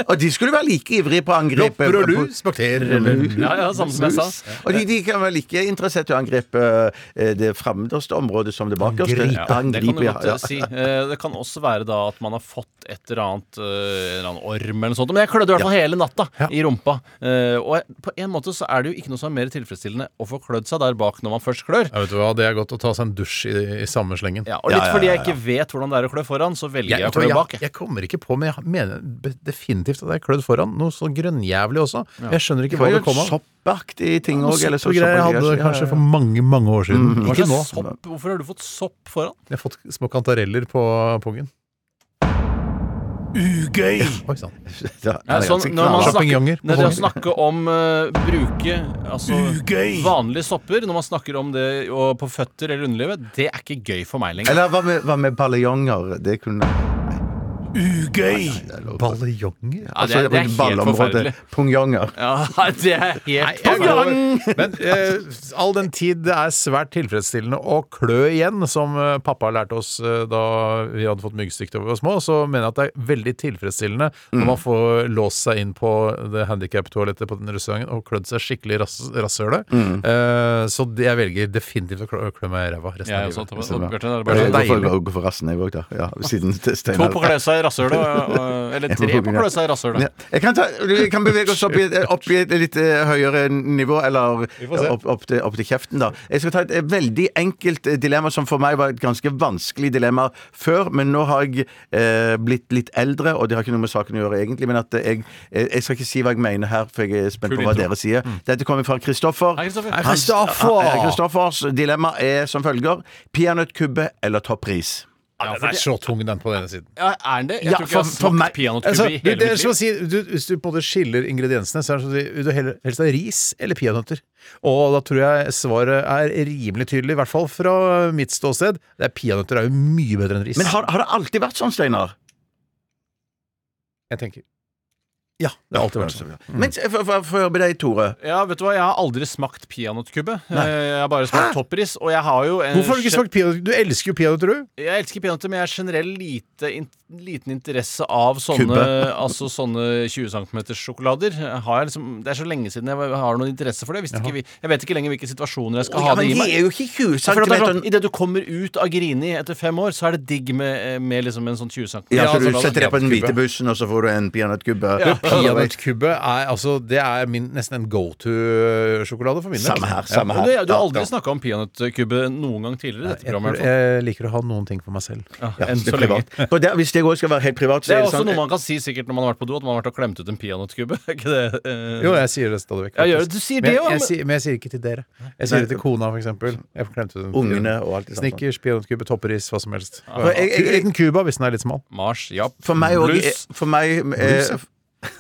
[SPEAKER 8] Og de skulle være like ivrige på å angripe
[SPEAKER 6] Lopper og lus, bakterier eller
[SPEAKER 7] Ja, ja, samme som jeg sa.
[SPEAKER 8] Mus. Og de, de kan være like interessert i å angripe eh, det fremderste området som det bakerste.
[SPEAKER 7] Ja, det kan du
[SPEAKER 8] ja,
[SPEAKER 7] godt eh,
[SPEAKER 8] ja.
[SPEAKER 7] si. Eh, Det kan også være da at man har fått et eller annet eh, En eller annen orm eller noe sånt. Men jeg klødde i hvert fall hele natta i rumpa. Eh, Og jeg- på en måte så er det jo ikke noe som er mer tilfredsstillende å få klødd seg der bak når man først klør.
[SPEAKER 6] Ja, vet du hva, Det er godt å ta seg en dusj i, i samme slengen.
[SPEAKER 7] Ja, Og litt fordi jeg ikke vet hvordan det er å klø foran, så velger jeg, å klø bak.
[SPEAKER 6] jeg, jeg kommer ikke på, men jeg mener be- definitivt at jeg klødd foran. Noe så grønnjævlig også. Jeg skjønner ikke
[SPEAKER 8] var
[SPEAKER 6] hva
[SPEAKER 8] jo
[SPEAKER 6] det kom av.
[SPEAKER 8] Soppaktige ting
[SPEAKER 6] Noe
[SPEAKER 8] òg.
[SPEAKER 6] sopp og greier jeg hadde kanskje
[SPEAKER 8] [laughs]
[SPEAKER 6] for mange, mange år siden.
[SPEAKER 8] Mm. Hva
[SPEAKER 6] Ikke nå.
[SPEAKER 8] slags
[SPEAKER 7] sopp? Hvorfor har du fått sopp foran?
[SPEAKER 6] Jeg har fått små kantareller på pungen.
[SPEAKER 7] Ugøy!
[SPEAKER 6] Oi sann.
[SPEAKER 7] Ja, sånn, når man snakker,
[SPEAKER 6] Sjampinjonger på
[SPEAKER 7] når det å
[SPEAKER 6] pungen.
[SPEAKER 7] snakke om eh, bruke altså,
[SPEAKER 6] Ugøy!
[SPEAKER 7] vanlige sopper når man snakker om det og på føtter eller underlivet, det er ikke gøy for meg lenger.
[SPEAKER 8] Eller hva med, hva med baljonger? Det kunne
[SPEAKER 7] ugøy!
[SPEAKER 8] Balljonger?
[SPEAKER 7] Ja, det, er- det er helt forferdelig.
[SPEAKER 8] Pungjonger.
[SPEAKER 7] Ja, [laughs] det er helt forferdelig.
[SPEAKER 6] Men eh, all den tid det er svært tilfredsstillende å klø igjen, som eh, pappa lærte oss eh, da vi hadde fått myggstikk da vi var små, så mener jeg at det er veldig tilfredsstillende når man får låst seg inn på det handikap-toalettet på den restauranten og klødd seg skikkelig i rass, rasshølet.
[SPEAKER 8] Mm.
[SPEAKER 6] Eh, så det- jeg velger definitivt å klø, klø meg i ræva resten
[SPEAKER 7] Jeg
[SPEAKER 6] av
[SPEAKER 7] også,
[SPEAKER 6] livet.
[SPEAKER 7] Thomas.
[SPEAKER 6] Det er
[SPEAKER 7] Bjarte, det er
[SPEAKER 8] Ja,
[SPEAKER 7] bare
[SPEAKER 8] jeg
[SPEAKER 7] så
[SPEAKER 8] går for-
[SPEAKER 7] deilig.
[SPEAKER 8] jeg går for resten, jeg òg, da. Ja, siden Steinar
[SPEAKER 7] To på kløsa i rasshølet, og- og- eller
[SPEAKER 8] Jeg
[SPEAKER 7] tre
[SPEAKER 8] tror
[SPEAKER 7] på kløsa i rasshølet.
[SPEAKER 8] Ja. Jeg kan, ta, vi kan bevege oss opp i, et- opp i et litt eh, høyere nivå, eller eh,
[SPEAKER 7] får se.
[SPEAKER 8] opp, opp, til, opp til kjeften, da. Jeg skal ta et eh, veldig enkelt eh, dilemma, som for meg var et ganske vanskelig dilemma før, men nå har jeg eh, blitt litt eldre, og det har ikke noe med saken å gjøre, egentlig, men at eh, jeg, eh, jeg skal ikke si hva jeg mener her, for jeg er spent
[SPEAKER 6] Kul
[SPEAKER 8] på hva
[SPEAKER 6] intro.
[SPEAKER 8] dere sier. Dette kommer fra Kristoffer.
[SPEAKER 6] Hei, Kristoffer.
[SPEAKER 8] Hans-
[SPEAKER 6] Hei, Kristoffer.
[SPEAKER 8] Ah, eh, Kristoffers dilemma er som følger. Peanøttkubbe eller toppris?
[SPEAKER 6] Ja, den er så tung, den på denne siden.
[SPEAKER 7] Ja, er den det? Jeg
[SPEAKER 8] Ja,
[SPEAKER 7] tror ikke jeg har
[SPEAKER 8] for- for
[SPEAKER 7] smakt
[SPEAKER 8] meg-
[SPEAKER 7] peanøttkubbe
[SPEAKER 6] Altså,
[SPEAKER 7] i
[SPEAKER 6] du,
[SPEAKER 7] hele
[SPEAKER 6] det er
[SPEAKER 7] mitt
[SPEAKER 6] som å
[SPEAKER 7] liv.
[SPEAKER 6] si, du, hvis du på en måte skiller ingrediensene, så er det som å si vil du heller- helst ha ris eller peanøtter. Og da tror jeg svaret er rimelig tydelig, i hvert fall fra mitt ståsted. Det er Peanøtter er jo mye bedre enn ris.
[SPEAKER 8] Men har, har det alltid vært sånn, Steinar?
[SPEAKER 6] Jeg tenker Ja, det har alltid vært sånn.
[SPEAKER 8] Men se, få få- få høre med deg, Tore.
[SPEAKER 7] Ja, vet du hva, jeg har aldri smakt peanøttkubbe. Eh, Jeg har bare smakt toppris, og jeg har jo en
[SPEAKER 6] Hvorfor har du ikke
[SPEAKER 7] gen-
[SPEAKER 6] smakt peanøtter? Du elsker jo peanøtter, du.
[SPEAKER 7] Jeg elsker peanøtter, men jeg har generell lite, in liten interesse av sånne,
[SPEAKER 6] Kubbe.
[SPEAKER 7] [laughs] altså sånne 20 cm sjokolader. Jeg Har liksom, det er så lenge siden jeg har noen interesse for det. Jeg, visste ikke, vi- jeg vet ikke lenger hvilke situasjoner jeg skal
[SPEAKER 8] Å,
[SPEAKER 7] ha
[SPEAKER 8] ja,
[SPEAKER 7] det
[SPEAKER 8] men
[SPEAKER 7] i
[SPEAKER 8] de
[SPEAKER 7] meg.
[SPEAKER 8] er jo ikke 20
[SPEAKER 7] Ja, for det er
[SPEAKER 8] centimeter.
[SPEAKER 7] sånn, Idet du kommer ut av Grini etter fem år, så er det digg med, med liksom en sånn 20 cm.
[SPEAKER 8] Ja, så du setter deg på den hvite bussen, og så får du en peanøttkubbe.
[SPEAKER 6] Ja. Peanøttkubbe er altså Det er min, nesten en go to-sjokolade for min del.
[SPEAKER 8] Samme her, samme
[SPEAKER 6] Ja,
[SPEAKER 7] Og
[SPEAKER 6] og
[SPEAKER 7] du,
[SPEAKER 6] det-
[SPEAKER 7] du har aldri
[SPEAKER 6] ja.
[SPEAKER 7] snakka om peanøttkubbe noen gang tidligere i dette
[SPEAKER 6] Jeg,
[SPEAKER 7] programmet. i hvert fall.
[SPEAKER 6] jeg liker å ha noen ting for meg selv.
[SPEAKER 7] Ja, enn så lenge.
[SPEAKER 8] På det, hvis det går skal være helt privat, så
[SPEAKER 7] Det
[SPEAKER 8] er
[SPEAKER 7] er
[SPEAKER 8] det
[SPEAKER 7] også
[SPEAKER 8] sånn
[SPEAKER 7] noe man kan si sikkert når man har vært på do, at man har vært og klemt ut en peanøttkubbe. [laughs] Er ikke det, eh?
[SPEAKER 6] Jo, jeg sier det stadig vekk.
[SPEAKER 7] Ja, gjør
[SPEAKER 6] faktisk.
[SPEAKER 7] det. Du sier
[SPEAKER 6] Men
[SPEAKER 7] det
[SPEAKER 6] jeg-
[SPEAKER 7] jo,
[SPEAKER 6] jeg
[SPEAKER 7] men-
[SPEAKER 6] sier- Men jeg sier ikke til dere. Jeg
[SPEAKER 8] Nei.
[SPEAKER 6] sier det til kona, for eksempel. Jeg glemte den.
[SPEAKER 8] Ungene og alt det samme.
[SPEAKER 6] Snickers, peanøttkubbe, topperis, hva som helst. Altså,
[SPEAKER 8] For jeg- jeg- jeg-
[SPEAKER 6] Liten Cuba hvis den er litt smal.
[SPEAKER 7] Mars, ja.
[SPEAKER 8] For meg òg
[SPEAKER 7] Blues.
[SPEAKER 8] For meg
[SPEAKER 6] Blues,
[SPEAKER 8] eh,
[SPEAKER 6] ja.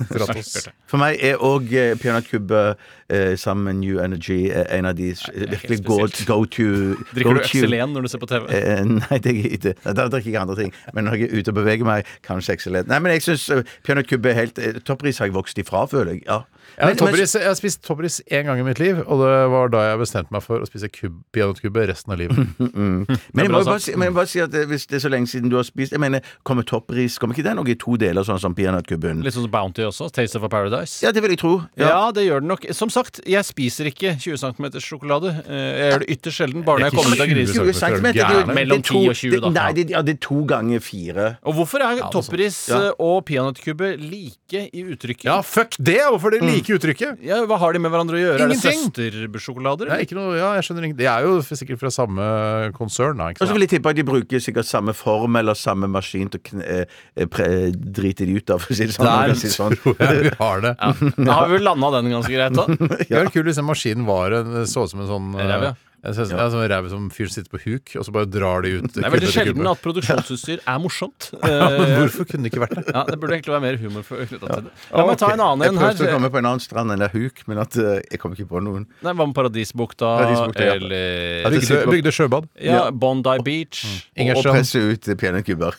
[SPEAKER 6] Stratos.
[SPEAKER 8] for meg er òg eh, peanøttkubbe eh, sammen med New Energy eh, en av de s- virkelig go,
[SPEAKER 7] spesielt.
[SPEAKER 8] go to
[SPEAKER 7] Drikker
[SPEAKER 8] go
[SPEAKER 7] du
[SPEAKER 8] to-
[SPEAKER 7] Excelen når du ser på TV?
[SPEAKER 8] Eh, [laughs] nei, det er jeg ikke. Nei, Da drikker jeg andre ting. Men når jeg er ute og beveger meg, kanskje excellent. Nei, men jeg syns peanøttkubbe er helt eh, Toppris har jeg vokst ifra, føler jeg. Ja.
[SPEAKER 6] Jeg har,
[SPEAKER 8] Men- men-
[SPEAKER 6] topperis, jeg har spist topperis én gang i mitt liv, og det var da jeg bestemte meg for å spise kubb- peanøttkubbe resten av livet.
[SPEAKER 8] Men jeg,
[SPEAKER 6] Det er bra
[SPEAKER 8] må jo bare
[SPEAKER 6] sagt.
[SPEAKER 8] si, men jeg må bare si at eh, hvis det er så lenge siden du har spist Jeg mener, Kommer toppris Kommer ikke den også i to deler, sånn som peanøttkubben?
[SPEAKER 7] Litt sånn som Bounty også. Taste of a Paradise.
[SPEAKER 8] Ja, det vil jeg tro.
[SPEAKER 7] Ja. det gjør den nok. Som sagt, jeg spiser ikke 20 cm sjokolade. Eh, Jeg gjør det ytterst sjelden, bare når jeg
[SPEAKER 6] Det er
[SPEAKER 7] kommer ut av
[SPEAKER 6] ikke 20
[SPEAKER 7] grisen.
[SPEAKER 6] centimeter.
[SPEAKER 8] centimeter, det er jo-
[SPEAKER 6] Gæren.
[SPEAKER 8] det er
[SPEAKER 7] Mellom
[SPEAKER 8] to-
[SPEAKER 7] 10 og 20 da.
[SPEAKER 8] det- Nei, det, ja, det er to ganger fire.
[SPEAKER 7] Og hvorfor er
[SPEAKER 6] noe sånt.
[SPEAKER 7] toppris
[SPEAKER 8] Ja.
[SPEAKER 7] eh, og peanøttkubbe like i
[SPEAKER 6] [laughs]
[SPEAKER 7] uttrykket?
[SPEAKER 6] Ja, fuck det! Hvorfor det like uttrykket?
[SPEAKER 7] Ja, Hva har de med hverandre å gjøre?
[SPEAKER 6] Ingenting.
[SPEAKER 7] Er det søstersjokolader?
[SPEAKER 6] Det er
[SPEAKER 7] eller?
[SPEAKER 6] ikke noe, ja, jeg skjønner ikke. Det er jo sikkert fra samme konsern, da. Ikke
[SPEAKER 7] Altså-
[SPEAKER 8] Og så
[SPEAKER 6] sant? [laughs]
[SPEAKER 8] vil jeg tippe at de bruker sikkert samme form eller samme maskin til å kn eh, eh, pre drite de ut av, for å si det sånn.
[SPEAKER 7] Der
[SPEAKER 8] man kan si det sånn.
[SPEAKER 6] tror jeg vi har det.
[SPEAKER 8] [laughs]
[SPEAKER 7] Da har vi vel landa den ganske greit, da.
[SPEAKER 6] Det var kult hvis den maskinen var en, så ut som en sånn eh,
[SPEAKER 7] Ræv, ja.
[SPEAKER 6] en sånn- ja. sånn ræv som fyren sitter på huk, og så bare drar de ut.
[SPEAKER 7] Det er veldig sjelden
[SPEAKER 6] [laughs]
[SPEAKER 7] at produksjonsutstyr er [laughs] morsomt. Eh,
[SPEAKER 6] Hvorfor kunne det ikke vært det?
[SPEAKER 7] Ja, Det burde egentlig være mer humor for- knyttet til det. La meg ta en annen en
[SPEAKER 8] Jeg prøvde å
[SPEAKER 7] her.
[SPEAKER 8] komme på en annen strand enn det er huk, men at eh, jeg kom ikke på noen.
[SPEAKER 7] Nei, Hva med Paradisbukta?
[SPEAKER 8] Paradisbukta, ja.
[SPEAKER 7] Eller
[SPEAKER 8] At de
[SPEAKER 6] Bygde,
[SPEAKER 8] sitter på-
[SPEAKER 6] bygde sjøbad.
[SPEAKER 7] ja, Mm. Bondi Beach.
[SPEAKER 8] Og
[SPEAKER 6] Ingerstrand.
[SPEAKER 8] presse ut eh, peanøttkubber.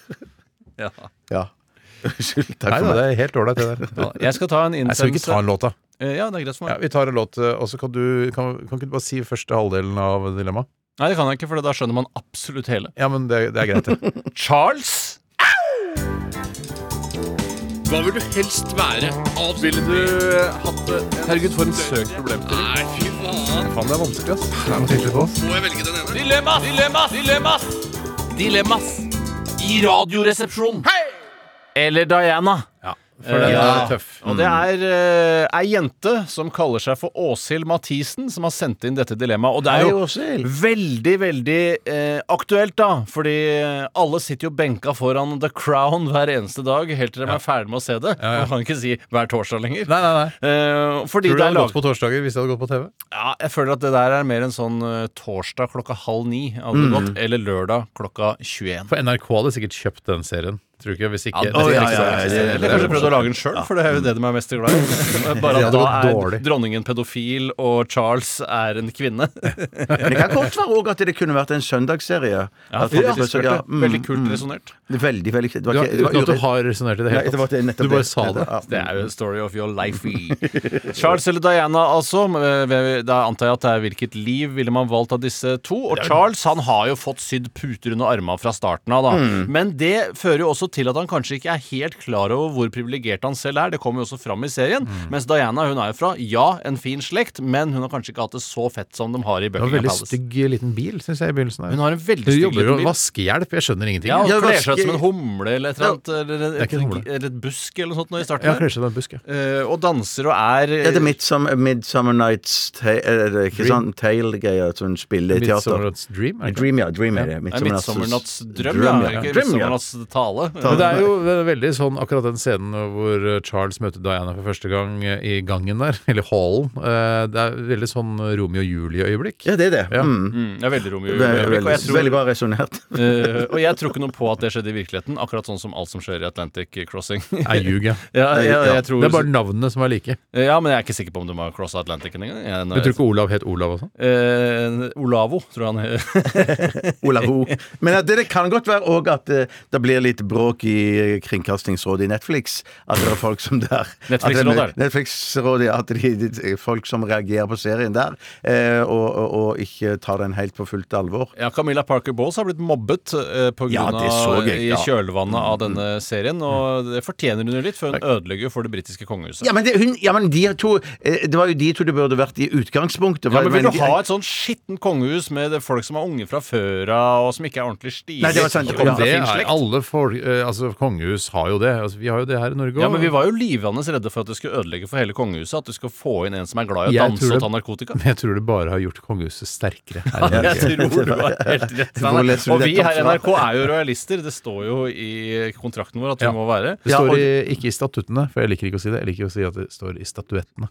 [SPEAKER 7] Ja.
[SPEAKER 8] Ja. [laughs] Unnskyld.
[SPEAKER 6] Nei
[SPEAKER 8] Takk for
[SPEAKER 6] da,
[SPEAKER 8] meg.
[SPEAKER 6] det er helt ålreit, det der.
[SPEAKER 7] Ja, Jeg skal ta en
[SPEAKER 6] Nei, skal vi ikke ta
[SPEAKER 7] innsendelse.
[SPEAKER 6] en låt, da?
[SPEAKER 7] Eh, Ja, det er greit for meg.
[SPEAKER 6] Ja, vi tar en låt, eh, og så kan du kan, kan ikke du bare si første halvdelen av dilemmaet?
[SPEAKER 7] Nei, det kan jeg ikke, for da skjønner man absolutt hele.
[SPEAKER 6] Ja, men det, det er greit, det.
[SPEAKER 7] Charles!
[SPEAKER 14] Hva vil du helst være? Ville du hatt det? Herregud, for en søk problemstilling. Nei, fy faen.
[SPEAKER 6] Faen, det er vanskelig, ass. Det er noe tydelig på oss.
[SPEAKER 14] Må jeg velge den ene? Dilemmas! Dilemmas! Dilemmas! Dilemmas i Radioresepsjonen.
[SPEAKER 7] Eller Diana. Eh, Ja,
[SPEAKER 6] for den er tøff.
[SPEAKER 7] Og det er eh, ei jente som kaller seg for Åshild Mathisen, som har sendt inn dette dilemmaet. Og det er jo veldig, veldig eh, aktuelt, da. Fordi eh, alle sitter jo benka foran The Crown hver eneste dag helt til de er ferdig med å se det.
[SPEAKER 6] ja.
[SPEAKER 7] Man kan ikke si hver torsdag lenger.
[SPEAKER 6] Nei, nei, nei.
[SPEAKER 7] Eh, fordi
[SPEAKER 6] Tror du det
[SPEAKER 7] det er
[SPEAKER 6] hadde
[SPEAKER 7] lag...
[SPEAKER 6] gått på torsdager hvis det hadde gått på TV?
[SPEAKER 7] Ja, jeg føler at det der er mer en sånn eh,
[SPEAKER 6] Mm.
[SPEAKER 7] torsdag klokka halv ni, hadde det gått, eller lørdag klokka 21.
[SPEAKER 6] For NRK hadde sikkert kjøpt den serien.
[SPEAKER 7] Tror du ikke, hvis ikke
[SPEAKER 6] Ja, å, ja, ja, ja, ja, ja.
[SPEAKER 7] Eller kanskje prøvd å lage den sjøl, for det er jo det de er mest
[SPEAKER 6] [laughs]
[SPEAKER 7] glad i. Bare
[SPEAKER 6] Det hadde
[SPEAKER 7] at da
[SPEAKER 6] gått
[SPEAKER 7] er
[SPEAKER 6] dårlig.
[SPEAKER 7] dronningen pedofil, og Charles er en kvinne.
[SPEAKER 8] Men det kan godt være også at det kunne vært en søndagsserie.
[SPEAKER 7] [laughs] Ja,
[SPEAKER 8] At folk
[SPEAKER 7] ja,
[SPEAKER 8] besøker-
[SPEAKER 7] klart det.
[SPEAKER 8] mm,
[SPEAKER 7] Veldig kult
[SPEAKER 8] mm.
[SPEAKER 7] resonert.
[SPEAKER 8] Veldig, veldig kult. Det var
[SPEAKER 7] Du har-
[SPEAKER 8] ikke- det var
[SPEAKER 7] uten at du
[SPEAKER 8] ure-
[SPEAKER 7] har resonert i det hele
[SPEAKER 8] Nei,
[SPEAKER 7] tatt.
[SPEAKER 8] det var nettopp
[SPEAKER 7] Du bare
[SPEAKER 8] det.
[SPEAKER 7] sa det.
[SPEAKER 8] Ja.
[SPEAKER 7] Det er jo story of your life.
[SPEAKER 6] [laughs]
[SPEAKER 7] Charles eller Diana, altså. men, eh, Da antar jeg at det er hvilket liv ville man valgt av disse to. Og
[SPEAKER 6] Det er-
[SPEAKER 7] Charles han har jo fått sydd puter under armene fra starten av, da.
[SPEAKER 6] Mm.
[SPEAKER 7] Men det fører jo også til at han kanskje ikke er helt klar over hvor privilegert han selv er. Det kommer jo også fram i serien.
[SPEAKER 6] Mm.
[SPEAKER 7] Mens Diana hun er jo fra, ja, en fin slekt, men hun har kanskje ikke hatt det så fett som de har i
[SPEAKER 6] Det var en
[SPEAKER 7] Buckingham
[SPEAKER 6] veldig
[SPEAKER 7] Palace.
[SPEAKER 6] stygg liten bil, syns jeg, i begynnelsen. her.
[SPEAKER 7] Hun har en veldig
[SPEAKER 6] Hun
[SPEAKER 7] stygg
[SPEAKER 6] jobber
[SPEAKER 7] liten
[SPEAKER 6] jo
[SPEAKER 7] bil.
[SPEAKER 6] vaskehjelp. Jeg skjønner ingenting.
[SPEAKER 7] Ja,
[SPEAKER 6] jeg.
[SPEAKER 7] og kler seg ut som en humle eller et eller annet. Eller
[SPEAKER 6] Det er
[SPEAKER 7] et,
[SPEAKER 6] ikke en humle.
[SPEAKER 7] eller et busk eller noe sånt nå i starten.
[SPEAKER 6] Ja,
[SPEAKER 7] der.
[SPEAKER 6] kler seg som en busk, ja.
[SPEAKER 7] Eh, og danser og er
[SPEAKER 8] Ja, det er Midsummer, Midsummer Nights Tale, er det ikke sånn Tale-greier som hun spiller i teater.
[SPEAKER 6] Midsummer Night's Dream, er det ikke?
[SPEAKER 8] Dream, ja. Dream er det.
[SPEAKER 7] Nei, Midtsommernatts drøm,
[SPEAKER 8] Drøm,
[SPEAKER 7] ja. Ikke
[SPEAKER 8] Dream, ja.
[SPEAKER 7] Midtsommernatts tale.
[SPEAKER 6] Men det er jo det er veldig sånn akkurat den scenen hvor eh, Charles møter Diana for første gang eh, i gangen der, [laughs] eller hallen. eh, Det er veldig sånn Romeo og Julie-øyeblikk.
[SPEAKER 8] Ja, det er det.
[SPEAKER 6] Ja.
[SPEAKER 8] Mm.
[SPEAKER 7] Mm, det er veldig Romeo og
[SPEAKER 8] Det er
[SPEAKER 7] Julie-øyeblikk, og
[SPEAKER 8] veldig,
[SPEAKER 7] jeg tror-
[SPEAKER 8] veldig bra resonert.
[SPEAKER 7] [laughs] Eh, og jeg tror ikke noe på at det skjedde i virkeligheten, akkurat sånn som alt som skjer i Atlantic Crossing. [laughs]
[SPEAKER 6] Er ljug, ja.
[SPEAKER 7] ja, ja, jeg tror,
[SPEAKER 6] Det er bare navnene som er like.
[SPEAKER 7] ja, men jeg er ikke sikker på om de har crossa Atlanticen engang. Jeg-
[SPEAKER 6] Du tror ikke Olav het Olav og sånn?
[SPEAKER 7] Eh, Olavo, tror jeg han heter.
[SPEAKER 8] Olavo. Men at det, det kan godt være òg at eh, det blir litt bråk i eh, Kringkastingsrådet i Netflix. At det er folk som der
[SPEAKER 7] Netflix-rådet, er
[SPEAKER 8] at det- Netflix-rådet, ja. At de, de, de, folk som reagerer på serien der, eh, og, og, og ikke tar den helt på fullt alvor.
[SPEAKER 7] [laughs] Ja, Camilla Parker Bowles har blitt mobbet eh, på
[SPEAKER 8] Ja,
[SPEAKER 7] grunn
[SPEAKER 8] det så
[SPEAKER 7] av,
[SPEAKER 8] jeg,
[SPEAKER 7] i
[SPEAKER 8] ja. Mm.
[SPEAKER 7] kjølvannet av denne serien, og det fortjener hun jo litt, for hun ødelegger jo for det britiske kongehuset.
[SPEAKER 8] Ja, men, det, hun, ja, men de to eh, Det var jo de to det burde vært i utgangspunktet.
[SPEAKER 7] Ja, men Vil du
[SPEAKER 8] de-
[SPEAKER 7] ha et sånn skittent kongehus med det folk som er unge fra før av, og som ikke er ordentlig stilige?
[SPEAKER 8] Nei, det var sant,
[SPEAKER 7] som kommer
[SPEAKER 8] ja.
[SPEAKER 7] fra
[SPEAKER 6] Det
[SPEAKER 7] fin
[SPEAKER 6] er,
[SPEAKER 7] slekt?
[SPEAKER 6] alle folk, eh, altså Kongehus har jo det. Altså, vi har jo det her i Norge
[SPEAKER 7] Ja,
[SPEAKER 6] også.
[SPEAKER 7] men Vi var jo livende redde for at det skulle ødelegge for hele kongehuset. At du skal få inn en som er glad i å
[SPEAKER 6] Jeg
[SPEAKER 7] danse
[SPEAKER 6] tror
[SPEAKER 7] og
[SPEAKER 6] det-
[SPEAKER 7] ta narkotika.
[SPEAKER 6] [laughs] Men jeg tror det bare har gjort kongehuset sterkere
[SPEAKER 7] [laughs]
[SPEAKER 6] her i
[SPEAKER 7] Ja,
[SPEAKER 6] Norge.
[SPEAKER 7] jeg tror du har helt rett.
[SPEAKER 6] Hvor
[SPEAKER 7] Steinar.
[SPEAKER 6] leser du
[SPEAKER 7] Og vi
[SPEAKER 6] dette
[SPEAKER 7] her i
[SPEAKER 6] fra?
[SPEAKER 7] NRK er jo royalister. Det står jo i kontrakten vår at vi
[SPEAKER 6] Ja.
[SPEAKER 7] må være.
[SPEAKER 6] Det står i, ikke i statuttene, for jeg liker ikke å si det. Jeg liker å si at det står i statuettene.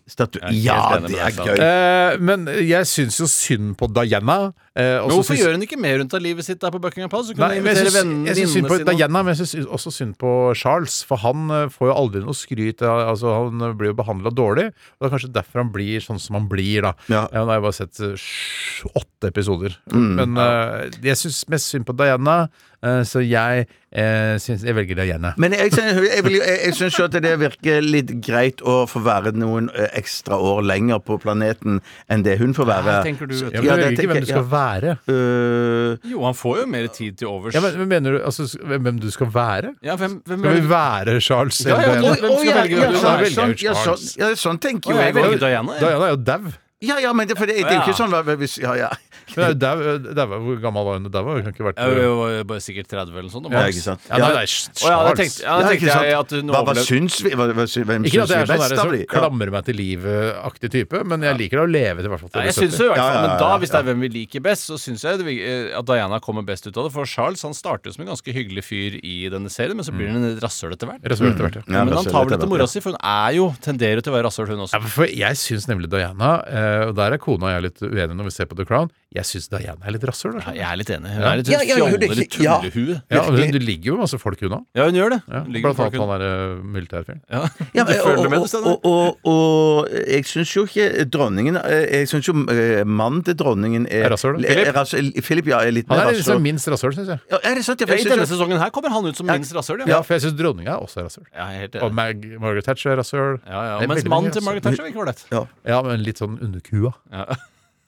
[SPEAKER 7] Ja, det er gøy.
[SPEAKER 6] Eh, men jeg syns jo synd på Diana. eh, og
[SPEAKER 7] Men
[SPEAKER 6] så
[SPEAKER 7] Hvorfor
[SPEAKER 6] syns-
[SPEAKER 7] gjør hun ikke mer rundt av livet sitt der på Buckingham Palace? Hun
[SPEAKER 6] Nei, men
[SPEAKER 7] kunne
[SPEAKER 6] jeg
[SPEAKER 7] invitere
[SPEAKER 6] syns-
[SPEAKER 7] vennene
[SPEAKER 6] jeg syns synd på
[SPEAKER 7] sine og-
[SPEAKER 6] Diana, men jeg syns også synd på Charles. For han eh, får jo aldri noe skryt. eh, Altså, han eh, blir jo behandla dårlig. Og det er kanskje derfor han blir sånn som han blir, da.
[SPEAKER 8] Ja.
[SPEAKER 6] Eh, Nå har jeg bare sett eh, sju- åtte episoder.
[SPEAKER 8] Mm.
[SPEAKER 6] Men eh, jeg syns mest synd på Diana, eh, så jeg eh, syns Jeg velger Diana.
[SPEAKER 8] Men jeg, synes- jeg, vil jo- jeg, jeg syns jo at det virker litt greit å få være noen eh, ekstra år lenger på planeten enn det hun får være.
[SPEAKER 7] Nei, tenker du, vet du.
[SPEAKER 6] Ja, men du velger ikke hvem du skal være.
[SPEAKER 8] Eh,
[SPEAKER 7] Jo, han får jo mer tid til overs.
[SPEAKER 6] Ja, men, men Mener du altså, s- hvem hvem du skal være?
[SPEAKER 7] Ja, hvem- hvem
[SPEAKER 6] skal vi
[SPEAKER 7] velger-
[SPEAKER 6] være Charles
[SPEAKER 7] Ja, ja,
[SPEAKER 6] eller
[SPEAKER 7] hvem-
[SPEAKER 6] Diana?
[SPEAKER 7] hvem skal velge hvem
[SPEAKER 6] Da
[SPEAKER 7] du er?
[SPEAKER 6] velger jeg jo
[SPEAKER 8] Ja, sånn,
[SPEAKER 6] Charles.
[SPEAKER 8] ja, sånn
[SPEAKER 7] Å,
[SPEAKER 8] tenker jo
[SPEAKER 7] jeg
[SPEAKER 8] jeg.
[SPEAKER 7] velger
[SPEAKER 8] også.
[SPEAKER 7] Diana, jeg.
[SPEAKER 6] Diana er jo dau.
[SPEAKER 8] Ja, ja, men det, for det, det er jo ikke sånn hva- hvis, ja, ja.
[SPEAKER 6] Hun er jo dau- eh, dau- Hvor gammel var hun da? Hun kan ikke vært
[SPEAKER 7] Jeg var jo bare sikkert 30 eller noe sånt.
[SPEAKER 6] Ja, ikke sant. Ja, nei, det er Charles.
[SPEAKER 7] Å, ja, da tenkte, ja, da
[SPEAKER 8] Ja,
[SPEAKER 7] tenkte
[SPEAKER 8] ikke
[SPEAKER 7] jeg
[SPEAKER 8] sant?
[SPEAKER 7] at hun
[SPEAKER 8] Hva- hva
[SPEAKER 7] overlevde.
[SPEAKER 8] syns vi- hva- hva sy- hvem
[SPEAKER 6] Ikke at
[SPEAKER 8] syns
[SPEAKER 6] jeg er sånn
[SPEAKER 8] vi best
[SPEAKER 6] der
[SPEAKER 8] av
[SPEAKER 6] som
[SPEAKER 8] de? Ja.
[SPEAKER 6] klamrer meg til livet-aktig type, men jeg liker å leve til i hvert fall til
[SPEAKER 7] Nei,
[SPEAKER 6] jeg
[SPEAKER 7] jeg
[SPEAKER 6] er
[SPEAKER 7] synes jo i
[SPEAKER 6] 70.
[SPEAKER 7] hvert fall, men da, Hvis det er hvem vi liker best, så syns jeg det, vi- eh, at Diana kommer best ut av det. For Charles han starter jo som en ganske hyggelig fyr i denne serien, men så blir han en rasshøl etter hvert.
[SPEAKER 6] Rasshøl etter hvert, ja.
[SPEAKER 7] Mm.
[SPEAKER 6] Mm. Ja,
[SPEAKER 7] men han
[SPEAKER 6] rasshøl
[SPEAKER 7] tar
[SPEAKER 6] etter
[SPEAKER 7] vel etter
[SPEAKER 6] hvert,
[SPEAKER 7] mora
[SPEAKER 6] ja.
[SPEAKER 7] si, for hun er jo, tenderer jo til å være rasshøl, hun også.
[SPEAKER 6] Ja, men for jeg syns nemlig Diana, eh, og der er kona og jeg litt uenige når vi ser på The Crown, jeg syns Diana er litt rasshøl. altså.
[SPEAKER 7] jeg er litt enig. Hun
[SPEAKER 6] Ja.
[SPEAKER 7] er litt sånn
[SPEAKER 6] Ja, ja, hun er
[SPEAKER 7] fjollete, litt
[SPEAKER 6] ikke- ja.
[SPEAKER 7] tullehue.
[SPEAKER 6] Ja, og hun- du ligger jo masse folk unna.
[SPEAKER 7] Ja, hun gjør det.
[SPEAKER 6] Ja,
[SPEAKER 7] Hun ligger
[SPEAKER 6] blant annet
[SPEAKER 7] folk-
[SPEAKER 6] han der eh, militærfyren.
[SPEAKER 8] Ja,
[SPEAKER 7] Du
[SPEAKER 8] men-
[SPEAKER 7] følger
[SPEAKER 8] og-
[SPEAKER 7] med, sånn du,
[SPEAKER 8] og,
[SPEAKER 7] Steinar.
[SPEAKER 8] og, og, og jeg syns jo ikke dronningen eh, Jeg syns jo eh, mannen til dronningen er
[SPEAKER 6] Er rasshøl, da?
[SPEAKER 8] er rasshøl- Philip, ja, er litt
[SPEAKER 6] Han
[SPEAKER 8] mer
[SPEAKER 6] er litt
[SPEAKER 8] rasshøl.
[SPEAKER 6] sånn minst rasshøl, syns jeg.
[SPEAKER 8] Ja, er det sant? Ja, for
[SPEAKER 7] Ja,
[SPEAKER 8] jeg
[SPEAKER 7] I
[SPEAKER 8] synes
[SPEAKER 7] denne
[SPEAKER 8] jo-
[SPEAKER 7] sesongen her kommer han ut som minst rasshøl,
[SPEAKER 6] Ja, for jeg syns dronninga også er rasshøl.
[SPEAKER 7] Ja, jeg er helt
[SPEAKER 6] Og
[SPEAKER 7] enig.
[SPEAKER 6] Mag Margaret Thatcher er rasshøl. Det
[SPEAKER 7] Ja, ja,
[SPEAKER 6] er
[SPEAKER 7] mens
[SPEAKER 6] veldig
[SPEAKER 7] mannen
[SPEAKER 6] mye altså.
[SPEAKER 7] til Margaret
[SPEAKER 6] rasshøl.
[SPEAKER 7] Thatcher var ikke ålreit.
[SPEAKER 8] Ja.
[SPEAKER 6] Ja, men litt sånn underkua.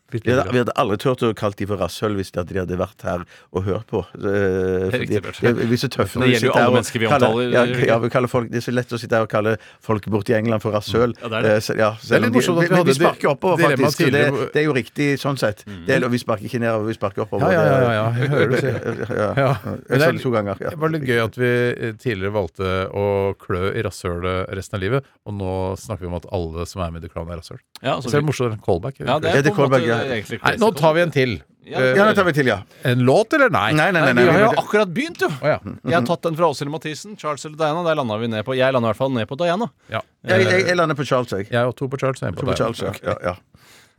[SPEAKER 6] Bitte
[SPEAKER 8] Vi
[SPEAKER 6] litt
[SPEAKER 8] hadde,
[SPEAKER 6] grann.
[SPEAKER 8] vi hadde aldri turt å kalle de for rasshøl hvis de hadde- de hadde vært her og hørt på. Eh,
[SPEAKER 6] Det er
[SPEAKER 8] fordi-
[SPEAKER 6] riktig, Bjørte.
[SPEAKER 8] ja, vi er så
[SPEAKER 7] Det
[SPEAKER 8] tøffe når
[SPEAKER 7] gjelder
[SPEAKER 8] vi
[SPEAKER 7] jo
[SPEAKER 8] sitter
[SPEAKER 7] alle
[SPEAKER 8] her og
[SPEAKER 7] mennesker vi
[SPEAKER 8] kaller-
[SPEAKER 7] omtaler,
[SPEAKER 8] Ja,
[SPEAKER 7] Jørgen.
[SPEAKER 8] ja, vi kaller folk, det er så lett å sitte her og kalle folk borti England for rasshøl.
[SPEAKER 6] Mm. Ja, det er det.
[SPEAKER 8] Eh, så- ja,
[SPEAKER 6] Det er litt
[SPEAKER 8] selv om de-
[SPEAKER 6] morsomt at vi
[SPEAKER 8] men- men
[SPEAKER 6] hadde
[SPEAKER 8] Vi sparker
[SPEAKER 6] di-
[SPEAKER 8] oppover,
[SPEAKER 6] dilemma
[SPEAKER 8] faktisk. og Det,
[SPEAKER 6] tidligere. Mm.
[SPEAKER 8] det er jo riktig sånn sett. Det er, vi sparker ikke nedover, vi sparker oppover.
[SPEAKER 6] Ja, ja, ja, ja, jeg hører du sier.
[SPEAKER 8] det. Ja.
[SPEAKER 6] Ja.
[SPEAKER 8] Jeg
[SPEAKER 6] Men
[SPEAKER 8] sa
[SPEAKER 6] er-
[SPEAKER 8] det to ganger. Ja.
[SPEAKER 6] Det var litt gøy at vi eh, tidligere valgte å klø i rasshølet resten av livet, og nå snakker vi om at alle som er med i The Crown, er rasshøl.
[SPEAKER 7] Ja,
[SPEAKER 6] så
[SPEAKER 7] så
[SPEAKER 6] det er
[SPEAKER 7] vi-
[SPEAKER 6] morsommere enn callback.
[SPEAKER 7] Ja, det er Ja, det er på en måte- callback, ja. det er egentlig
[SPEAKER 6] Nei, nå tar vi en til. Eh,
[SPEAKER 7] Ja, det- Ja, nå tar vi
[SPEAKER 8] til, ja.
[SPEAKER 6] En låt, eller nei?
[SPEAKER 8] Nei, nei,
[SPEAKER 7] Nei,
[SPEAKER 8] nei, nei,
[SPEAKER 7] vi har
[SPEAKER 8] vi-
[SPEAKER 7] jo akkurat begynt, jo.
[SPEAKER 6] ja.
[SPEAKER 7] Jeg har tatt den fra Åshild Mathisen, Charles eller Diana. Der landa vi ned på Jeg landa i hvert fall ned på Diana.
[SPEAKER 6] Ja.
[SPEAKER 8] Jeg, jeg, jeg lander på Charles, jeg.
[SPEAKER 6] Jeg har to på Charles og en på
[SPEAKER 8] To
[SPEAKER 6] deg.
[SPEAKER 8] på Charles, ja. ja, ja.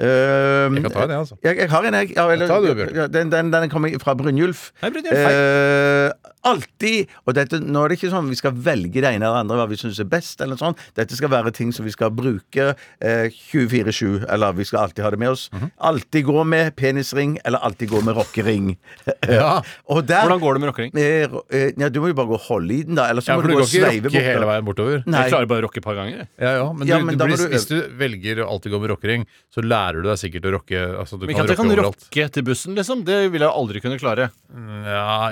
[SPEAKER 8] Ehm,
[SPEAKER 6] Jeg kan ta en, jeg, altså.
[SPEAKER 8] Jeg, jeg har en, jeg. Ja, eller-
[SPEAKER 6] Ta du, Bjørte.
[SPEAKER 8] ja, den, den, den kommer fra Brynjulf.
[SPEAKER 7] Hei, Brynjulf, hei.
[SPEAKER 8] Eh, alltid Og dette, nå er det ikke sånn vi skal velge det ene eller det andre, hva vi syns er best, eller sånn. Dette skal være ting som vi skal bruke eh, 24-7, eller vi skal alltid ha det med oss.
[SPEAKER 6] Mhm.
[SPEAKER 8] Alltid gå med penisring, eller alltid gå med rockering.
[SPEAKER 6] [laughs]
[SPEAKER 8] Eh,
[SPEAKER 6] Ja.
[SPEAKER 7] Hvordan går det med rockering?
[SPEAKER 8] ja, du må jo bare gå og holde i den, da. Eller så
[SPEAKER 6] Ja,
[SPEAKER 8] må
[SPEAKER 6] for
[SPEAKER 8] du
[SPEAKER 6] du
[SPEAKER 8] gå
[SPEAKER 6] kan
[SPEAKER 8] og
[SPEAKER 6] ikke
[SPEAKER 8] sveive
[SPEAKER 6] rocke
[SPEAKER 8] bortover.
[SPEAKER 6] hele veien bortover.
[SPEAKER 8] Nei.
[SPEAKER 7] Jeg klarer bare å rocke et par ganger.
[SPEAKER 6] Ja, ja, men,
[SPEAKER 8] Ja,
[SPEAKER 6] du,
[SPEAKER 8] men
[SPEAKER 6] du
[SPEAKER 8] da må
[SPEAKER 6] blir,
[SPEAKER 8] du øve.
[SPEAKER 6] hvis du velger å alltid gå med rockering, så lærer du deg sikkert å rocke. Altså, du
[SPEAKER 7] Men
[SPEAKER 6] kan
[SPEAKER 7] ikke at jeg kan
[SPEAKER 6] rocke overalt.
[SPEAKER 7] rocke til bussen, liksom. Det vil jeg aldri kunne klare.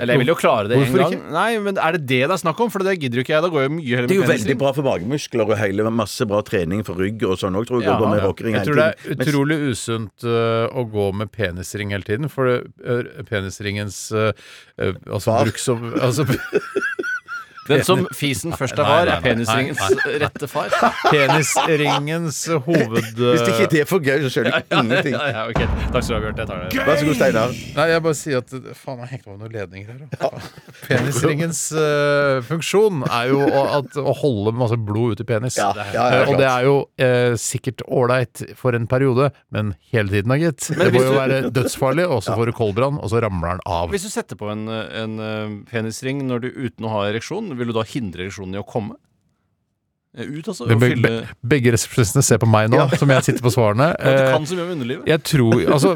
[SPEAKER 7] Eller jeg vil jo klare det en
[SPEAKER 6] Hvorfor
[SPEAKER 7] gang.
[SPEAKER 6] ikke?
[SPEAKER 7] Nei, men er det det det er snakk om? For det gidder jo ikke jeg. Da går jeg mye heller
[SPEAKER 8] Det er jo
[SPEAKER 7] med
[SPEAKER 8] veldig
[SPEAKER 7] penisring.
[SPEAKER 8] bra for magemuskler og hele, masse bra trening for rygg og sånn òg, tror jeg. å gå med rockering
[SPEAKER 6] Jeg
[SPEAKER 8] hele
[SPEAKER 6] tror det er
[SPEAKER 8] tiden. Men-
[SPEAKER 6] utrolig usunt øh, å gå med penisring hele tiden, for det, øh, penisringens øh, øh, altså, bruk som altså, [laughs]
[SPEAKER 7] Den som fisen først er
[SPEAKER 6] Nei, nei,
[SPEAKER 7] var,
[SPEAKER 6] nei,
[SPEAKER 7] er penisringens
[SPEAKER 6] nei, nei, nei.
[SPEAKER 7] rette far.
[SPEAKER 6] Penisringens
[SPEAKER 8] [laughs]
[SPEAKER 6] hoved...
[SPEAKER 7] Hvis det ikke
[SPEAKER 8] det er for gøy, så skjønner jeg
[SPEAKER 7] [laughs]
[SPEAKER 8] ingenting.
[SPEAKER 7] Ja, ja, ok. Takk skal du ha, Bjarte. Jeg tar det.
[SPEAKER 8] Vær så god, Steinar.
[SPEAKER 6] Nei, jeg bare sier at Faen, jeg hekta på noen ledninger her. da. [laughs] Penisringens øh, funksjon er jo å, at, å holde masse blod ut i penis.
[SPEAKER 8] Ja, ja, ja,
[SPEAKER 6] Eh, og det
[SPEAKER 8] klart.
[SPEAKER 6] er jo eh, sikkert ålreit for en periode, men hele tiden, da, gitt.
[SPEAKER 7] Men
[SPEAKER 6] Det må
[SPEAKER 7] hvis
[SPEAKER 6] jo
[SPEAKER 7] du-
[SPEAKER 6] være dødsfarlig, og så får du koldbrann, og så ramler den av.
[SPEAKER 7] Hvis du setter på en, en eh, penisring når du uten å ha ereksjon, vil du da hindre ereksjonen i å komme? Eh, Ut, altså?
[SPEAKER 6] Det
[SPEAKER 7] Og
[SPEAKER 6] be, be,
[SPEAKER 7] fylle
[SPEAKER 6] begge resepsjonistene ser på meg nå, som jeg sitter på svarene.
[SPEAKER 7] [laughs] Ja, du kan
[SPEAKER 6] Eh,
[SPEAKER 7] så mye om underlivet.
[SPEAKER 6] Jeg tror, altså,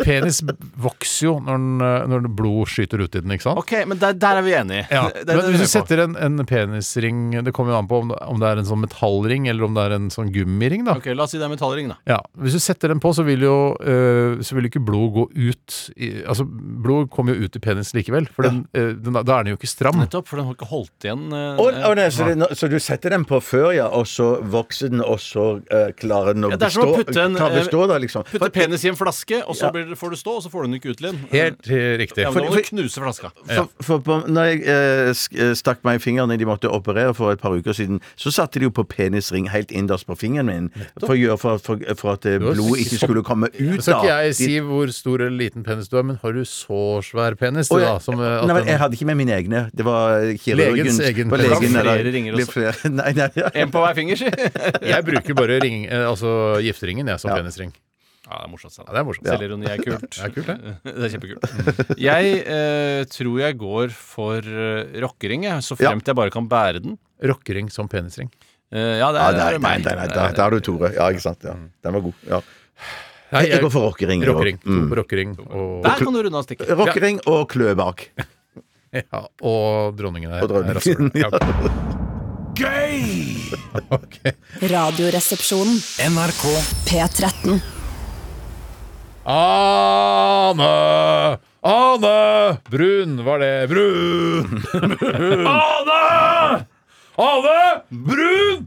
[SPEAKER 6] penis vokser jo når, den, eh, når det blod skyter ut i den, ikke sant?
[SPEAKER 7] Ok, men der, der er vi enige.
[SPEAKER 6] Ja.
[SPEAKER 7] Det- det-
[SPEAKER 6] Men
[SPEAKER 7] det-
[SPEAKER 6] hvis du
[SPEAKER 7] det-
[SPEAKER 6] setter en, en penisring Det kommer jo an på om, om det er en sånn metallring eller om det er en sånn gummiring. da
[SPEAKER 7] Ok, La oss si det er metallring, da.
[SPEAKER 6] ja, Hvis du setter den på, så vil jo eh, Så vil jo ikke blod gå ut i, Altså, blod kommer jo ut i penis likevel. For den, eh, den, da er den jo ikke stram.
[SPEAKER 7] Nettopp, for den har ikke holdt igjen. eh,
[SPEAKER 8] Å, å, nei, så,
[SPEAKER 7] Nei.
[SPEAKER 8] det, nå- så du setter den på før, ja, og så vokser den, og så eh, klarer den å
[SPEAKER 7] Ja, det er som å
[SPEAKER 8] bestå,
[SPEAKER 7] putte en,
[SPEAKER 8] kan
[SPEAKER 7] eh,
[SPEAKER 8] bestå da, liksom.
[SPEAKER 7] Putte penis i en flaske, og så
[SPEAKER 8] Ja.
[SPEAKER 7] blir det, får du stå, og så får du den ikke ut igjen.
[SPEAKER 6] Helt eh, riktig.
[SPEAKER 7] Ja, men da må du knuse flaska.
[SPEAKER 8] For, for på, når jeg eh, sk- eh, stakk meg i fingeren da de måtte operere for et par uker siden, så satte de jo på penisring helt innerst på fingeren min for, å gjøre for, for, for at eh,
[SPEAKER 6] Du har sikkert-
[SPEAKER 8] blodet ikke skulle komme ut.
[SPEAKER 6] Så skal ikke
[SPEAKER 8] da.
[SPEAKER 6] jeg
[SPEAKER 8] De-
[SPEAKER 6] si hvor stor eller liten penis du har, men har du så svær penis, du,
[SPEAKER 8] Å, jeg-
[SPEAKER 6] da? Som, eh, at
[SPEAKER 8] Nei, men
[SPEAKER 6] den-
[SPEAKER 8] jeg hadde ikke med mine egne. Det var kirurgen.
[SPEAKER 6] Legens egen.
[SPEAKER 8] på
[SPEAKER 6] Det kan
[SPEAKER 8] legen,
[SPEAKER 6] flere
[SPEAKER 8] eller-
[SPEAKER 6] ringer
[SPEAKER 8] blir
[SPEAKER 6] også.
[SPEAKER 8] flere- [laughs] Nei, nei,
[SPEAKER 7] En på hver finger, [laughs] si.
[SPEAKER 6] [laughs] jeg bruker bare ring, eh, altså gifteringen jeg som penisring.
[SPEAKER 7] Ja, det er morsomt.
[SPEAKER 6] Ja, det er morsomt.
[SPEAKER 7] Selvironi er kult.
[SPEAKER 6] Det er kult, det.
[SPEAKER 7] [laughs] Det er kjempekult. Jeg eh, tror jeg går for eh, rockering, jeg, så fremt jeg bare kan bære den.
[SPEAKER 6] Rockering som penisring.
[SPEAKER 7] Eh, ja, det er,
[SPEAKER 8] Ja, nei,
[SPEAKER 7] er
[SPEAKER 8] nei,
[SPEAKER 7] meg.
[SPEAKER 8] nei, nei, der, der er du, Tore. Ja, ikke sant. Ja. Den var god. Ja.
[SPEAKER 6] Nei,
[SPEAKER 8] Jeg, jeg går for rockering. jeg
[SPEAKER 6] Rockering.
[SPEAKER 8] også. Mm.
[SPEAKER 6] rockering og [laughs]
[SPEAKER 7] Der kan du runde av stikket.
[SPEAKER 8] Rockering og klø bak.
[SPEAKER 6] Ja, og dronningen er
[SPEAKER 8] Og dronningen.
[SPEAKER 6] rasshøl.
[SPEAKER 8] [laughs]
[SPEAKER 6] Ja.
[SPEAKER 1] Radioresepsjonen.
[SPEAKER 3] NRK.
[SPEAKER 1] P13.
[SPEAKER 6] Ane! Ane! Brun var det. Brun! Ane! Ane! Brun!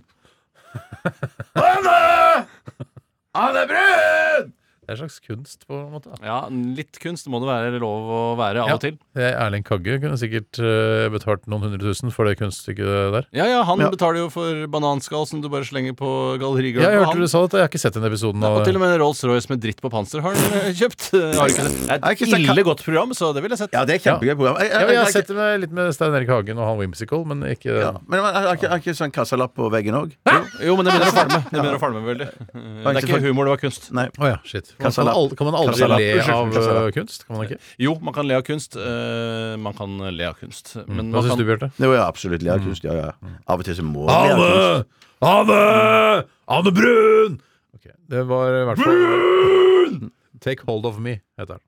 [SPEAKER 6] Ane! Ane Brun! Det er en slags kunst, på en måte.
[SPEAKER 7] Ja, litt kunst må det være lov å være av og til.
[SPEAKER 6] Erling Kagge kunne sikkert eh, betalt noen hundre tusen for det kunststykket der.
[SPEAKER 7] Ja, ja, han
[SPEAKER 6] Ja.
[SPEAKER 7] betaler jo for bananskall som du bare slenger på gallerigulvet.
[SPEAKER 6] Jeg
[SPEAKER 7] Han-
[SPEAKER 6] hørte du sa det, jeg har ikke sett den episoden.
[SPEAKER 7] Og
[SPEAKER 6] av-
[SPEAKER 7] til og med Rolls-Royce med dritt på panser har han eh, kjøpt. [laughs] Eh, Har ikke det. Det er et ille godt program, så det ville jeg sett.
[SPEAKER 8] Ja, det er kjempegøy program. Jeg- jeg-
[SPEAKER 6] Ja, men jeg har
[SPEAKER 8] jeg-
[SPEAKER 6] sett det med, litt med Stein Erik Hagen og han Whimsical, men ikke
[SPEAKER 8] Ja. Men er er ikke, er ikke sånn kassalapp på veggen òg?
[SPEAKER 7] Jo, men det begynner å falme.
[SPEAKER 6] [laughs]
[SPEAKER 7] Det begynner å falme veldig. Eh, Det er ikke humor, det var kunst.
[SPEAKER 8] Nei.
[SPEAKER 6] Å ja, shit. Man kan,
[SPEAKER 8] Kassalapp.
[SPEAKER 6] aldri, kan man aldri
[SPEAKER 7] Kassalapp.
[SPEAKER 6] le
[SPEAKER 7] Unnskyld,
[SPEAKER 6] av
[SPEAKER 7] kassalapp.
[SPEAKER 6] eh, kunst? Kan man ikke?
[SPEAKER 7] Jo, man kan le av kunst. eh, Man kan le av kunst. Men
[SPEAKER 6] Mm. Hva
[SPEAKER 7] man
[SPEAKER 6] syns
[SPEAKER 7] kan-
[SPEAKER 6] du, Bjarte?
[SPEAKER 8] Det var jo absolutt lærkunst. Ja, ja. Av og til så må vi ha kunst.
[SPEAKER 6] Anne! Anne! Anne Brun! Ok, det var i hvert fall Take Hold of Me, heter den.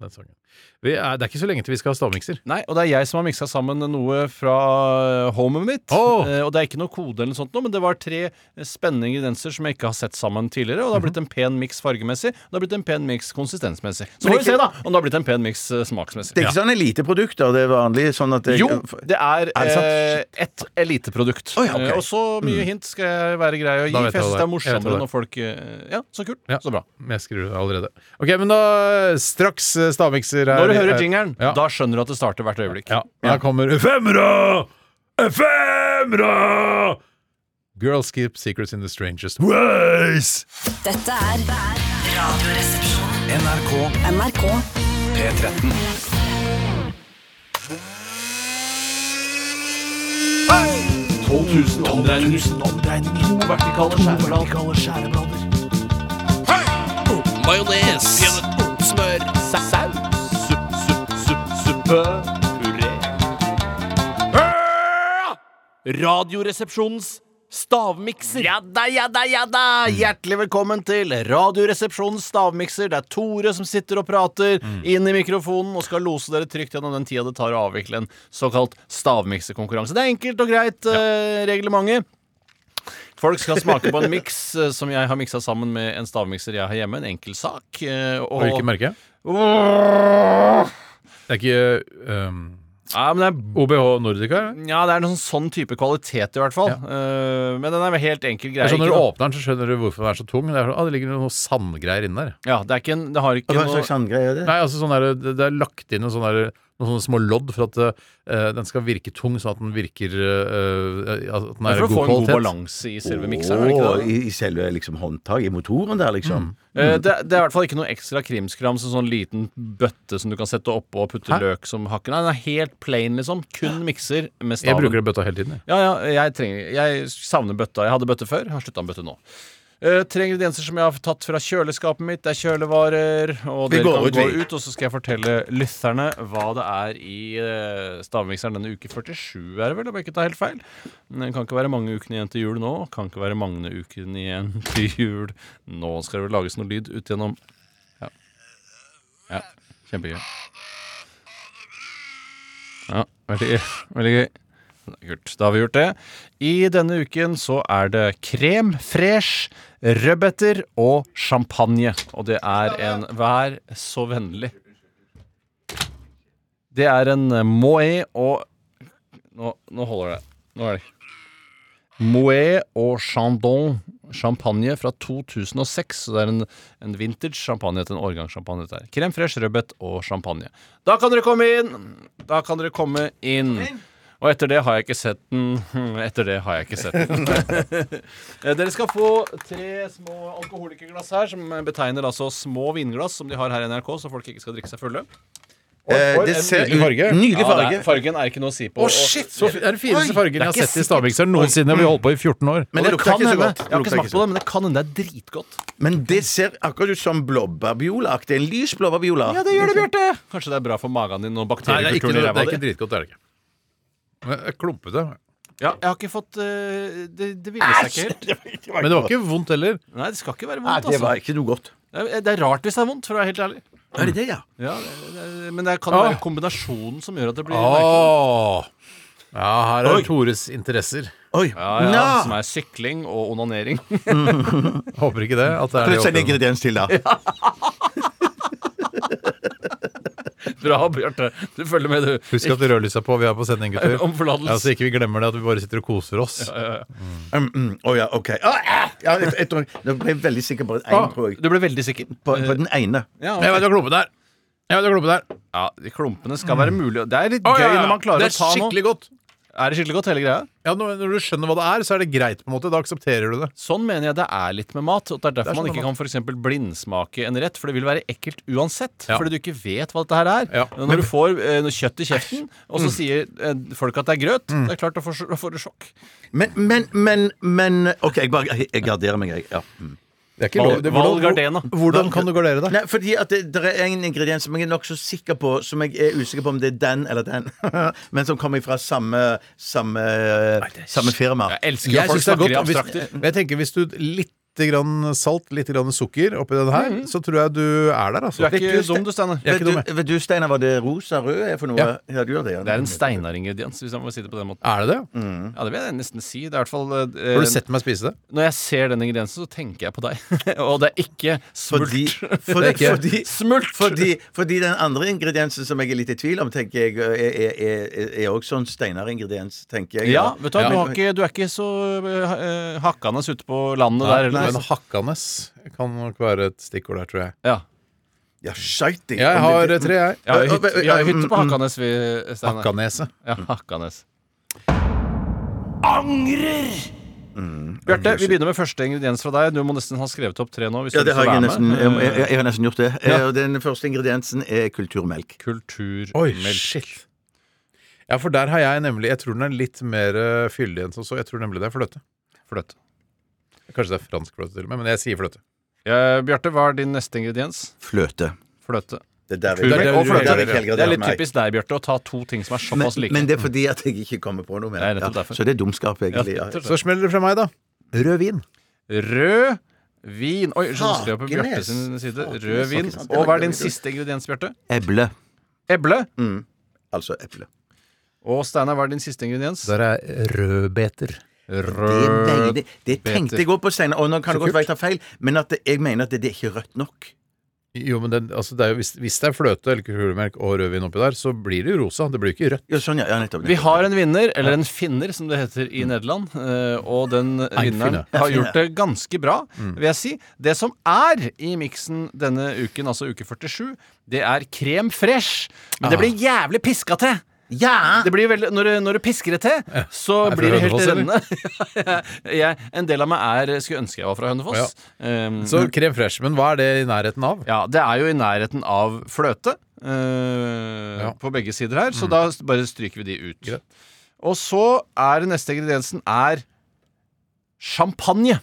[SPEAKER 6] Den sangen. Vi er, det er ikke så lenge til vi skal ha stavmikser.
[SPEAKER 7] Nei, og det er jeg som har miksa sammen noe fra homet mitt. Eh, Og det er ikke noe kode eller noe sånt nå, men det var tre eh, spennende ingredienser som jeg ikke har sett sammen tidligere. Og det har blitt en pen miks fargemessig, og det har blitt en pen miks konsistensmessig. Så får
[SPEAKER 8] Men det
[SPEAKER 7] vi
[SPEAKER 8] er
[SPEAKER 7] se,
[SPEAKER 8] ikke-
[SPEAKER 7] da, om det har blitt en pen miks eh, smaksmessig.
[SPEAKER 8] Det er ikke
[SPEAKER 7] Ja.
[SPEAKER 8] sånn eliteprodukter. Det er vanlig sånn at det,
[SPEAKER 7] Jo, det er,
[SPEAKER 8] Er det sant?
[SPEAKER 7] eh, et eliteprodukt.
[SPEAKER 8] Å ja, ok.
[SPEAKER 7] Eh, Og så mye
[SPEAKER 6] Mm.
[SPEAKER 7] hint skal jeg være grei å gi,
[SPEAKER 6] Da
[SPEAKER 7] for
[SPEAKER 6] vet jeg hva
[SPEAKER 7] jeg syns det er
[SPEAKER 6] det er. Jeg vet hva det
[SPEAKER 7] morsommere
[SPEAKER 6] er.
[SPEAKER 7] når folk eh, Ja, så kult. Så bra.
[SPEAKER 6] Men Jeg skriver det allerede. Ok, men da straks eh, stavmikser her.
[SPEAKER 7] Når du hører
[SPEAKER 6] Eh,
[SPEAKER 7] jingeren,
[SPEAKER 6] ja.
[SPEAKER 7] da skjønner du at det starter hvert øyeblikk.
[SPEAKER 6] Her kommer Femra! Femra! Girls keep secrets in the strangest ways.
[SPEAKER 1] Dette er Radioresepsjonen.
[SPEAKER 3] NRK.
[SPEAKER 1] NRK.
[SPEAKER 3] P13.
[SPEAKER 14] Majones. Smør. Saus. Suppe. Puré.
[SPEAKER 7] Radioresepsjonens stavmikser. Ja da, ja da, ja da! Hjertelig velkommen til Radioresepsjonens stavmikser. Det er Tore som sitter og prater inn i mikrofonen og skal lose dere trygt gjennom den tida det tar å avvikle en såkalt stavmikserkonkurranse. Det er enkelt og greit, eh, reglementet. Folk skal smake på en miks eh, som jeg har miksa sammen med en stavmikser jeg har hjemme. En enkel sak. eh,
[SPEAKER 6] Og hvilket merke?
[SPEAKER 7] Det
[SPEAKER 6] er ikke eh, um, OBH Nordica?
[SPEAKER 7] Ja, det er en sånn, sånn type kvalitet, i hvert fall. Eh, men den er vel helt enkel greie.
[SPEAKER 6] Jeg skjønner Altså, Når
[SPEAKER 7] ikke
[SPEAKER 6] du
[SPEAKER 7] noe-
[SPEAKER 6] åpner den, så skjønner du hvorfor den er så tung. Det, er sånn, ah, det ligger noe sandgreier inni der.
[SPEAKER 7] Ja, det er ikke en Det har ikke
[SPEAKER 6] Hva
[SPEAKER 7] noe
[SPEAKER 6] slags
[SPEAKER 8] sandgreier er det?
[SPEAKER 6] Nei, altså sånn der, det, det er lagt inn noen sånne, der, noen sånne små lodd for at eh, den skal virke tung, sånn at den virker eh, at den
[SPEAKER 7] Det
[SPEAKER 6] er
[SPEAKER 7] er for å
[SPEAKER 6] god
[SPEAKER 7] få en god
[SPEAKER 6] kvalitet.
[SPEAKER 7] balanse i selve mikseren, er det ikke
[SPEAKER 8] Åh,
[SPEAKER 7] det?
[SPEAKER 8] i, I selve liksom, håndtaket, i motoren der, liksom.
[SPEAKER 7] Eh, det, det er i hvert fall ikke noe ekstra krimskram som sånn liten bøtte som du kan sette oppå og putte løk som hakken. Nei, den er helt plain, liksom. Kun mikser med staven.
[SPEAKER 6] Jeg bruker den bøtta hele tiden. jeg.
[SPEAKER 7] Ja, ja, jeg, trenger, jeg savner bøtta. Jeg hadde bøtte før, jeg har slutta med bøtte nå. Eh, tre ingredienser som jeg har tatt fra kjøleskapet mitt. Det er kjølevarer. Og
[SPEAKER 8] Vi
[SPEAKER 7] dere
[SPEAKER 8] går
[SPEAKER 7] kan
[SPEAKER 8] ut,
[SPEAKER 7] gå
[SPEAKER 8] vi.
[SPEAKER 7] ut, og så skal jeg fortelle lytterne hva det er i eh, stavmikseren denne uke 47, er det vel? Om jeg ikke tar helt feil. Men Det kan ikke være mange ukene igjen til jul nå. Kan ikke være mange ukene igjen [laughs] til jul nå. Skal det vel lages noe lyd ut gjennom Ja. ja. Kjempegøy. Ja, veldig gøy. Veldig gøy. Kult. Da har vi gjort det. I denne uken så er det krem fresh, rødbeter og champagne. Og det er en Vær så vennlig. Det er en moët og Nå, nå holder det. Nå er det Moët og Chandon champagne fra 2006. Så det er en, en vintage champagne til en årgangsschampagne. dette her. Crème fraîche, rødbet og champagne. Da kan dere komme inn! Da kan dere komme inn. Og etter det har jeg ikke sett den. [laughs] Hm, Etter det har jeg ikke sett
[SPEAKER 6] [laughs]
[SPEAKER 7] den. Eh, dere skal få tre små alkoholikerglass her, som betegner altså små vinglass som de har her i NRK, så folk ikke skal drikke seg fulle. Oi,
[SPEAKER 8] Eh,
[SPEAKER 7] oi,
[SPEAKER 8] det
[SPEAKER 7] en
[SPEAKER 8] ser
[SPEAKER 7] nydelig
[SPEAKER 8] ut- nydelig
[SPEAKER 7] Ja, det er-
[SPEAKER 8] farge.
[SPEAKER 7] fargen er ikke noe å si på.
[SPEAKER 6] Å,
[SPEAKER 7] og-
[SPEAKER 6] shit! Så fi- det er den fineste
[SPEAKER 7] Oi!
[SPEAKER 6] fargen
[SPEAKER 7] Det
[SPEAKER 6] jeg
[SPEAKER 7] er
[SPEAKER 6] har
[SPEAKER 7] ikke
[SPEAKER 6] sett i
[SPEAKER 7] sikkert-
[SPEAKER 6] stavmikseren noensinne. Vi holdt på i 14 år.
[SPEAKER 7] Men det
[SPEAKER 6] lukter
[SPEAKER 7] kan
[SPEAKER 6] ikke så
[SPEAKER 7] hende.
[SPEAKER 6] godt.
[SPEAKER 7] Jeg har ikke
[SPEAKER 6] Lukter
[SPEAKER 7] smakt
[SPEAKER 6] ikke
[SPEAKER 7] på det, men det kan hende det er dritgodt.
[SPEAKER 8] Men det ser akkurat ut som blåbærbiola-aktig. En lys blåbærbiola.
[SPEAKER 7] Ja, det gjør det, Bjarte. Kanskje det er bra for magen din og
[SPEAKER 6] Nei, det er ikke,
[SPEAKER 7] bakteriekulturen i
[SPEAKER 6] det er
[SPEAKER 7] ræva di.
[SPEAKER 6] ikke dritgodt, det er det ikke. Men det er klumpete.
[SPEAKER 7] Ja, jeg har ikke fått eh, Det, det ville seg
[SPEAKER 6] Æsj!
[SPEAKER 7] ikke helt.
[SPEAKER 6] Men det var ikke vondt heller.
[SPEAKER 7] Nei, det skal ikke være
[SPEAKER 8] Nei,
[SPEAKER 7] vondt,
[SPEAKER 8] det var
[SPEAKER 7] altså.
[SPEAKER 8] ikke noe godt.
[SPEAKER 7] Det er- Det er rart hvis det er vondt, for å være helt ærlig.
[SPEAKER 8] Er det det, ja?
[SPEAKER 7] Ja, det- det- Men det kan jo
[SPEAKER 6] Ah.
[SPEAKER 7] være kombinasjonen som gjør at det blir merkelig.
[SPEAKER 6] Åh. Ja, her er
[SPEAKER 7] Oi.
[SPEAKER 6] Tores interesser.
[SPEAKER 7] Ja, ja, Som er sykling og onanering. [laughs]
[SPEAKER 6] Håper ikke det. At det er
[SPEAKER 8] Pluss en
[SPEAKER 6] det åpne.
[SPEAKER 8] ingrediens til, da.
[SPEAKER 7] Bra, Bjarte. Du følger med, du.
[SPEAKER 6] Husk at rødlyset er på. Vi er på sending, gutter. [laughs]
[SPEAKER 7] [laughs] Om forlatelse.
[SPEAKER 6] Ja, så ikke vi glemmer det, at vi bare sitter og koser oss.
[SPEAKER 8] Å mm, mm, å ja, OK. Å, æ! ja, jeg, jeg, tror, nå ble jeg veldig sikker på den ene,
[SPEAKER 6] Å,
[SPEAKER 8] tror jeg.
[SPEAKER 7] Ah, Du ble veldig sikker?
[SPEAKER 8] På, på den ene.
[SPEAKER 7] Ja,
[SPEAKER 6] Jeg vet hva klumpen er. Jeg vet hva klumpen er.
[SPEAKER 7] Ja, de klumpene skal være mulig. Det er litt
[SPEAKER 6] Å,
[SPEAKER 7] gøy
[SPEAKER 6] ja, ja.
[SPEAKER 7] når man klarer
[SPEAKER 6] Det
[SPEAKER 7] å
[SPEAKER 6] er
[SPEAKER 7] ta noe.
[SPEAKER 6] skikkelig godt.
[SPEAKER 7] Er det skikkelig godt, hele greia?
[SPEAKER 6] Ja, når, når du skjønner hva det er, så er det greit, på en måte. Da aksepterer du det.
[SPEAKER 7] Sånn mener jeg det er litt med mat. Og det er
[SPEAKER 6] Det
[SPEAKER 7] derfor
[SPEAKER 6] er sånn
[SPEAKER 7] man ikke
[SPEAKER 6] med
[SPEAKER 7] kan for eksempel blindsmake en rett, for det vil være ekkelt uansett. Fordi du ikke vet hva dette her er.
[SPEAKER 6] Men-
[SPEAKER 7] Når du får eh, noe kjøtt i kjeften, og så
[SPEAKER 8] Mm.
[SPEAKER 7] sier eh, folk at det er grøt,
[SPEAKER 8] Mm.
[SPEAKER 7] det er klart da får, da får du sjokk.
[SPEAKER 8] Men, men, men, men OK, jeg bare jeg, jeg garderer meg, jeg. Ja. Mm.
[SPEAKER 6] Det er ikke lov- det- hvordan- Val Gardena. hvordan kan du gardere deg?
[SPEAKER 8] Nei, fordi at det, det er en ingrediens som jeg er nokså sikker på, som jeg er usikker på om det er den eller den, [laughs] men som kommer fra samme, samme, samme firma. Jeg
[SPEAKER 6] Jeg syns det er godt. og Hvis, men jeg tenker hvis du litt grann salt, litt grann sukker oppi den her, så tror jeg Mhm. du er der, altså. Jeg er
[SPEAKER 8] Vet
[SPEAKER 6] ikke dum,
[SPEAKER 8] du,
[SPEAKER 6] jeg.
[SPEAKER 8] vet du Steinar, hva det rosa rød er for noe?
[SPEAKER 6] Ja.
[SPEAKER 8] Ja, du gjør det, ja.
[SPEAKER 7] Det er en Steinar-ingrediens, hvis jeg må si det på den måten.
[SPEAKER 6] Er det det?
[SPEAKER 7] Ja, det vil jeg nesten si. Det er i hvert fall eh,
[SPEAKER 6] Har du sett meg spise det?
[SPEAKER 7] Når jeg ser den ingrediensen, så tenker jeg på deg. [laughs] og det er ikke smult.
[SPEAKER 8] Fordi,
[SPEAKER 7] [laughs] det er
[SPEAKER 8] fordi,
[SPEAKER 7] ikke
[SPEAKER 8] fordi,
[SPEAKER 7] smult.
[SPEAKER 8] Fordi, fordi den andre ingrediensen som jeg er litt i tvil om, tenker jeg, er, er, er, er også en Steinar-ingrediens, tenker jeg.
[SPEAKER 7] ja, vet du, hva, Du, har ikke, du er ikke så eh, hakkende ute på landet der
[SPEAKER 6] Nei,
[SPEAKER 7] heller.
[SPEAKER 6] men hakkende kan nok være et stikkord der, tror jeg.
[SPEAKER 7] Ja.
[SPEAKER 8] Ja, skeiting.
[SPEAKER 6] Jeg har eh, tre, jeg.
[SPEAKER 7] Ja, vi har hytte, vi har hytte på Hakkanes, vi, Steinar.
[SPEAKER 6] Hakkaneset.
[SPEAKER 7] Ja, Hakkanes.
[SPEAKER 14] Angrer!
[SPEAKER 7] Bjarte, vi begynner med første ingrediens fra deg. Du må nesten ha skrevet opp tre nå. Hvis
[SPEAKER 8] Ja,
[SPEAKER 7] du
[SPEAKER 8] det
[SPEAKER 7] har
[SPEAKER 8] har
[SPEAKER 7] lyst
[SPEAKER 8] jeg,
[SPEAKER 7] til å
[SPEAKER 8] nesten,
[SPEAKER 7] være
[SPEAKER 8] jeg,
[SPEAKER 7] med.
[SPEAKER 8] jeg, jeg har nesten gjort det.
[SPEAKER 7] Ja.
[SPEAKER 8] Eh, Og Den første ingrediensen er kulturmelk.
[SPEAKER 7] Kulturmelk.
[SPEAKER 6] Oi, shit. Ja, for der har jeg nemlig Jeg tror den er litt mer eh, fyldig enn som så. Jeg tror nemlig det er fløte.
[SPEAKER 7] Fløte.
[SPEAKER 6] Kanskje det er fransk fløte til og med, men jeg sier fløte.
[SPEAKER 7] Eh, Bjarte, hva er din neste ingrediens?
[SPEAKER 8] Fløte.
[SPEAKER 7] Fløte.
[SPEAKER 8] Det er der
[SPEAKER 7] Det er,
[SPEAKER 8] jeg-
[SPEAKER 7] der
[SPEAKER 8] Og
[SPEAKER 7] du
[SPEAKER 8] fløte er
[SPEAKER 7] heller-
[SPEAKER 8] ikke helt greit,
[SPEAKER 7] det er litt
[SPEAKER 8] meg.
[SPEAKER 7] typisk deg, Bjarte, å ta to ting som er såpass
[SPEAKER 8] men,
[SPEAKER 7] like. Mm.
[SPEAKER 8] men det er fordi at jeg ikke kommer på noe mer.
[SPEAKER 7] Det er nettopp derfor.
[SPEAKER 8] Så det er dumskap, egentlig.
[SPEAKER 7] Ja,
[SPEAKER 8] Ja,
[SPEAKER 7] nettopp
[SPEAKER 6] Så smeller det fra meg, da.
[SPEAKER 8] Rød vin.
[SPEAKER 7] Rød vin Oi, så skrev jeg på
[SPEAKER 8] Hakenes.
[SPEAKER 7] Bjarte sin side. Rød
[SPEAKER 8] Hakenes,
[SPEAKER 7] vin.
[SPEAKER 8] Hakenes.
[SPEAKER 7] Og hva er din siste ingrediens, Bjarte?
[SPEAKER 8] Eble.
[SPEAKER 7] Eble.
[SPEAKER 8] Mm. Altså eple.
[SPEAKER 7] Og Steinar, hva er din siste ingrediens?
[SPEAKER 6] Der er rødbeter.
[SPEAKER 8] Det er deilig. Det tenkte jeg
[SPEAKER 6] òg.
[SPEAKER 8] òg på, Steinar. Og nå kan
[SPEAKER 6] Så
[SPEAKER 8] det godt
[SPEAKER 6] kult.
[SPEAKER 8] være jeg tar feil, men at det, jeg mener at det, det er ikke rødt nok.
[SPEAKER 6] Jo, men den, altså, det er jo, hvis, hvis det er fløte, elgkulemelk og rødvin oppi der, så blir det jo rosa. Det blir jo ikke rødt.
[SPEAKER 8] Ja, sånn, ja. ja nettopp,
[SPEAKER 7] Vi har en vinner, eller en finner som det heter
[SPEAKER 8] Mm.
[SPEAKER 7] i Nederland, eh, og den vinneren
[SPEAKER 6] finner.
[SPEAKER 7] har
[SPEAKER 6] En finner.
[SPEAKER 7] gjort det ganske bra,
[SPEAKER 8] Mm.
[SPEAKER 7] vil jeg si. Det som er i miksen denne uken, altså uke 47, det er krem fresh, men det
[SPEAKER 6] Ah.
[SPEAKER 7] blir jævlig piska til. Det blir veldig, når, du- når du pisker det til, så
[SPEAKER 6] Er du fra
[SPEAKER 7] blir det helt
[SPEAKER 6] Hønefoss,
[SPEAKER 7] rennende. [laughs] jeg, en del av meg er skulle ønske jeg var fra Hønefoss. Um,
[SPEAKER 6] Så krem fresh, men hva er det i nærheten av?
[SPEAKER 7] Ja, det er jo i nærheten av fløte eh, på begge sider her,
[SPEAKER 8] Mm.
[SPEAKER 7] så da s- bare stryker vi de ut. Og så er det neste ingrediensen er champagne.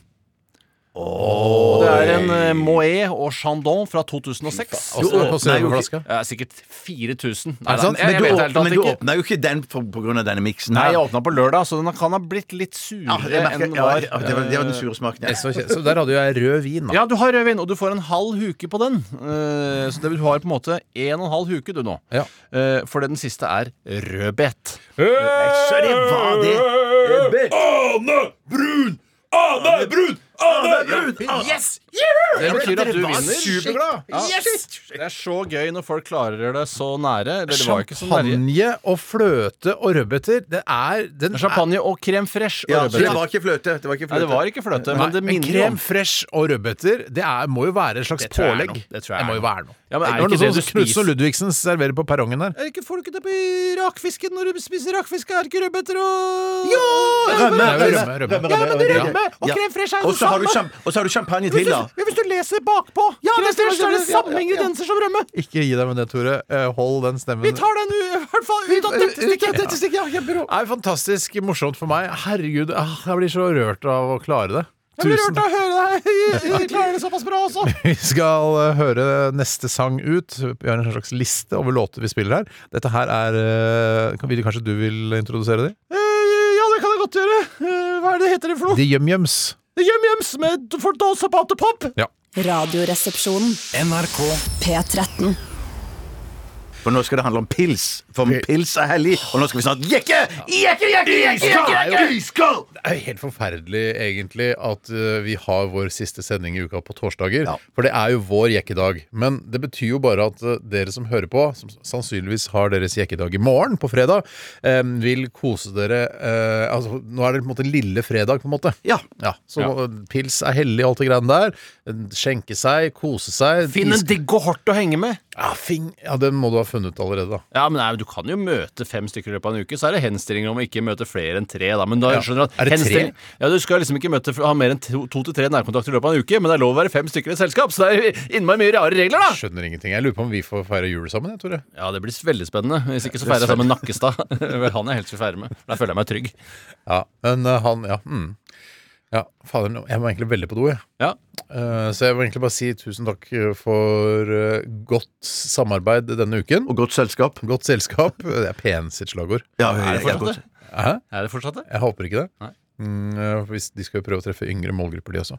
[SPEAKER 7] Og det er en eh, Moët og Chandon fra 2006.
[SPEAKER 6] faen. Du åpner- Nei, jo,
[SPEAKER 7] Ja, sikkert 4000.
[SPEAKER 8] altså. Er det sant?
[SPEAKER 7] jeg, jeg vet
[SPEAKER 8] men du,
[SPEAKER 7] helt
[SPEAKER 8] åpner,
[SPEAKER 7] klart
[SPEAKER 8] men du
[SPEAKER 7] ikke.
[SPEAKER 8] åpna jo ikke den for, på grunn av denne miksen.
[SPEAKER 7] Nei,
[SPEAKER 8] her.
[SPEAKER 7] jeg åpna på lørdag, så den kan ha blitt litt
[SPEAKER 8] Ja,
[SPEAKER 7] surere
[SPEAKER 8] jeg merker-
[SPEAKER 7] enn den
[SPEAKER 8] ja,
[SPEAKER 7] var.
[SPEAKER 8] ja, det var. Det var den sure smaken. ja.
[SPEAKER 6] Så, så der hadde jo jeg rød vin, da.
[SPEAKER 7] Ja, du har rødvin, og du får en halv huke på den. Eh, så det, du har på en måte en og en halv huke, du nå. Eh, for den siste er rødbet.
[SPEAKER 8] Så det var det.
[SPEAKER 14] Ane Brun! Ane Brun! Ane Brun!
[SPEAKER 6] Yes!
[SPEAKER 7] Det betyr at du
[SPEAKER 14] Dere var
[SPEAKER 7] vinner.
[SPEAKER 14] superglad.
[SPEAKER 7] Ja. Det er så gøy når folk klarer det så nære. Eller det var jo ikke så nære.
[SPEAKER 6] Champagne og fløte og rødbeter, det er den er-
[SPEAKER 7] Champagne og krem fresh. Og
[SPEAKER 8] Ja,
[SPEAKER 7] rødbeter.
[SPEAKER 8] så det var ikke fløte. Det var ikke
[SPEAKER 7] Nei,
[SPEAKER 8] fløte.
[SPEAKER 7] det var ikke fløte,
[SPEAKER 6] Nei,
[SPEAKER 7] men det minner jo
[SPEAKER 6] krem
[SPEAKER 7] om
[SPEAKER 6] fresh og rødbeter, det er, må jo være et slags
[SPEAKER 7] Det tror jeg er
[SPEAKER 6] pålegg.
[SPEAKER 7] noe. Det tror jeg er
[SPEAKER 6] må jo
[SPEAKER 7] noe.
[SPEAKER 6] være noe.
[SPEAKER 7] Ja, men er
[SPEAKER 6] var noe sånn
[SPEAKER 7] det ikke det
[SPEAKER 6] som
[SPEAKER 7] du
[SPEAKER 6] Knutsen og
[SPEAKER 7] spiser?
[SPEAKER 6] Ludvigsen serverer på perrongen der.
[SPEAKER 7] Er ikke Får du ikke det på rakfisken når du spiser rakfisk? Er det ikke rødbeter og
[SPEAKER 14] Jo!
[SPEAKER 6] Rømme, rømme,
[SPEAKER 8] rømme,
[SPEAKER 6] rømme. Ja,
[SPEAKER 8] rømme.
[SPEAKER 6] men det rømme
[SPEAKER 7] og
[SPEAKER 8] Ja.
[SPEAKER 7] krem fresh er jo
[SPEAKER 8] Og
[SPEAKER 7] det
[SPEAKER 8] så har du
[SPEAKER 7] samme.
[SPEAKER 8] champ- Og så har du champagne til, da.
[SPEAKER 7] Hvis du leser bakpå, ja, krem fresh er det samme ingredienser som rømme.
[SPEAKER 6] Ikke gi deg med det, Tore. Eh, Hold den stemmen.
[SPEAKER 7] Vi tar den u- i hvert fall ut av dette stikket.
[SPEAKER 6] Dette stikket ja, kjempebra. Det er fantastisk morsomt for meg. Herregud, ah, jeg blir så rørt av å klare det.
[SPEAKER 7] Jeg blir rørt
[SPEAKER 6] Tusen
[SPEAKER 7] av å høre deg. [laughs] Jeg klarer det såpass bra også.
[SPEAKER 6] Vi skal eh, høre neste sang ut. Vi har en slags liste over låter vi spiller her. Dette her er eh, kan- vil- Kanskje du vil introdusere de? Eh,
[SPEAKER 7] Ja, det kan jeg godt gjøre. Eh, Hva er det heter det for
[SPEAKER 6] De Yum-Yums.
[SPEAKER 7] Yum-yums med for Dolls og Patepop.
[SPEAKER 6] Ja.
[SPEAKER 1] Radioresepsjonen.
[SPEAKER 6] NRK
[SPEAKER 1] P13.
[SPEAKER 8] [laughs] For nå skal det handle om pils. For pils er hellig. Og nå skal vi snart jekke! Jekke, jekke, jekke! jekke, jekke!
[SPEAKER 6] Det er jo helt forferdelig, egentlig, at eh, vi har vår siste sending i uka på torsdager. For det er jo vår jekkedag. Men det betyr jo bare at eh, dere som hører på, som sannsynligvis har deres jekkedag i morgen, på fredag, eh, vil kose dere eh, Altså, nå er det på en måte lille fredag, på en måte.
[SPEAKER 8] Ja.
[SPEAKER 6] så eh, pils er hellig, alt det greiene der. Skjenke seg, kose seg.
[SPEAKER 7] Finn en
[SPEAKER 6] Is-
[SPEAKER 7] digg og hardt å henge med.
[SPEAKER 6] ja, fing, ja, den må du ha funnet allerede, da.
[SPEAKER 7] Ja, men nei, Du kan jo møte fem stykker i løpet av en uke. Så er det henstillinger om å ikke møte flere enn tre. da Men da
[SPEAKER 6] Ja.
[SPEAKER 7] skjønner du at
[SPEAKER 6] Er det tre?
[SPEAKER 7] henstilling- Ja, Du skal liksom ikke møte, ha mer enn to, to til tre nærkontakter i løpet av en uke, men det er lov å være fem stykker i et selskap. Så det er innmari mye rare regler, da!
[SPEAKER 6] Skjønner ingenting. Jeg lurer på om vi får feire jul sammen, jeg, Tore.
[SPEAKER 7] Ja, det blir veldig spennende. Hvis ikke så
[SPEAKER 6] Ja, det er
[SPEAKER 7] feirer jeg sammen Nakkestad. Vel, han jeg helst vil feire med. for Der føler jeg meg trygg.
[SPEAKER 6] Ja, men eh, han Ja. Mm. ja fader, nå- jeg må egentlig veldig på do, jeg.
[SPEAKER 7] Ja.
[SPEAKER 6] Eh, så jeg vil egentlig bare si tusen takk eh, for eh, godt samarbeid denne uken.
[SPEAKER 8] Og godt selskap.
[SPEAKER 6] Godt selskap. Det er pen sitt slagord.
[SPEAKER 8] Ja,
[SPEAKER 7] Er det
[SPEAKER 8] ja,
[SPEAKER 7] fortsatt det?
[SPEAKER 6] Hæ?
[SPEAKER 7] Er det fortsatt det?
[SPEAKER 6] Jeg håper ikke det.
[SPEAKER 7] Nei.
[SPEAKER 6] Mm, eh, hvis de skal jo prøve å treffe yngre målgrupper, de også.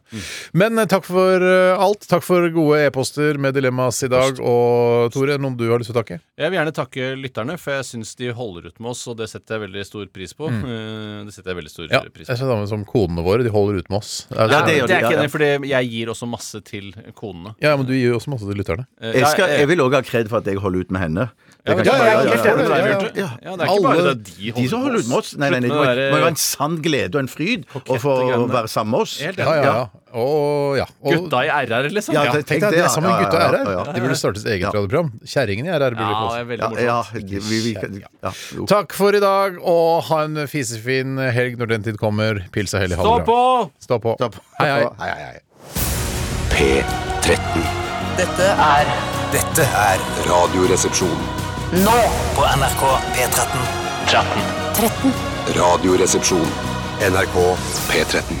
[SPEAKER 6] Men eh, takk for eh, alt. Takk for gode e-poster med dilemmas i dag. Og Tore, noen du har lyst til å takke?
[SPEAKER 7] Jeg vil gjerne takke lytterne, for jeg syns de holder ut med oss, og det setter jeg veldig stor pris på. Eh, Det setter jeg veldig stor
[SPEAKER 6] Ja,
[SPEAKER 7] pris
[SPEAKER 6] jeg
[SPEAKER 7] på.
[SPEAKER 6] ser det som kodene våre. De holder ut med oss. Det er-
[SPEAKER 7] Ja, det, er
[SPEAKER 6] ja,
[SPEAKER 7] ikke
[SPEAKER 6] ja.
[SPEAKER 7] enig, for jeg gir også masse til konene.
[SPEAKER 6] Ja, men du gir jo også masse til lytterne.
[SPEAKER 7] Eh,
[SPEAKER 8] Jeg, skal,
[SPEAKER 7] ja, eh,
[SPEAKER 8] jeg vil òg ha kred for at jeg holder ut med henne.
[SPEAKER 7] Ja,
[SPEAKER 8] Det
[SPEAKER 7] men
[SPEAKER 8] kan
[SPEAKER 7] ja,
[SPEAKER 8] ikke
[SPEAKER 7] ja,
[SPEAKER 8] bare-
[SPEAKER 7] jeg er helt enig med deg,
[SPEAKER 8] ja, ja,
[SPEAKER 7] Bjarte.
[SPEAKER 8] ja.
[SPEAKER 7] Ja, det er ikke bare
[SPEAKER 8] Alle-
[SPEAKER 7] det de
[SPEAKER 8] De
[SPEAKER 7] holder
[SPEAKER 8] som
[SPEAKER 7] med
[SPEAKER 8] holder ut med
[SPEAKER 7] oss.
[SPEAKER 8] oss. Nei, nei, nei, det
[SPEAKER 7] Slutt
[SPEAKER 8] må
[SPEAKER 7] med det
[SPEAKER 8] det må jo
[SPEAKER 7] der-
[SPEAKER 8] være en sann glede og en fryd å få
[SPEAKER 7] greiene.
[SPEAKER 8] å være sammen med oss.
[SPEAKER 7] Helt enig.
[SPEAKER 6] Ja, ja, ja. Og, ja. og
[SPEAKER 7] Gutta i RR, liksom.
[SPEAKER 6] Ja, tenk deg det, er sammen med gutta
[SPEAKER 8] ja,
[SPEAKER 6] i
[SPEAKER 8] ja,
[SPEAKER 6] RR.
[SPEAKER 8] ja, ja.
[SPEAKER 6] De burde starte sitt eget radioprogram. Kjerringene i RR burde
[SPEAKER 7] Ja, det
[SPEAKER 6] kose.
[SPEAKER 7] er veldig
[SPEAKER 8] Ja,
[SPEAKER 7] morsomt.
[SPEAKER 8] ja, vi, vi, ja, jo.
[SPEAKER 6] Takk for i dag, og ha en fisefin helg når den tid kommer. Pils og helg. ha det bra.
[SPEAKER 7] Stå på!
[SPEAKER 6] Stå på! Hei, hei.
[SPEAKER 3] P13. Dette er Dette er
[SPEAKER 15] Radioresepsjon.
[SPEAKER 3] Nå på NRK P13. 13.
[SPEAKER 1] 13.
[SPEAKER 15] Radioresepsjon. NRK P13.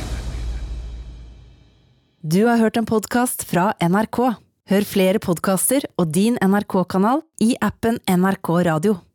[SPEAKER 1] Du har hørt en podkast fra NRK. Hør flere podkaster og din NRK-kanal i appen NRK Radio.